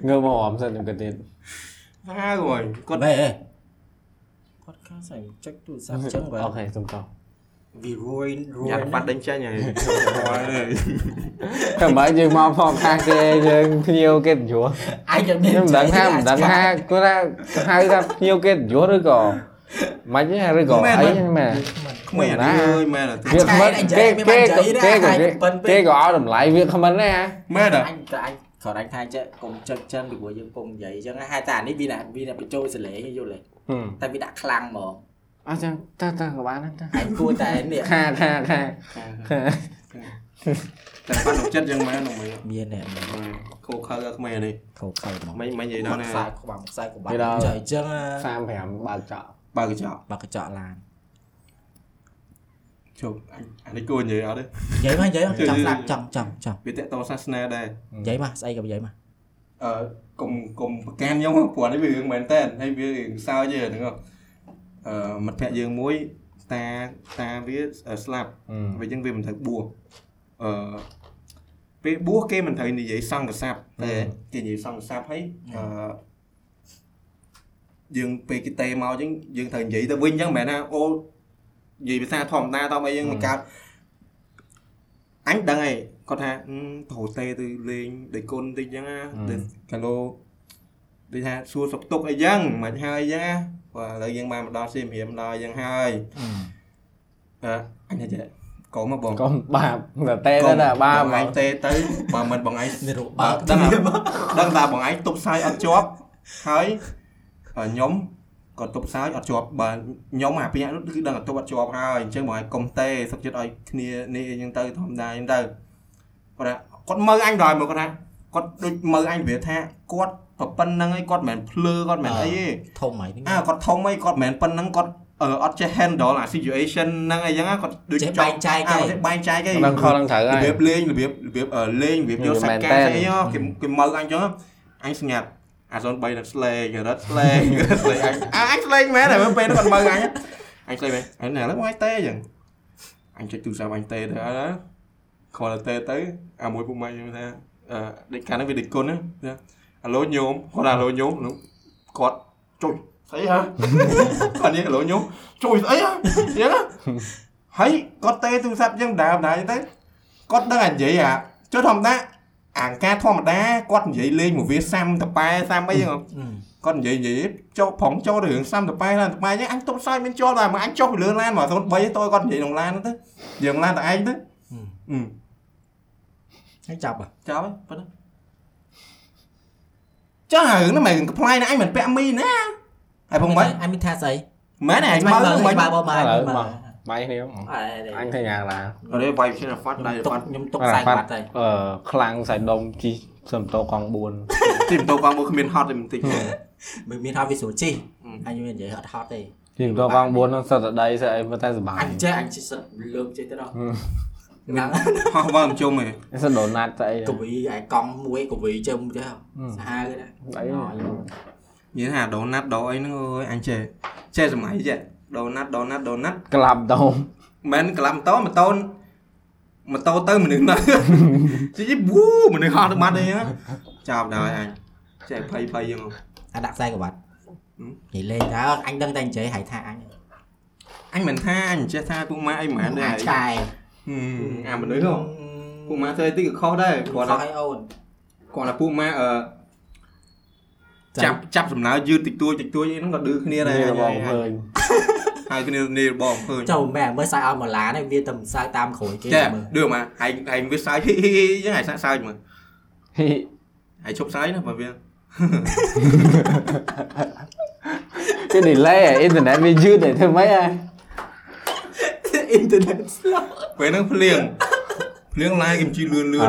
ងើបមកអមសិនខ្ញុំគិតទៀត
ហៅហើយគាត់
មែនគាត់ខាសតែចុចទូរស័ព្ទចឹងបើ
អូខេសុំតោះ
វារួយរួយ
ញ៉ាំបាត់ដេញចាញ់ហើយ
តែបើយើងមកផងខាសគេយើងភ្ញៀវគេទៅយល់
ឯងចាំមាន
ខ្ញុំមិនដឹងថាមិនដឹងថាគាត់ថាហៅថាភ្ញៀវគេយល់ឬក៏មិនទេឬក៏អីហ្នឹងមែន
ក្មេងអានេះអើយមែនទេ
វាខ្មិនគេគេក៏គេក៏គេក៏ឲ្យតម្លៃវាខ្មិនដែរហ
មែនទេ
អញតែអញគាត់អញថាចេះកុំចុចចឹងពីព្រោះយើងពុំនិយាយចឹងហ่าតែអានេះវាណាវាណាបញ្ចូលសលេងយល់ទេ
៎
តែវាដាក់ខ្លាំងហ្មង
អ
Ờ,
ញ្ចឹងតើតើក៏បានដែរ
អញគួរតែនេះ
ខាខាខា
តែបាត់ក្នុងចិត្តចឹងមែនហ្នឹងមែន
មានតែ
ខោខើក្មេងនេះ
ខោខៅហ្មង
មិនមិននិយាយដល់ណា
ខ្សែក្បាំខ្សែក្បាំចុចចឹង
35បាល់ចោល
បើកកញ្ចក់
បើកញ្ចក់ឡាន
ជប់អានេះគួរនិយាយអត់ទេ
និយាយមកនិយាយ
Ừ.
មកចង់ស្ដាប់ចង់ចង់ចង់
វាតកតសាសនាដែរ
និយាយមកស្អីក៏និយាយមក
អឺកុំកុំប្រកាន់ខ្ញុំព្រោះនេះវារឿងមែនតើហើយវារឿងសើចទេហ្នឹងអឺមិត្តភក្តិយើងមួយតាតាវាស្លាប់ វាចឹងវាមិនត្រូវបួសអឺពេលបួសគេមិនត្រូវនិយាយសង្កស័ព្ទតែគេនិយាយសង្កស័ព្ទហើយអឺយើងពេលគេតេមកចឹងយើងត្រូវនិយាយទៅវិញចឹងមិនមែនថាអូនិយាយភាសាធម្មតាតោះអីចឹងមកកើតអញដឹងហើយគាត់ថាហឹមទៅតេទៅលេងដេកគុណតិចចឹងណាទៅកាឡូដូចថាសួរសុខទុក្ខអីចឹងមិនហើយចឹងណាបើឥឡូវយើងបានមកដល់សៀមរាមដល់ចឹងហើយអឺអញថាចេះកុំមកបង
កុំបាបតែតែណាបាប
បងឯងទេទៅបើមិនបងឯង
នេះរប
បើ
បើក
ដឹងថាដឹងថាបងឯងទប់ខ្សែអត់ជាប់ហើយខ្ញុំក៏ទប់ខ្សែអត់ជាប់បើខ្ញុំអាពីរនោះគឺដឹងថាទប់អត់ជាប់ហើយអញ្ចឹងបងឯងកុំទេសុខចិត្តឲ្យគ្នានេះអញ្ចឹងទៅធម្មតាអញ្ចឹងទៅគាត់ថាគាត់មើលអញដល់មកគាត់ថាគាត់ដូចមើលអញវាថាគាត់ប្រប៉ុណ្្នឹងឯងគាត់មិនមែនភ្លើគាត់មិនមែនអីទេ
ធំហ្មងហ្នឹង
អាគាត់ធំអីគាត់មិនមែនប៉ុណ្ណឹងគាត់អឺអត់ចេះ handle អា situation ហ្នឹងអីចឹងណាគាត់ដូច
ចេះបែងចែក
អា
ឯ
គា
ង
ត់ចេះបែងចែកឯ
នឹងខលនឹងត្រូវហើយ
របៀបលេងរបៀបរបៀបអឺលេងរបៀបយកសាច់
មែ
ការ
នតែន
ស្អីហ៎គេគេមើលអញចឹងហ៎អញស្ងាត់អា03នឹង slay រត់ slay រត់ slay អញអាអញ slay មែនតែពេលហ្នឹងគាត់មើលអញហ៎អញ slay មែនអញណែឡើយមកអញទេចឹងអញចុចទូរស័ព្ទអញទេទៅអត់ណាខលតែទៅអាមួយពុកម៉ែខ្ញុំថាអឺដូចកាលហ្នឹងវាដូចគុណណាអាឡូញោមគាត់អាឡូញោមនោះគាត់ chui thấy hả còn như cái lỗ nhúng chui thấy hả vậy đó thấy có tê tu sắp nhưng đà đà như thế có đang là vậy à chứ không đó à ca thua mà đá có vậy lên một vía sam tập ba sam bây giờ không con vậy vậy cho phóng cho đường sam tập ba lan tập ba chứ anh tốt sai bên cho là mà anh cho phải lừa lan mà thôi bây giờ tôi con vậy đồng lan nữa thế dừng lan tại anh thế
Ừ.
ừ
ហើយចាប់អ่ะ
chào ấy phân đó chứ hả nó mày play nó anh mình vẽ mi nè hay không mấy
អញមានថាស្អី
Má này anh
មើល
mới Ờ,
មើ
mình
លបើបើ
ឥឡូវម
មើ
ក
ល
បាយគ្នាមក
អេ
Ờ,
អញឃើញយ៉ាងណា
Ở đây vay trên là phát
ខ្ញុំ
đây Ờ, là
ទុ
phát Ờ,
កខ្ញុំទុកខ្សែបាត់ហើយ
អឺខ្លាំងខ្សែដុំជីសំតោកង
Tìm tôi qua mua miền hot thì mình tính
មិនមានថាវាស្រួលជី
អឺ
អញមាននិយាយអត់ហត់ទេ
4ជីសំតោកង4ហ្នឹងសិតតែដីសិតអីមិនតែសប្បា
អ
យ
ញចេះអញចេះសិតលើកចេះទៅដល់
ហឹម
ហ្នឹង
Hoa vâng làm chung này
សិតដូណាត់ស្អី
កវីឯកង់មួយកវីចឹមចេះ
ហឹម
សាហាវទេណា
អី
អ
និយាយថាដូណាត់ដូអីហ្នឹងអើយអញចេះចេះសម័យចេះដូណាត់ដូណាត់ដូណាត់
ក្លាប់ដុំ
មិនមែនក្លាប់ម៉ូតូម៉ូតូម៉ូតូទៅមនុស្សណា ជីជីវូមនុស្សហត់ទៅបាត់អីហ្នឹងចាប់ដល់ហើយអញចេះភ័យភ័យហ្នឹង
អាដាក់ខ្សែក្រវ៉ាត់
ហឹម
និយាយលេងតើអញដឹងតែនិយាយហៅថាអញ
អញមិនថាអញចេះថាពួកម៉ាក់អីមិនមែនទេ
អា
អញ
ឆ្កែ
អាមនុស្សហ្នឹងពួកម៉ាក់ធ្វើអីតិចក៏ខុសដែរ
គ្រា
គា
ន់
ត់
តែ
ថា
ឲ្យអូន
គាត់ថាពួកម៉ាក់អឺចាប់ចាប់សំណើយឺតតិចតួចតិចតួចអីហ្នឹងក៏ឌឺគ្នាដែរ
នេះ
អញ
របស់
អញ
ឃើញ
ហើយគ្នានេះរបស់អំភើញ
ចូលមែនមើលសាយឲ្យមកឡានេះវាតែមិនសើតាមក្រួយគេ
ចេះ
មើល
đưa mà hành hành với sai hi hi hi chứ hành sai sai mà
ហី
hành chụp sai nữa mà viên
គេ delay អ៊ីនធឺណិតវាយឺតតែធ្វើម៉េចអា
អ៊ីនធឺណិត slow
về nó liền liền lai kim chi lươn
អ
lươn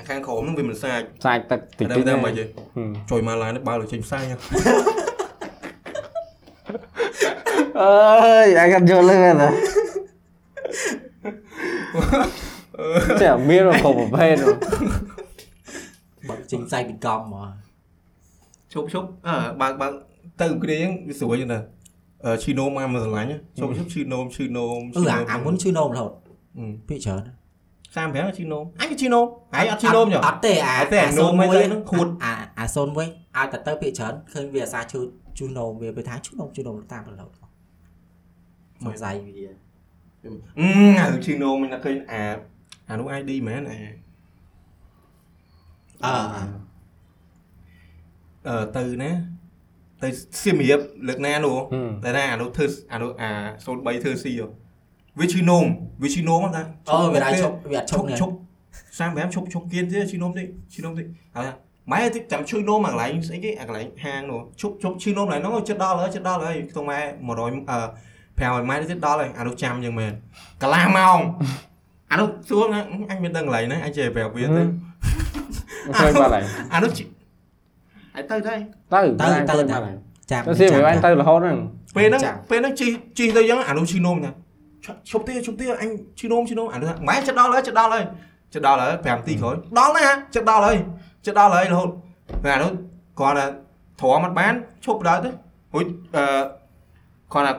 anh khang khổ nó vì mình sai
ផ្សាច់ទឹកតិច
Ở
តិ
đây
ច
đang mà gì
Ừ.
trời mà lai nó bao là chim sai nha
អើយអាចយកលើណា តែមានរបស់ប្រភេទហ្នឹង
បើជិញខ្សែពីកង់មក
chụp chụp à bạn bạn từ cái đấy cái sủa như là ờ, chi nôm em mà dần lánh nhá chụp chụp chi nôm chi nôm
អឺអាអាមុនឈឺនោមរហូត
Ừ.
ពីច្រើន
sao em bé là chi nôm anh cái chi nôm anh ở chi nôm nhở
អត់ទេអា
អត់ទេអា
សូ
នោមអីហ្នឹងខួត
អាអាសូនវិញឲ្យតែទៅពីច្រើនឃើញវាអាសាឈឺជូនោមវាពេលថាជូនោមជូនោមតាមរហូតសង្ស័យវា
ừ ở chi nôm mình là kênh à à lúc ai đi mà này
អឺ
អឺទៅណាទៅសៀមរាបលើកណានោះ
ហឹម
តែណាអានោះធ្វើអានោះអា03ធ្វើស៊ីហ៎វាឈឺនោមវាឈឺនោមណា
អូវាអាចឈប់វាអាច
ឈ
ឈប់
ប់
នេះ
ឈប់35ឈប់ឈប់គៀនទៀតឈឺនោមតិចឈឺនោមតិចហើយថាម៉ែតិចចាំឈឺនោមអាកន្លែងស្អីគេអាកន្លែងហាងនោះឈប់ឈប់ឈឺនោមកន្លែងនោះចិត្តដល់ហើយចិត្តដល់ហើយក្នុងម៉ែ100អឺ500ម៉ែទៀតដល់ហើយអានោះចាំយ៉ាងមែនកន្លះម៉ោងអានោះសួរណាអញមានដឹងកន្លែងណាអញចេះប្រាប់វាទៅ
ឃើញបាត់ហើយ
អានោះជីអាយទៅទៅ
ទៅទៅទៅបាត់ហើយ
ចាំ
ទៅស៊ីវាបាន
ចាំ
ទៅរហូតហ្នឹង
ពេលហ្នឹង
ចាំ
ពេលហ្នឹងជីជីទៅយ៉ាងអានោះជីនោមណាឈប់ឈប់ទៀតឈប់ទៀតអញជីនោមជីនោមអានោះថាម៉ែចិត្តដល់ហើយចិត្តដល់ហើយចិត្តដល់ហើយ5នាទីក្រោយដល់ហើយហ่ะចិត្តដល់ហើយចិត្តដល់ហើយរហូតពេលអានោះគាត់ថាធំអត់បានឈប់ដល់ទៅហួយអឺ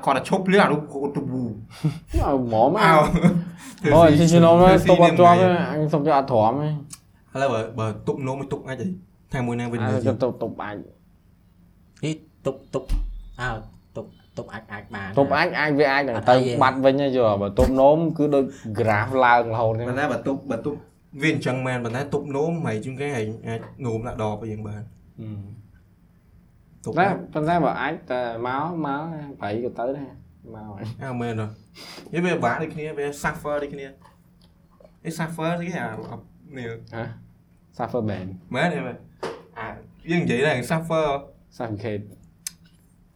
គាត់ថាគាត់ថាឈប់លឿនអានោះគាត់ទៅវូ
អើហ្មងអើ
អោ
អូយជីជីនោមទៅបាត់ជាប់ទេអញសុំយកអត់ទ្រាំទេ
ឥឡូវបើបើទុបនោមមិនទុបអាចទេថាមួយណាវិញ
អា
មើល
ទៅ
ទៀត
តុបតុបអាច
នេះទុបទុបអើទុបទុបអាចអាចបាន
តុបអាចអាចវា
À,
អាចនឹង
អត់
ទៅ
អីទេ
បាត់វិញហើយយល់បើតុបនោមគឺដូច graph ឡើងរហូតហ្នឹង
ប៉ុន្តែបើទុបបើទុបវាអញ្ចឹងមែនប៉ុន្តែទុបនោមហើយជាងគេហើយអាចនោមដាក់ដបអីយ៉ាងបាន
Ừ.
ទុប
តែប៉ុន្តែបើអាចតែមកមកប្រៃក៏ទៅដែរមកហើយ
អើមែនហ៎ វាវាពិបាកដូចគ្នាវា suffer ដូចគ្នាអី suffer ស្អីគេអានេះ
ហ៎ suffer ban
មែនទេមែនអាយើងនិយាយតែ suffer
suffocate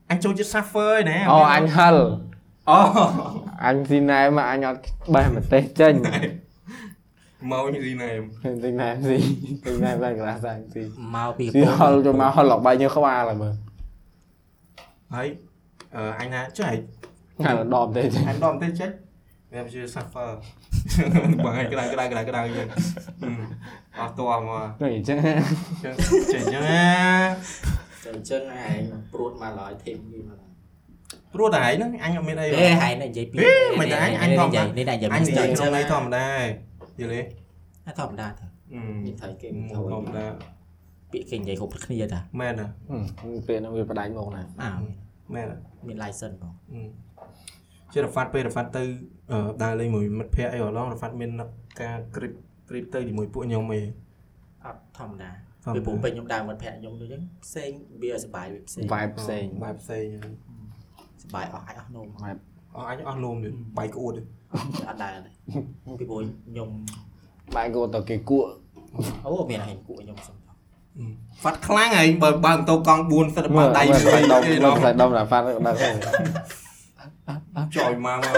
អញចូលចិត្ត suffer ឯណា
អូអញហិល
អូ
អញស៊ីណែមកអញអត់បេះម្ទេសចេញ
មកយីណែម
ស៊ីណែស៊ីស៊ីណែបាន graph តែស៊ី
មកពី
ស៊ីហិលចូលមកហិលលោកបាយញើក្បាលហើយមើល
ហើយអឺអញណាចុះឯង
ហើយដបទេចេញ
អញដល់ទៅចេះវាជា suffer បងឯងក្តៅក្តៅក្តៅក្តៅយើង Ừ. អត់តមក
ដូចអញ្ចឹង
ចឹងចេះចឹងណា
អញ្ចឹងឯងព្រួតមកឡើយធីមវាមក
ព្រោះតែឯងហ្នឹងអញអត់មានអី
ហេហែងនិយាយពីនេះតែនិយាយ
អញនិយាយក្នុងន័យធ
ធ
ម្មតាឯងយល់ទេ
ម្មតាទៅ
អឺ
មានថៃគេ
ធម្មតា
ពាក្យគេនិយាយគ្រប់គ្នាតា
មែនណា
ហឹមពាក្យហ្នឹងវាផ្ដាច់មកណា
អើ
មែន
មាន license ផង
ជារ៉ាហ្វាត់ពេលរ៉ាហ្វាត់ទៅអឺដើរលេងជាមួយមិត្តភ័ក្តិអីអឡងរ៉ាហ្វាត់មានការគ្រីបគ្រីបទៅជាមួយពួកខ្ញុំអី
អត់ធម្មតា
ធម្មតា
ពីព្រោះពេលខ្ញុំដើរមិត្តភក្តិខ្ញុំដូចហ្នឹងផ្សេងវាសុបាយវាផ្សេង
vibe ផ្សេង
បែបផ្សេងហ្នឹង
សុបាយអស់អាចអស់នោមអ
អស់អញអស់លោមទៀតបាយក្អួតទៀត
ត់អត់ដែរទេពីព្រោះខ្ញុំ
បាយគោទៅគេគក់
អូមានហែងគក់ខ្ញុំសុំផង
ហ្វាត់ខ្លាំងហើយបើបើម៉ូតូកង់4សិតបា
មើល
ល់ដៃ
ដៃ
មួយ
ដុំ
ទេដ
មើល
ល់
ផ្លែដុំដល់ហ្វាត់ដល់ហ្នឹង
ចយមកមកអូ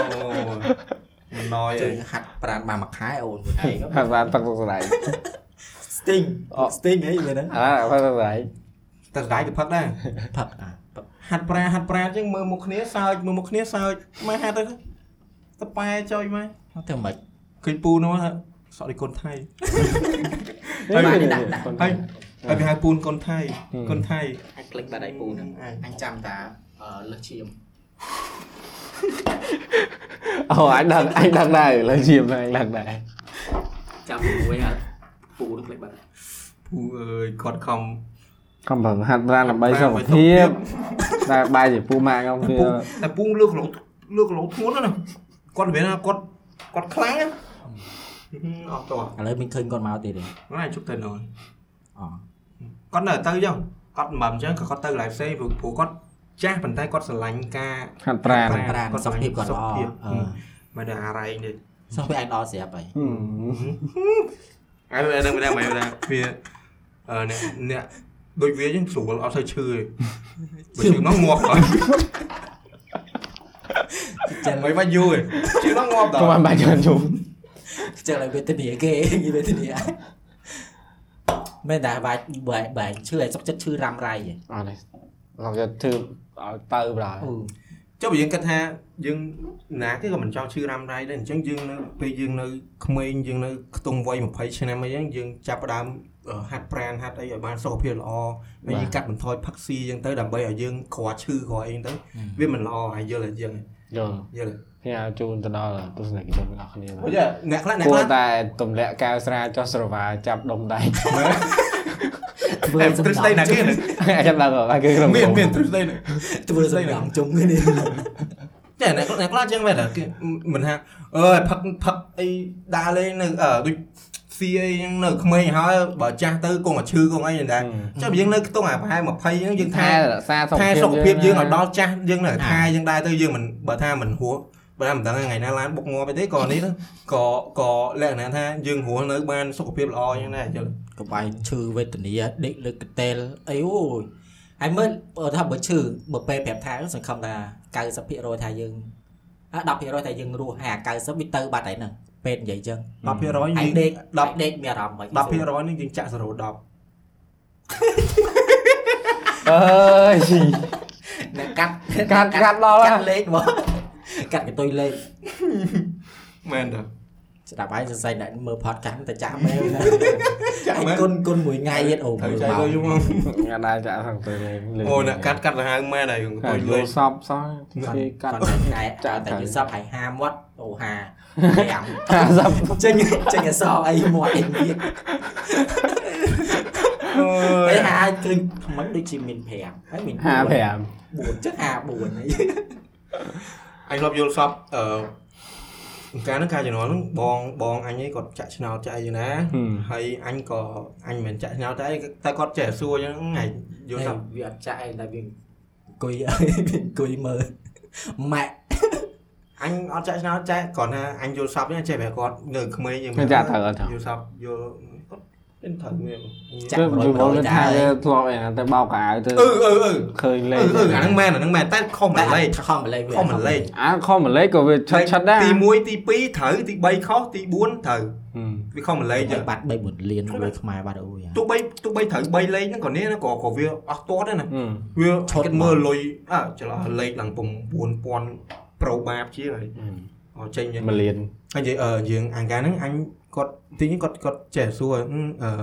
មិនណយ
ជើ
ទេ
ងហាត់ប្រានបានមួយខែអូនខ្លួនឯងហ្នឹង
ហាត់បានទឹកទឹកស្រាយ
sting
អ
sting ហីវាហ្នឹង
អាហ្វាត់ទឹកស្រាយ
តែស្ដាយទៅផឹកដែរ
ផឹកអាផឹក
ហាត់ប្រាហាត់ប្រាអញ្ចឹងមើលមុខគ្នាសើចមើលមុខគ្នាសើចមកហាត់ទៅទៅប៉ែចយមក
មកធ្វើម៉េច
ឃើញពូនោះថាសក់ដូចកូនថៃ
Ừ.
បានដាក់ដាក់
ហើយ ហើយវាហៅពូនកូនថៃ
ហឹម
កូនថៃ
អាចคลิกបាត់ឯពូហ្នឹង
អ่ะ
អញចាំតាអឺលើសឈាម
អូអញដឹងអញដឹងដែរឥឡូវជាមអញដឹងដែរ
ចាំមួយហ่ะពូហ្នឹងคลิกបាត់
ពូអើយគាត់ខំ
កំប្រឹងហាត់ប្រាណដើម្បីសុខភាពតែបាយជាពូម៉ាក់ខ្ញុំវា
ពូតែពូលើកលោលើកលោធ្ងន់ណាស់ណាគាត់មិនមែនថាគាត់គាត់ខ្លាំងណាហឹមអត់តោះ
ឥឡូវមិនឃើញគាត់មកទៀតទេ
ហ្នឹងឯងជប់ទៅនោះ
អូ
គាត់នៅទៅចុះគាត់មិនបើអញ្ចឹងក៏គាត់ទៅកន្លែងផ្សេងព្រោះព្រោះគាត់ចាស់ប៉ុន្តែគាត់ស្រឡាញ់ការ
ហាត់ប្រាណ
គាត់
ប្រាណសុខភាពគាត់
សុ
ល្អ
ខភាព
អឺ
ហឹម មិនដឹងអារ៉ៃទេ
សុខភាពអញល្អស្រាប់ហើយ
អាយមិនដឹងមិនដឹងមិនដឹងវាអឺអ្នកអ្នកដូចវាចឹងស្រួលអត់ទៅឈឺទេបើឈឺមកងាប់ហើយ
ចឹង
មិនមកយូរទេឈឺមកងាប់ដល់
ខ្ញុំបានបាយច្រើនយូរ
ចឹងឲ្យវេទនាគេ និយាយវេទនាមែនតែបាច់បែកបែកឈឺឲ្យសុខចិត្តឈឺរ៉ាំរ៉ៃហ៎
អត់ទេខ្ញុំយកធ្វើឲ្យទៅប្រហែល
អូ
ចុះបើយើងគិតថាយើងណាគេក៏មិនចង់ឈឺរ៉ាំរ៉ៃដែរអញ្ចឹងយើងនៅពេលយើងនៅក្មេងយើងនៅខ្ទង់វ័យ20ឆ្នាំអីហ្នឹងយើងចាប់ផ្ដើមអឺហាត់ប្រាណហាត់អីឲ្យបានសុខភាពល្អហើយយើងកាត់បន្ថយផឹកស៊ីអញ្ចឹងទៅដើម្បីឲ្យយើងក្រឈឺក្រអីហ្នឹងទៅវាមិនល្អហើយយល់ហើយយើង
យល់
យល់
ខ្ញុំឲ្យជូនទៅដល់ទស្សនិកជនរបស់គ្នា
អូយ៉ាអ្នកខ្លះអ្នក
គួ
ខ្លះ
រតែទម្លាក់កែវស្រាចុះស្រវាចាប់ដុំដៃ
ធ្វើ
តែ
សំ
ទ្រឹស្ដី
ដៅ
ណាគេហ្នឹង
ចាំដល់ហើយគឺក្រុម
មានមានទ្រឹស្ដីណា
ធ្វើសំដៅជុំគ្នានេះ
តែអ្នកអ្នកខ្លះចឹងមែនហ៎គេមិនថាអើយផឹកផឹកអីដើរលេងនៅអឺដូចស៊ីអីហ្នឹងនៅក្មេងហើយបើចាស់ទៅគង់តែឈឺគង់អីដែរចុះបើយើងនៅខ្ទង់អាប្រហែល20ហ្នឹងយើង
ថែ
ថែ
រក្សាសុខ
ថែ
ភាព
សុខភាពយើងឲ្យដល់ចាស់យើងនៅតែថែយើងដែរទៅយើងមិនបើថាមិនហួសបើថាមិនដឹងថ្ងៃណាឡានបុកងាប់អីទេក៏នេះទៅក៏ក៏លក្ខណៈថាយើងរស់នៅបានសុខភាពល្អចឹងដែរចុះ
កបាយឈឺវេទនាដេកលើកតេលអីអូយឯមើលបើថាបើឈឺបើពេលប្រាប់ថាសង្ឃឹមថា90%ថាយើងអ่ะ10%ថាយើងរស់ហើយអា90វាទៅបាត់ហើយហ្នឹងពេលនិយាយចឹង
10%យើង
ឯ
10%
ងដេក10ដេកមានអារម្មណ៍ហ្មង
នេះយើងចាក់0 10
អើ យ
អ្នកកាត់
កាត់កាត់ដល់ហើយ
កាត់លេខហ្មងកាត់កន្ទុយលេខ
មែនតើ
ស្ដាប់ហើយសរសៃអ្នកមើល podcast តែចាស់មែន
ចាក់មែន
គុណគុណមួយថ្ងៃទៀតអូមើ
ត្រូវ
ល
ចាក់
មក
ទៅយូរមក
ងាត់ដែរចាក់ខាងទៅលេង
អូអ្នកកាត់កាត់ទៅហៅមែនហើយយើង
ទៅ
ទៅ
លេ
លេ
ង
ង
សពសោះគេកាត់
គាត់ តែថ្ងៃចាតែយល់សពហើយ50វត្តអូ50
50
5ចេញចេញអសអីមកអីទៀត
អើយ
ពេលហាឃើញខ្មិចដូចជាមាន5ហើយមាន
55
4ចឹង54ហើយ
អញធ្លាប់យល់សពអឺការហ្នឹងការជំនាន់ហ្នឹងបងបងអញឯងគាត់ចាក់ឆ្នោតចាក់អីណា
ហឹម
ហើយអញក៏អញមិនចាក់ឆ្នោតតែតែគាត់ចេះសួរអញ្ចឹងថ្ងៃយល់ស
ហើយ
ព
វាអត់ចាក់អីតែវាអង្គុយអី វាអង្គុយមើលម៉ាក់
អញអត់ចាក់ឆ្នោតចាក់គ្រាន់ថាអញយល់សពនេះចេះតែគាត់នៅក្មេងយើង
ខ្ញុំចាក់ត្រូវអត់ចោះ
យល់សពយល់គាត់មានត្រូវមែន
ចាក់
គឺ
100%
យល់
តែ
ថាវាធ្លាប់អីណាទៅបោកកៅទៅ
អឺអឺអឺ
ឃើញ
អឺ
លេង
អឺអាហ្នឹងមែនអាហ្នឹងមែនតែខុស
តែ
មួយលេខ
ខំម្លេះវា
ខុសមួយលេខ
អាខុសមួយលេខក៏វាឆិតឆិតដែរ
ទី1ទី2ត្រូវទី3ខុសទី4ត្រូវ
Ừ,
វាខុសមួយលេខ
ឯ
អញ្ចឹង
ងបាត់3 4លានលុយខ្មែរបាត់អូយ
ទោះបីទោះបីត្រូវ3លេខហ្នឹងក៏នេះណាក៏ក៏វាអស់ទាត់ដែរណា
ừ.
វា
ឈុ
ឈុ
ត
តមើលលុយអើច្រឡំលេខឡើង9000ប្រូបាបជាហើយអត់ចេញអញ្ចឹង
មួយលាន
ហើយនិយាយអឺយើងអង្ការហ្នឹងអញគាត់ទីនេះគាត់គាត់ចេះសួរហឹមអឺយ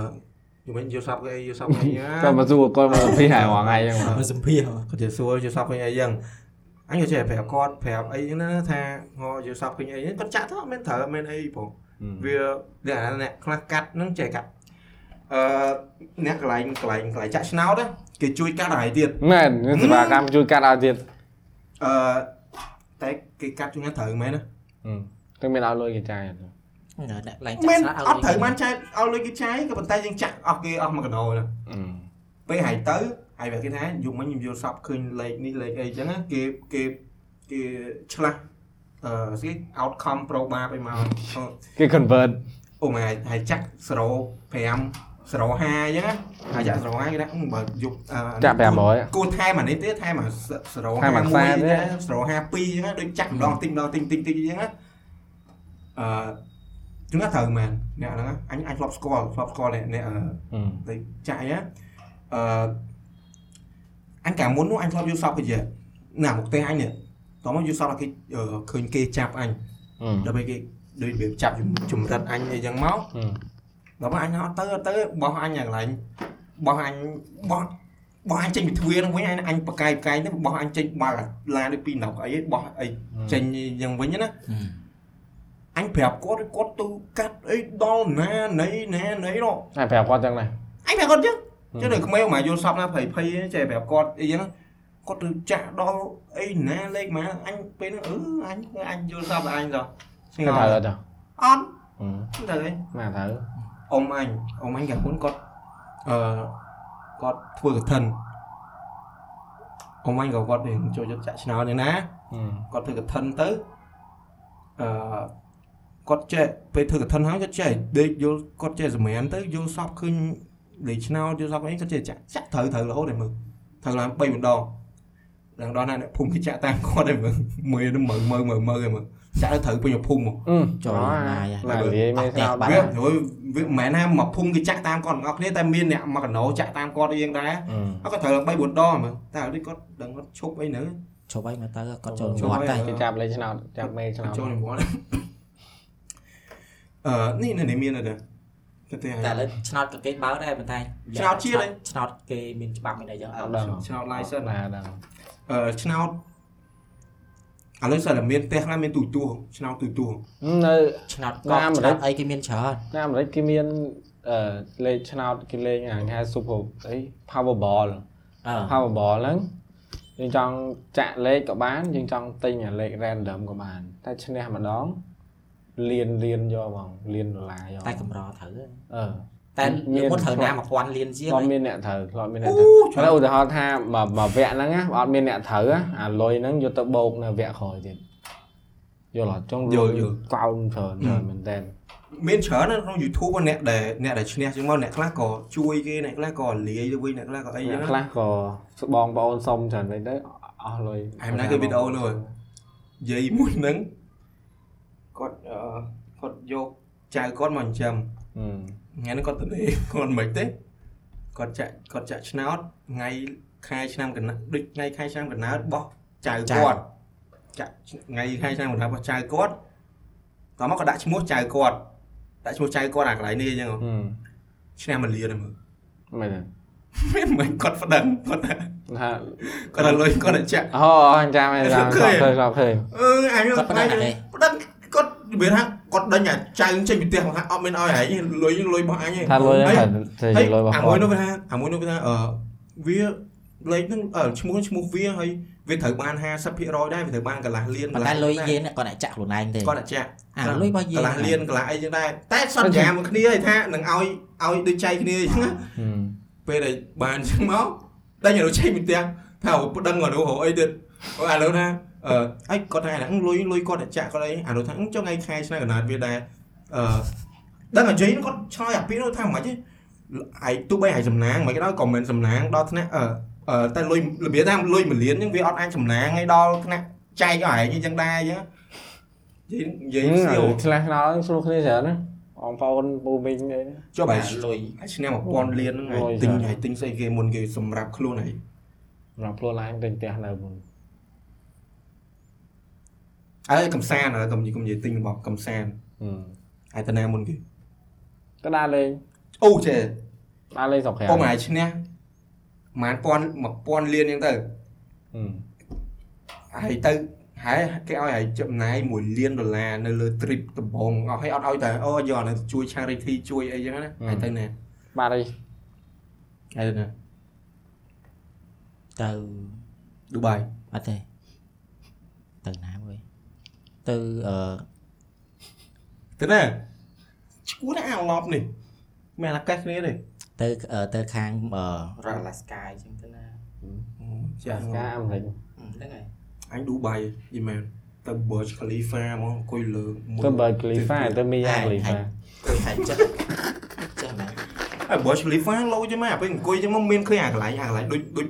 ល់មិនយល់សັບគេអីយល់សັບ គេអីណា
ក៏មកសួរគាត់មកពីហៅហងៃអញ្ចឹង
មើលសម្ភារ
គាត់ចេះសួរយល់សັບគេអីអញ្ចឹងអញក៏ចេះប្រាប់គាត់ប្រាប់អីហ្នឹងណាថាហ៎យល់សັບគេអីហ្នឹងគាត់ចាក់ទៅអត់មានត្រូវអត់មានអីផង វាអ្នកអាអ្នកខ្លះកាត់ហ្នឹងចេះកាត់អឺអ្នកកន្លែងកន្លែងកន្លែងចាក់ឆ្នោតណាគេជួយកាត់ឲ្យទៀត
មែនវាសេវាកម្មជួយកាត់ឲ្យទៀត
អឺតែគេកាត់ជួយណាត្រូវមែនណា
តែមានឲ្យលុយគេចាយអត់
អ្នកឡើង
មែន
ចាក់
អត់ត្រូវបានចាយឲ្យលុយគេចាយក៏ប៉ុន្តែយើងចាក់អស់គេអស់មួយកណ្ដោណាពេលហើយទៅហើយវាគេថាយំមិញខ្ញុំយល់សពឃើញលេខនេះលេខអីចឹងណាគេគេគេឆ្លាស់អឺស្គី outcome probable ឲ្យមកអូ
គេ convert
អូម៉ែហើយចាក់05 05អញ្ចឹងណាហើយចាក់05គេថាអឺបើយកអឺ
ចាក់500
គួរថែមអានេះទេថែមអាស្រោ
ថែមអាខ្សែ
51
ទេ
ទេស្រោ52ហ្នឹងណាដូចចាក់ម្ដងតិចម្ដងតិចតិចតិចអញ្ចឹងណាអឺជំនាន់ត្រូវមែនអ្នកហ្នឹងណាអញអញធ្លាប់ស្គាល់ធ្លាប់ស្គាល់អ្នកអ្នកអឺទៅចាក់អីណាអឺអញកាលមុននោះអញធ្លាប់យល់សពគេជាណាមកផ្ទះអញនេះតោះមកយល់សពគេអឺឃើញគេចាប់អញ
Ừ.
ដល់ពេលគេដូចរបៀបចាប់ជំរិតអញអីចឹងមក ដល់មកអញអត់ទៅអត់ទៅបោះអញអាកន្លែង បោះអញបោះបោះអញចេញពីទ្វារហ្នឹងវិញអញអញបកកាយបកកាយហ្នឹងបោះអញចេញបើកឡានដូចពីណុកអីបោះអីចេញយ៉ាងវិញណាអញប្រាប់គាត់គាត់ទៅកាត់អីដល់ណាណីណាណីនោះ
ហើយប្រាប់គាត់ចឹងដែរ
អញប្រាប់គាត់ចឹង
ម
ចឹងដល់ក្មេងមកយល់សពណាភ័យភ័យចេះប្រាប់គាត់អីហ្នឹងគាត់ទៅចាក់ដល់អីណាលេខម៉ាអញពេលហ្នឹងអឺអញអញយល់សពអញទៅស្ងល់
គេថើ
ហើយ
អត់ចុះ
អត់មិនទៅទេ
មកថើ
អ៊ំអញអ៊ំអញកាមុនគាត់អឺគាត់ធ្វើកឋិនអ៊ំអញក៏គាត់នឹងចូលចិត្តចាក់ឆ្នោតនេះណាគាត់ធ្វើកឋិនទៅអឺគាត់ចេះពេលធ្វើកឋិនហើយគាត់ចេះដេកយល់គាត់ចេះសម្រានទៅយល់សពឃើញលេខឆ្នោតយល់សពអីគាត់ចេះចាក់ចាក់ត្រូវត្រូវរហូតដល់មើលត្រូវឡើង3ម្ដងឡើងដល់ណាអ្នកភូមិគេចាក់តាមគាត់ហើយ មើលមើលទៅមើលមើលមើលមើលហើយមើលចាក់ទៅត្រូវពេញភូមិមក
អឺ
ចូល
អ
យ៉ាងណាយ៉ា
មកនិយាយមិនស្គាល់បាត់
វាហើយវាមិនមែនថាមកភូមិគេចាក់តាមគាត់ទាំងអស់គ្នាតែមានអ្នកមកកណោចាក់តាមគាត់យើងដែរ
អឺ
អត់ក៏ត្រូវឡើង3 4ដងមើលតែឲ្យដូចគាត់ដឹងគាត់ឈប់អីនៅ
ជប់ហើយមកទៅគាត់ចូល
ចូល
វត្ត
ហើយ
តែ
គេចាប់លេខឆ្នោតចាប់មេឆ្នោត
ចូលនិមន្តអឺនេះនៅនេះមានអត់ទេតែ
តែ
តែ
ឥឡូវឆ្នោតក៏គេបើកដែរប៉ុន្តែ
ឆ្នោតជាតិហើយ
ឆ្នោតគេមានច្បាប់មានអីចឹងអ
អ
ត់
ត់ដឹង
ឆ្នោត license
ណាដឹង
អឺឆ្នោតឥឡូវសិនតែមានផ្ទះខ្លះមានទូទួឆ្នោតទូទួ
នៅ
ឆ្នោត
ណា
ក៏
អាមេរិ
ឆ្នោ
ក
តអីគេមានច្រើន
នៅអាមេរិកគេមានអឺលេខឆ្នោតគេលេងហ្នឹងហៅ Super អី Powerball
អឺ
Powerball ហ្នឹងយើងចង់ចាក់លេខក៏បានយើងចង់ទិញអាលេខ random ក៏បាន តែឈ្នះម្ដងលានលានយកបងលានដុល្លារយក
តែកម្រត្រូវហើយ
អឺ
តែ
មាន
មុនត្រូវណា1000លានជាង
ធ្លា
ហើយ
ប់មានអ្នកត្រូវធ្លាប់មានអ្នក
អូ
ត្រូវឥ
ឆ្នោត
ឡូវឧទាហរណ៍ថាមួយមួយវគ្គហ្នឹងណាអត់មានអ្នកត្រូវណាអាលុយហ្នឹងយកទៅបោកនៅវគ្គក្រោយទៀតយល់អត់ចង់
យល់យល់
កោនច្រើនច្រើនមែនតើ
មានច្រើនណាស់ក្នុង YouTube ហ្នឹងអ្នកដែលអ្នកដែលឈ្នះជាងមកអ្នកខ្លះក៏ជួយគេអ្នកខ្លះក៏លាយទៅវិញអ្នកខ្លះក៏អីចឹ
អ្នក
ង
ខ្លះក៏ស្បងប្អូនសុំច្រើនពេកទៅអស់លុយ
ឯម្ដាយគេវីដេអូនោះហ៎ យាយមួយហ្នឹងគាត់អឺគាត់យកចៅគាត់មកចិញ្ចឹម
ហឹម
ថ្ងៃហ្នឹងគាត់ទៅលេង គាត់មិនទេគាត់ចាក់គាត់ចាក់ឆ្នោតថ្ងៃខែឆ្នាំកណ្ដាលដូចថ្ងៃខែឆ្នាំកណ្ដាលរបស់ចៅ
ចៅ
គាត់ចាក់ថ្ងៃខែឆ្នាំកណ្ដាលរបស់ចៅគាត់តោះមកគាត់ដាក់ឈ្មោះចៅគាត់ដាក់ឈ្មោះចៅគាត់អាកន្លែង នេះអញ្ចឹងហ៎
ហឹម
ឆ្នាំមួយលានហ្នឹងមើល
មែន
មិនមែនគាត់ប្តឹងគាត់ថា
ទេថា
គាត់ឲ្យលុ យគាត់ឲ្យចាក់
អូអញ្ចឹងមែនទេ
ធ្លា
ធ្លា
ប់
ប់
ឃើ
ឃើ
ញ
ញ
អឺអញ
ធ្លាប់ឃើញ
គាត់ប្តឹងអី
ប្តឹងគាត់និយាយថាគាត់ដេញអាចៅចេញពីផ្ទះគាត់ថាអត់មានឲ្យហែងលុយលុយរបស់អញឯង
ថាលុយ
ហើយ
ហ្នឹងតែ
ហើយ
លុយរបស់
អា
គា
មួយ
ត់
នោះវាថាអាមួយនោះវាថាអឺវាលេខហ្នឹងអឺឈ្មោះឈ្មោះវាហើយវាត្រូវបាន50%ដែរវាត្រូវបានកន្លះលានក
ប៉ុ
ន្លះ
ន្តែលុយយេនគាត់អាចចាក់ខ្លួនឯងទេ
គាត់អាចចាក់
អាលុយរបស់
ក
យេន
ន្លះលានកន្លះអីចឹងដែរតែសន្យាមួយគ្នាឯងថានឹងឲ្យឲ្យដូចចៃគ្នាអញ្ចឹងណា
ហឹម
ពេលដែលបានអញ្ចឹងមកដេញឲ្យនោះចេញពីផ្ទះថាអូប្តឹងឲ្យនោះហៅអីទៀតអូឥឡូវថា អឺអីគាត់ថាហ្នឹងលុយលុយគាត់តែចាក់គាត់អីអានោះថាអឺចុះថ្ងៃខែឆ្នាំកណ្ដាលវាដែរអឺដឹងអាយហ្នឹងគាត់ឆ្លើយអាពីនោះថាមិនហិចឯងទោះបីឯងសំណាងមិនក៏ដោយក៏មិនសំណាងដល់ថ្នាក់អឺអឺតែលុយរបៀបថាលុយមួយលានហ្នឹងវាអត់អាចសំណាងឯងដល់ថ្នាក់ចែកឲ្យឯងចឹងដែរចឹងនិយាយនិយាយស្គា
ហឹម
ល់
ឆ្លាស់ឆ្នោតហ្នឹងស្រួលគ្នាច្រើនណាបងប្អូនពូមីងអីហ្នឹង
ចុះបើឯង
លុយ
ឯងឆ្នាំ1000លានហ្នឹងឯងទិញឯងទិញស្អីគេមុនគេសម្រាប់ខ្លួនឯង
សម្រាប់ខ្លួនឯងពេញផ្ទះនៅមុន
អើកំសាន្តអើកំនិយាយកំនិយាយទិញរបស់កំសាន្ត
ហឹម
ឯតាណាមុនគេ
ក៏ដើរលេង
អូចេះ
ដើរលេងស្រុកក្រៅ
អ៊ំឯងឈ្នះប្រហែលពាន់1000លានអញ្ចឹងទៅ
ហឹម
ហើយទៅហើយគេឲ្យឯងចំណាយ1លានដុល្លារនៅលើ trip ដំបងអស់ហើយអត់ឲ្យតែអូយកអានេះជួយ charity ជួយអីចឹងណាឯងទៅណា
បាទ
ឯ
អី
ងទៅណា
ទៅ
ឌូបៃ
អត់ទេទៅណាមួយទៅអឺ
ទៅណាឈួរតែអាឡប់នេះមានអាកាសគ្នាទេ
ទៅអឺទៅខាងអឺរដ្ឋ Alaska អញ្ចឹងទៅណា
ចាស់
ការអាមេរិក
ហ្នឹងហើយ
អញឌូបៃយីមែនទៅ Burj Khalifa ហ្មងអង្គុយលើមុន
ទៅបើគ្លីហ្វាទៅមីយ៉ាគ្លីហ្វា
ទៅហើយចាស់ចាស់ណាស់
អើ Burj Khalifa លោចឹងមកអាពេលអង្គុយចឹងមកមានឃើញអាកន្លែងអាកន្លែងដូចដូច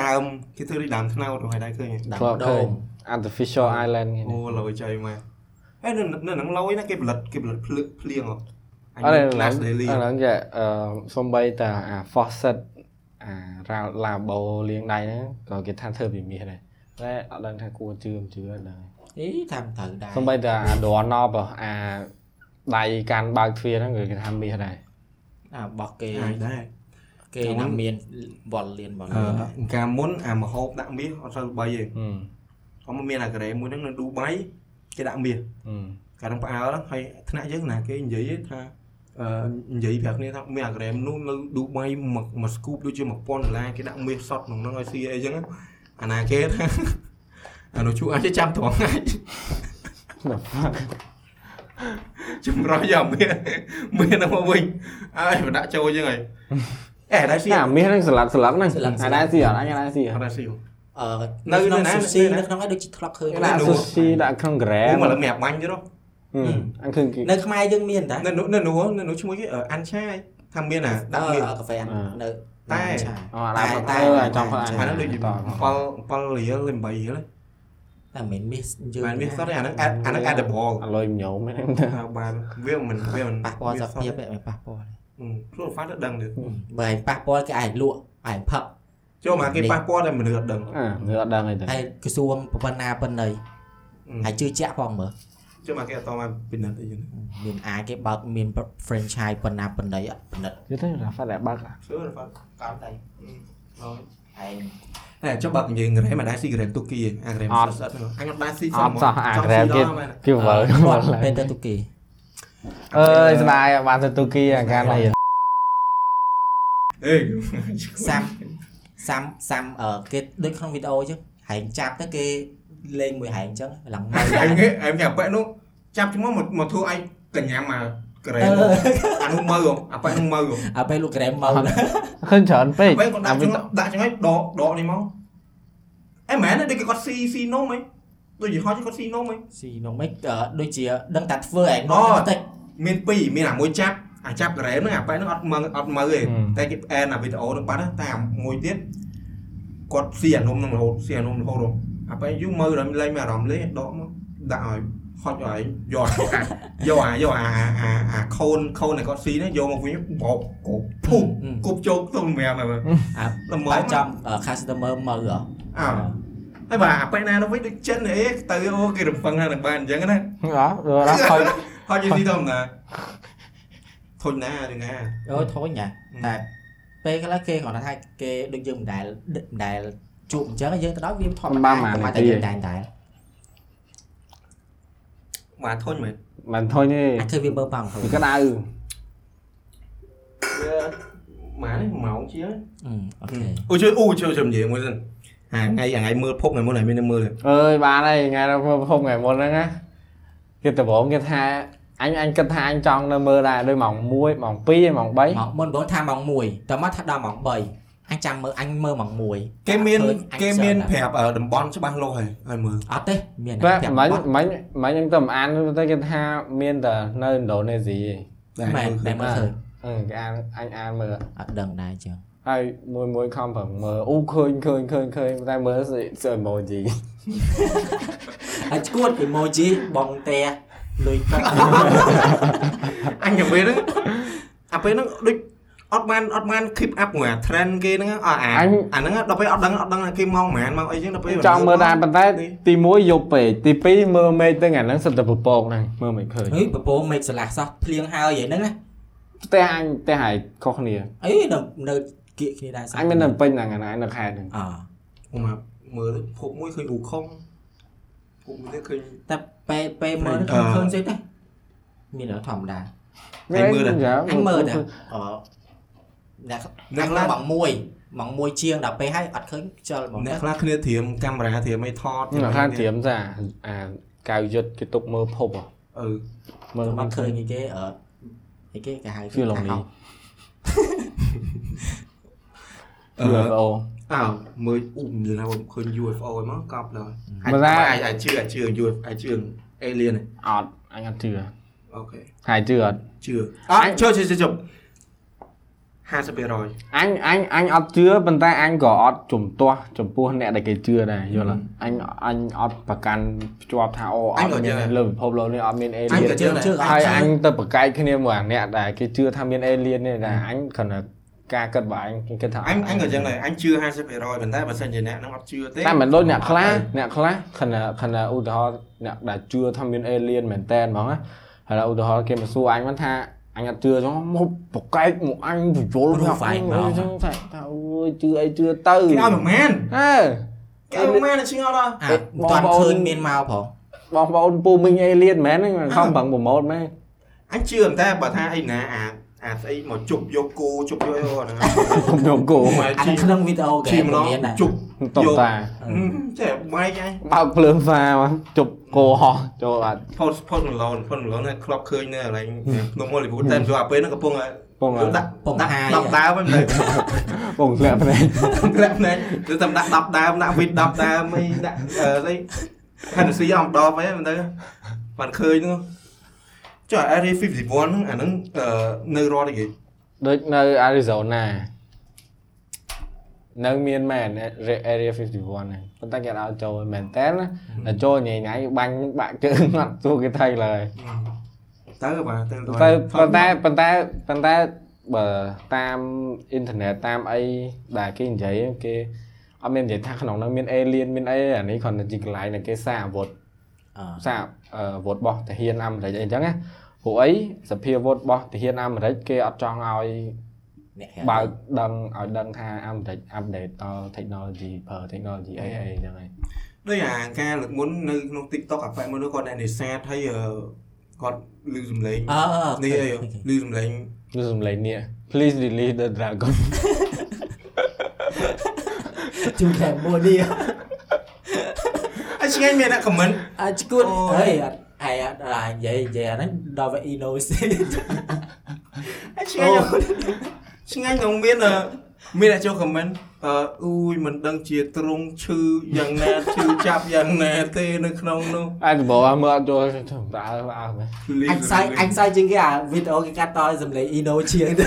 ដើមគេធ្វើដូចដើមថ្នោតហ្នឹងហើយដែរឃើញហ៎
ដាក់
ធ្លាប់
ដ
ឃើញ
ង
artificial island គេនេះ
អូលោចៃមកអេនៅនៅហ្នឹងលោយណាគេផលិតគេផលិតភ្លើងភ្លៀងហ៎អញ
អត់ទេឥឡូវឥ
Glass Daily
ឡូវយ៉ាអឺសំបីតាអា faucet អារ៉ាឡាបូលាងដៃហ្នឹងក៏គេថាធ្វើពីមាសដែរតែអត់ដឹងថាគួរជឿមិនជឿដែរ
អីតាមត្រូវដែរ
សំបីតាអា door knob អាដៃកាន់បើកទ្វារហ្នឹងក៏គេថាមាសដែរ
អារបស់គេ
អាយដែរ
គេនឹងមានវត្តលៀនវត្តលៀន
កាលមុនអាមហូបដាក់មាសអត់សូវល្បីទេ
អឺ
ខ្ញុំមានអាការ៉េមួយហ្នឹងនៅឌូបៃគេដាក់មាស
អឺ
កាលហ្នឹងផ្អើលហ្នឹងហើយថ្នាក់យើងណាគេនិយាយថាអឺនិយាយប្រាប់គ្នាថាមានអាការ៉េមនុស្សនៅឌូបៃមួយមួយស្គូបដូចជា1000ដុល្លារគេដាក់មាសសតក្នុងហ្នឹងឲ្យស៊ីអីចឹងអាណាគេថាអានោះជួអាចចាំត្រង់ថ្ងៃចម្រោះយកមានមានហ្នឹងមកវិញអើយបដាក់ចូលចឹងហើយអេដែរស៊ីអ
អាមាសហ្នឹងស្លាប់ស្លាប់ហ្នឹងអាចដែរស៊ីអត់អាចដែរស៊ីអត់
ត់ដែរស៊ី
អឺ
នៅ
នៅក្នុង
នៅណា
ស៊ូស៊ី
នៅណា
នៅក្នុងឯងដូចជាធ្លាប់ឃើញ
ណា
ដាក់ស៊ូស៊ីដាក់ក្នុងក្រែ
អូ
ម
មកលើមានអាបាញ់ទេហ៎
អញឃើញគេ
នៅខ្មែរយើងមានតា
នៅនោះនៅនោះនៅនោះឈ្មោះគេអឺអានឆាយថាមានអា
ដ
ដាក់មាន
ល់កាហ្វេអាន
អឺ
នៅ
តែ
នៅឆា
អូអាដាក់
តែ
តែ
តែ
ចង់ផើ
អាហ្នឹងដូចជា
ត
7 7រៀល8រៀល
តែមិនមានយើង
បានមានសតទេអាហ្នឹង add- អាហ្នឹង addable
អាលុយញោ មហ្នឹងទៅ
ថាបានវាមិនវាមិន
ប៉ះពាល់សុខភាពឯងប៉ះពាល់
អឺខ្លួនហ្វាត់ដឹងទេ
បើឯងប៉ះពាល់គេអាចលក់អាចផឹក
ចូលមកគេប៉ះពាល់តែមនុស្សអត់ដឹង
អើវាអត់ដឹងអីទេ
ហើយក្រសួងប៉ុណ្ណាប៉ុណ្ណី
Ừ,
អាចជឿជាក់ផងមើល
ចូលមកគេអត់តមកពិនិត្យអីចឹង
មានអាចគេបើកមាន franchise ប៉ុណ្ណាប៉ុណ្ណីអត់ប៉ុណ្ណិត
យល់ទេរ៉ាហ្វាត់ដែលបើក
ចូលហ្វាត់
តាមតែឯង
តែចុះបើនិយាយក្រែមមកដែរស៊ីក្រែមទុកគីអាក្រែមស្អិតហ្នឹងអញអត់ដែរស៊ី
អត់សោះអាក្រែមគេគេ
វ
វើ
ល់ ពេលទៅទូគី
អើយស្ដាយបានទៅទូគីអាការនេះ
អេ
សាំសាំសាំអឺគេដូចក្នុងវីដេអូអញ្ចឹងហែងចាប់ទៅគេលេងមួយហែងអញ្ចឹងឡើងមក
អញអញញ៉ាំប៉ែនោះចាប់ឈ្មោះមកមកធ្វើឲ្យកញ្ញាមកក្រែម
Ờ.
អានោះមើអាប៉ែនោះមើ
អាពេលលោកក្រែមមក
ឃើញច្រើនពេក
ពេលគាត់ដាក់ចឹងដាក់ចឹងហើយដកដកនេះមកអេមែនទេដូចគេគាត់ស៊ីស៊ីនំហីដូចយីហោគាត់ស៊ីនំហី
ស៊ីនោះមិនអឺដូចជាដឹងតែធ្វើឯងនោះតិច
មានពីរមានអាមួយចាប់អាចាប់ក្រែមហ្នឹងអាប៉ែហ្នឹងអត់មើលអត់មើលទេតែគេអែនអាវីដេអូហ្នឹងបាត់ហើយតែអាមួយទៀតគាត់ស៊ីអានំហ្នឹងរហូតស៊ីអានំរហូតហ៎អាប៉ែយូរមើលដល់លែងមានអារម្មណ៍លេងដកមកដាក់ឲ្យហត់ឲ្យយកអាយកអាយកអាអាអាខូនខូនដែលគាត់ស៊ីហ្នឹងយកមកវិញបោកគប់ភុំគប់ជោគទៅម្រាមហើយ
អា
ល្មម
បើចាំ customer មកហ៎
អោ ហើយបាទអាប៉ែណានោះវិញដូចចិនអីទៅអូគេរំពឹងថានឹងបានអញ្ចឹងណា
អត់រ៉ាខ້
ហ
ອຍ
ត់យីទីធម្មតាធុញណាយ៉ាងណា
អូធុញណា
ម
តែពេលខ្លះគេគ្រាន់តែថាគេដូចយើងមិនដែលមិនដែលជួបអញ្ចឹងយើងទៅដល់វាធម្មតាប៉ុន្តែយើងតែងតែ
បាទធុញមែន
មិនធុញទេ
អាចឃើញវាមើលប៉ងហូ
វាក្តៅ
វាម៉ានេះម៉ោងជាង
អូខេ
អូជួយអូជួយជួយនិយាយមួយសិនអាថ្ងៃអាថ្ងៃមើលភពថ្ងៃមុនថ្ងៃមានមើលទេ
អើយបានហើយថ្ងៃដល់មើលភពថ្ងៃមុនហ្នឹងណាគេដំបងគេថាអញអញគិតថាអញចង់នៅមើលដែរដូចម៉ោង1ម៉ោង2ហើយម៉ោង3
ម៉ោងមុនបងថាម៉ោង1តមកថាដល់ម៉ោង3អញចាំមើលអញមើលម៉ោង1
គេមាន
ឃើញអញ
គេមាន
សិន
ប្រាប់អឺតំបន់ច្បាស់លាស់ហើយហើយមើល
អត់ទេមាន
តែ
ប្រាប់
មិញ
អត់
មិញមិញខ្ញុំទៅមិនអានទៅគេថាមានតែនៅឥណ្ឌូនេស៊ី
មែនតែមើលឃើ
ឯ
ញ
ងអឺគេអានអញអានមើល
អត់ដឹងដែរអញ្ចឹង
ហើយមួយមួយខំប្រឹងមើលអូឃើញឃើញឃើញឃើញតែមើលសស emoji
ហើយឈួតពី emoji បងតែលុយទឹក
អញចាំពេលហ្នឹងអាពេលហ្នឹងដូចអត់បានអត់បាន keep up មួយអា trend គេហ្នឹងអអា
អញ
អាហ្នឹងដល់ពេលអត់ដឹងអត់ដឹងថាគេមកហ្មងមកអីចឹងដល់ពេល
ចង់មើលដែរប៉ុន្តែទី1យប់ពេកទី2មើលមេឃទៅថ្ងៃហ្នឹងសិតតែពពកហ្នឹងមើលមិនឃើញ
ហេប្រពងមេឃស្រឡះសោះភ្លៀងហើយហ្នឹងណា
ផ្ទះអញផ្ទះហើយខុសគ្នា
អីនៅនៅគៀកគ្នាដែរសោះ
អញមាននៅពេញហ្នឹងណាអញនៅខេត្តហ្នឹង
ខ
អ
្ញុំមកមើលភពមួយឃើញអ៊ូខុងភពមួយទៀតឃើញ
តែពេលពេលមើល
អឺ
ខ្ញុំឃើញស្អីទេមានរឿងធម្មតា
អញមើលដែរ
ចា
អញមើលតែអឺអ្នក
អ្នក
អ្នក
ខ្លះ
ឡើងម៉ោង1ម៉ោង1ជាងដល់ពេលហើយអត់ឃើញខ្យល់មក
អ្នកខ្លះគ្នាត្រៀមកាមេរ៉ាត្រៀមអីថត
នៅខេត្តត្រៀមសាអាកៅយុទ្ធគេទុកមើលភពហ៎
អឺ
មើល
ខ្ញុំអ
មិន
ត់
ឃើ
ឃើញ
ញ
អីគេអឺអីគេគេហៅ
Feel lonely
អឺ
UFO
អើមើលអ៊ុំនិយាយថាឃើញ UFO ហ្នឹងមកកប់ឡើយ
បើថា
អាចអាចជឿអាចជឿ UFO អាចជឿ alien ហ្នឹង
អត់អញអត់ជឿ
អូខេ
ហើយជឿអត់
ជឿអត់ជឿជឿជឿ50%
អញអញអញអត់ជឿប៉ុន្តែអញក៏អត់ជំទាស់ចំពោះអ្នកដែលគេជឿដែរយល់ទេអញអញអត់ប្រកាន់ភ្ជាប់ថាអូអត់មានលើពិភពលោកនេះអត់មានអេលៀន
ជឿជឿ
ហើយអ
អ
ញ
ញ
ទៅប្រកែកគ្នាមួយអាអ្នកដែលគេជឿថាមានអេលៀននេះដែរអញគ្រាន់តែការគិតរបស់អញគេគិតថា
អញអញក៏ចឹងដែរអញជឿ50%ប៉ុន្តែបើសិនជាអ្នកហ្នឹងអត់ជឿទេ
តែមិនដូចអ្នកខ្លះអ្នកខ្លះគ្រាន់តែគ្រាន់តែឧទាហរណ៍អ្នកដែលជឿថាមានអេលៀនមែនតែនហ្មងណាហើយឧទាហរណ៍គេមកសួរអញមិនថា អញអត់ជឿចឹងមកបកែកមកអញពយល់ថា
ព្រោះហ្វែងមក
អញចឹងថាថាអើយជឿអីជឿទៅ
គេឲ្យមិនមែន
ហេ
គេឲ្យមិនមែនតែឆ្ងល់ដល់
អា
អេ
មិនតា
បង
ន់
ប្អូន
ឃើញមាន
បងប្អូ
មកផង
នពូមីងអេលៀនមែនហ្នឹងខំប្រឹងប្រម៉ូទមែន
អញជឿតែបើថាអីណាអាអាស្អីមកជប់យកគោជប់យកអីហ្នឹង
ខ្ញុំយកគោ
អូម៉ែ
អា
ជី
នេះក្នុងវីដេអូគេ
ជីម្ដង
មានដែរ
ជប់
តុបតា
Ừ.
ចេះម៉េចអញ
បើកភ្លើងហ្វាមកជប់គោហោះចូលអត់
ផុតផុតមឡូនផុតមឡូនហ្នឹងធ្លាប់ឃើញនៅកន្លែងភ្នំហូលីវូដតែមិនចូលអាពេលហ្នឹងកំពុងតែ
ពង
ដាក់
ពងហាយ
ដាក់10ដើមហ្នឹង
ពងធ្លាក់ភ្នែក
ក្រាក់ហ្នឹងគឺតែដាក់10ដើមដាក់វិត10ដើមអីដាក់អឺស្អីហានស៊ីអំដបអីមិនទៅបានឃើញហ្នឹងចុះ Area 51ហ្នឹងអាហ្នឹងអឺនៅរដ្ឋអីគេ
ដូចនៅ Arizona នៅមានមែន Area 51ហ្នឹងប៉ុន្តែគេអត់ឲ្យចូលមែនតើណាតែចូលញ៉ៃញ៉ៃបាញ់បាក់ជើងអត់ទូគេថៃឡើយ
ទៅបាទទៅទៅ
តែប៉ុន្តែប៉ុន្តែប៉ុន្តែបើតាមអ៊ីនធឺណិតតាមអីដែលគេនិយាយគេអត់មាននិយាយថាក្នុងហ្នឹងមានអេលៀនមានអីអានេះគ្រាន់តែជាកន្លែងដែលគេសាកអាវុធ
អឺ
សាកអឺអាវុធរបស់ទាហានអាមេរិកអីអញ្ចឹងណាព្រោះអីសភាវុធរបស់ទាហានអាមេរិកគេអត់ចង់ឲ្យ
អ្នក
បើកដឹងឲ្យដឹងថាអាមេរិកអាប់ដេតដល់ technology ប្រើ technology អីអីអញ្ចឹងហើយ
ដូចអាការលើកមុននៅក្នុង TikTok អាប៉ែមួយនោះគាត់អ្នកនេសាទហើយអឺគាត់លឺសំឡេង
អឺអឺ
នេះអី ឮសំឡេង
គឺសំឡេងនេះ please release the dragon
ជូខែមួយនេះ
អីឆ្ងាញ់មានអ្នកខមមិន
អាចគួត
អូយ
អេអត់អាយអត់អាយនិយាយនិយាយអាហ្នឹងដល់វា innocent
អីឆ្ងាញ់ឆ្ងាញ់ក្នុងមានអឺមានអ្នកចូលខមមិនអឺអ៊ូយមិនដឹងជាទ្រង់ឈឺយ៉ាងណាឈឺចាប់យ៉ាងណាទេនៅក្នុងនោះ
អាចប្រហែលមើលអត់ចូលតើអើមែន
អញសាយអញសាយជាងគេអាវីដេអូគេកាត់តឲ្យសំឡេង ino ជា ងទៅ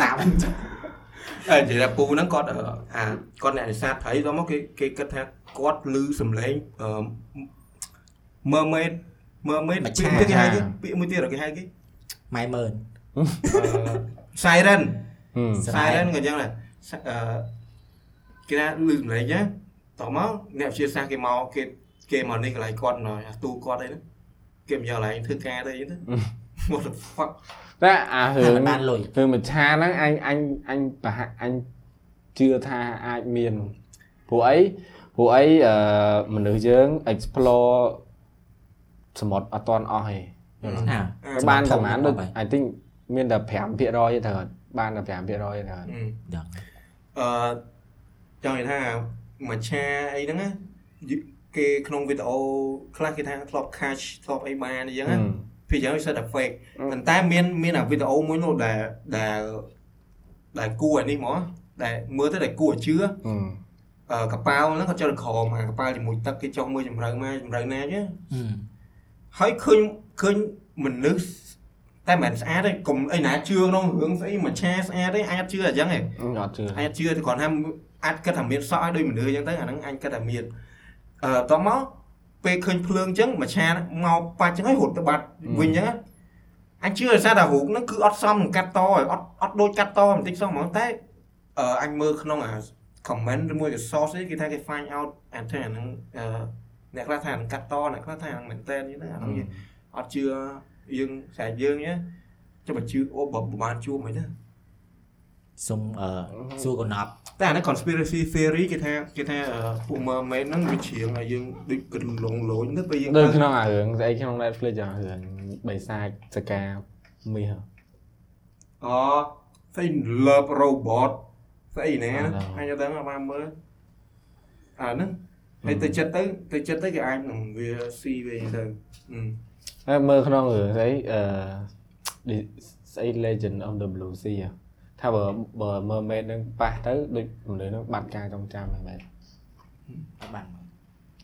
សាម
អើនិយាយថាពូហ្នឹងគាត់អឺអាគាត់អ្នកនេសាទថៃដល់មកគេគេគិតថាគាត់លឺសំឡេងអឺ mermaid mermaid
មច្ឆា
ពាក្យមួយគេហៅគេពាក្យមួយទៀតគេហៅគេ
ម៉ៃមើល
អឺ siren
ហឹម
siren
Siren.
ក៏អញ្ចឹងដែរសអឺគេថាលឺសម្លេងណាតោះមកអ្នកវិទ្យាសាស្ត្រគេមកគេគេមកនេះកន្លែងគាត់មកទូគាត់អីហ្នឹងគេមកយកកន្លែងធ្វើការទៅអីហ្នឹងទៅ what the fuck
តែអារឿង
តែបានលុយ
រឿងមច្ឆាហ្នឹងអញអញអញប្រហែលអញជឿថាអាចមានព្រោះអីព្រោះអីអឺមនុស្សយើង explore សមុទ្រអត់តាន់អស់ទេ
អា
បានប្រហែលដូច I think មានតែ5%ទេត្រូវបានតែ5%ទេត្រូវ
អឺ
ដល់
ចង់និយាយថាមច្ឆាអីហ្នឹងណាយឺគេក្នុងវីដេអូខ្លះគេថាធ្លាប់ catch ធ្លាប់អីបានអីចឹងណា ពីយ៉ាងវាសិតតែ fake ប៉ុន្តែមានមានអាវីដេអូមួយនោះដែលដែលដែលគួរអានេះហ្មងដែលមើលទៅដែលគួរឲ្យជឿ
ហឹម
អឺកប៉ាល់ហ្នឹងគាត់ចុះក្រោមអាកប៉ាល់ជាមួយទឹកគេចុះមើលជំរៅមកជំរៅណាចឹងហើយឃើញឃើញមនុស្សតែមិនស្អាតទេកុំអីណាជឿក្នុងរឿងស្អីមច្ឆាស្អាតទេអាចជឿអញ្ចឹងឯង
អត់ជឿ
អាចជឿតែគ្រាន់ថាអាចគិតថាមានសក់ឲ្យដូចមនុស្សអញ្ចឹងទៅអាហ្នឹងអញគិតថាមានអឺតោះមកពេលឃើញភ្លើងអញ្ចឹងមច្ឆាហ្នឹងមកបាច់អញ្ចឹងហើយរត់ទៅបាត់វិញអញ្ចឹងណា អញជឿដោយសារតែរូបហ្នឹងគឺអត់សមនឹងកាត់តហើយអត់អត់ដូចកាត់តបន្តិចសោះហ្មងតែអឺអញមើលក្នុងអា comment ឬមួយក៏ source អីគេថាគេ find out អាថាអាហ្នឹងអឺអ្នកខ្លះថាអាហ្នឹងកាត់តអ្នកខ្លះថាអាហ្នឹងមែនតើហ្នឹងអាហ្នឹងយើងអត់ជឿយើងស្រែកយើងណាចុះបើជឿអូបើប្រហែលជួបមិនណា
សុំអឺសួរកណប់
តែអាហ្នឹង conspiracy theory គេថាគេថាអឺពួក mermaid ហ្នឹងវាជ្រៀងឲ្យយើងដូចកន្លងលយទៅពេលយើង
ដូចក្នុងអារឿងស្អីក្នុង Netflix អារឿងបិសាចសកាមាស
អូស្អី love robot ស្អីណា
អ่า
អញអត់ដឹងអត់បានមើលអាហ្នឹងហើយទៅចិត្តទៅទៅចិត្តទៅគេអាចនឹងវាស៊ីវាអីទៅហឹម
ហើយមើលក្នុងរឿងស្អីអឺស្អី Legend of the Blue Sea ហ៎ថាបើបើមើលមេនឹងប៉ះទៅដូចមនុស្សនឹងបាត់ការចងចាំហ្នឹងមែន
អត់បាន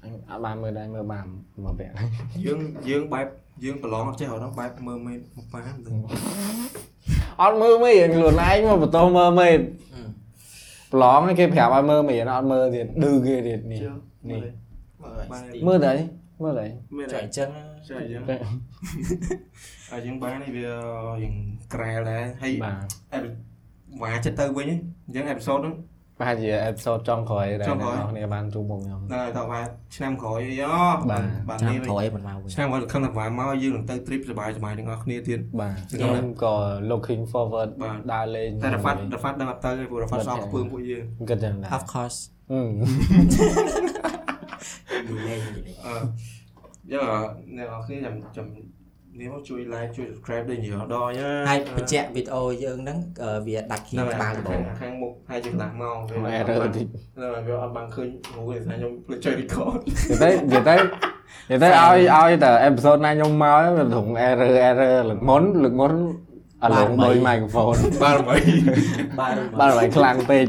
អញអត់បានមើលដែរមើលបានមួយ វគ្គហ្នឹង
យើងយើងបែបយើងប្រឡងអត់ចេះអត់ហ្នឹងបែបមើលមេមកប៉ាហ្នឹងទៅ
អត់មើលមេរឿងខ្លួនឯងមកបន្តមើលមេប្រឡងឯងគេប្រាប់ឲ្យមើលមេអត់មើលទៀតឌឺគេទៀតនេះ
ជឿ
នេះ
មើល
មើល
បាន
មើលដែរមើលដែរ
មើល
ចុះអញ្ចឹង
ចុះអញ្ចឹងហើយយើងបាននេះវាយើងក្រែលដែរហើយ
បាទ
អេវ៉ាចិត្តទៅវិញអញ្ចឹងអេពីសូតហ្នឹង
ប្រហែលជាអេផ isode ចុងក្រោយដែល
ចុ
អ្នក
ងក្រោ
ន
យ
រគ្នាបានជួបមុខខ្ញុំ
ដល់ហើយតោះថាឆ្នាំក្រោយអីយោ
បាទ
បាទ
ឆ្នាំ
នេះ
ក្រោយមិនមកវិញ
ឆ្នាំក្រោយខំតែវ៉ាមកយើងនឹងទៅ trip សប្បាយសប្បាយទាំងអស់គ្នាទៀត
បាទ
ខ្ញុំ
ខ្ញុំក៏ looking forward
បាទ
ដើរលេង
តែរ៉ាហ្វាត់រ៉ាហ្វាត់ដល់អត់ទៅទេព្រោះរ៉ាហ្វាត់សោកខ្ពើមពួកយើង
គិតយ៉ាងណា
of course
អឺ
យូរលេងយូរលេង
អឺយកអ្នកនរគ្នាចាំចាំនេះមកជួយ like ជួយ subscribe ដូចនិយាយដល់ណា
ហើយបញ្ជាក់វីដេអូយើងហ្នឹងអឺវាដាច់គ្នា
នៅ
ក្បាល
ខាង
ដងបង
ខាងមុខហើយជាកន្លះម៉ោងវា
អេរ៉ឺតិច
នៅវាអត់បានឃើញព្រោះវាថាខ្ញុំភ្លេចចុច record
និយាយទៅនិយាយទៅនិយាយទៅឲ្យឲ្យតែ episode ណាខ្ញុំមកវាធំ error error លើកមុនលើកមុនអាឡងដោយ microphone
បាទបី
បាទ
បាទឲ្យខ្លាំងពេក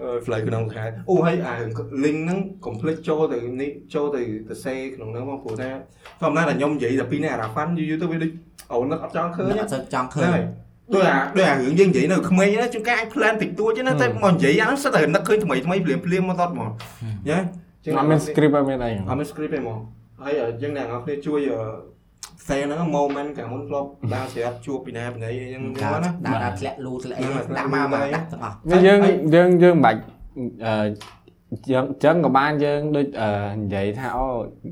អឺ fly ក្នុងខែអូហើយអា link ហ្នឹង complete ចូលទៅនេះចូលទៅទៅសេក្នុងហ្នឹងមកព្រោះថាធម្មតាតែខ្ញុំនិយាយតែពីនេះអារ៉ាហ្វាន់យូរៗទៅវាដូចអូននឹកអត់ចង់ឃើញទេ
ខ្ញុំអត់សូវចង់ឃើ
ឃើ
ញ
ញដូចអាដូចអារឿងយើងនិយាយនៅក្មេងណាជួនកាលអាច plan តិចតួចណាតែ
ហឹម
មកនិយាយអាហ្នឹងសិតតែនឹកឃើញថ្មីថ្មីភ្លាមភ្លាមមកតតមកយេ
អត់មាន script អត់មានអីហ៎
អត់មាន script ទេហ្មងហើយអឺយើងអ្នកនរគ្នាជួយផ្សេងហ្នឹង moment កាលមុនធ្លាប់ដើរស្រាប់ជួបពីណាពីណីអីហ្នឹង
កា
ហ្នឹងណា
លដាក់ធ្លាក់លូធ្លាក់អី
បាទ
ដាក់មកមក
ធ្លាក់លូ
ដាក់ទាំងអស់
វាយើងយើងយើងមិនបាច់អឺយើងចឹងក៏បានយើងដូចអឺនិយាយថាអូ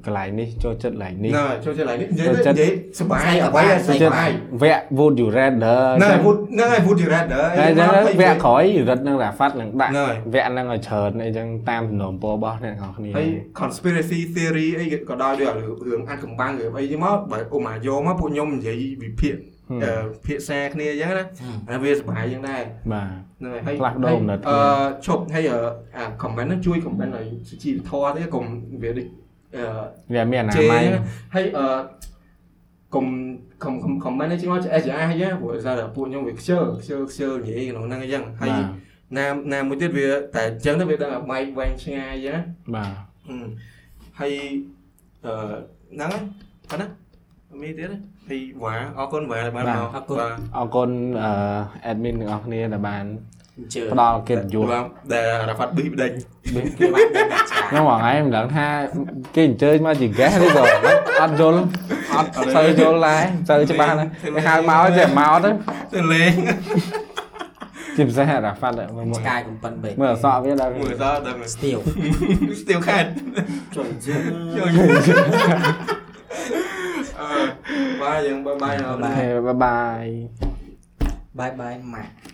កន្លែងនេះចូលចិត្តកន្លែងនេះ
ណ៎ចូលចិត្តឡើងនេះនិយាយទៅ
ចូលចិត្ត
និយាយសុបាយអ្វីឲ្យសុ
ចូលចិត្ត
បាយ
វគ្គ would you rather
ណ៎
ចឹង
វុឌហ្នឹងហើយវុឌ director
តែអញ្ចឹងវគ្គ
ខ
ក្រោយរត់នឹងរ៉ាហ្វាត់នឹងដាក់
ហ្នឹងហើយ
វគ្គហ្នឹងឲ្យច្រើនអីចឹងតាមសំណូមពររបស់អ្នកនរគ្នា
ហើយ conspiracy theory អីក៏ដោយដូចរឿងអាចកំបាំងឬអីហ្នឹងមកបើអូម៉ាយោមកពួកខ្ញុំនិយាយវិភាគ
Ừ.
អឺភាសាគ្នាអញ្ចឹងណាហើយវាសុបាយយ៉ាងដែរ
បាទ
ហ្នឹងហើយ
ផ្លាស់ប្ដូរអំណិតគ្នា
អឺឈប់ហើយអឺអា à, comment ហ្នឹងជួយ comment ឲ្យសុជីវធម៌ទេកុំវាដូចអឺ
វាមានអនា
ជេរ
ម័យ
អញ្ចឹងហើយអឺកុំកុំកុំ comment ហ្នឹងជិះមក SR អញ្ចឹងព្រោះដោយសារតែពួកខ្ញុំវាខ្ជិលខ្ជិលខ្ជិលនិយាយក្នុងហ្នឹងអញ្ចឹងហើយ
បាទ
ណាណាមួយទៀតវាតែអញ្ចឹងទៅវាដល់ម៉ៃវែងឆ្ងាយអញ្ចឹងណា
បាទ
ហឹមហើយអឺហ្នឹងហើយប៉ណ្ណាមានទៀតទេហើយវ៉ាអរគុណវ៉ាដែលបានមកបាទ
អរគុណអឺ admin ទាំងអស់គ្នាដែលបាន
អញ្ជើញ
ផ្ដល់កិត្តិយស
បាទដែលរ៉ាហ្វាត់ប៊ីបដេញ
គេបានដាក់ឆា
ខ្ញុំហងៃមិនដឹងថាគេអញ្ជើញមកជា guest ឬក៏អត់យល់អត់ស្ូវយល់ដែរស្ូវច្បាស់ណាស់គេហៅមកចេះមកទៅ
ទៅលេង
ជាពិសេសរ៉ាហ្វាត់ដែរមើលមើល
ឆ្កាយកំប៉ុនបេក
មើលអសក់វា ដល់
មើលដល់ដល់
ស្ទៀវ
ស្ទៀវខេត
ចុះ ជើង
ជួយអឺបាយយើងបាយបាយអរគុណ
អូខេបាយបាយ
បាយបាយម៉ាក់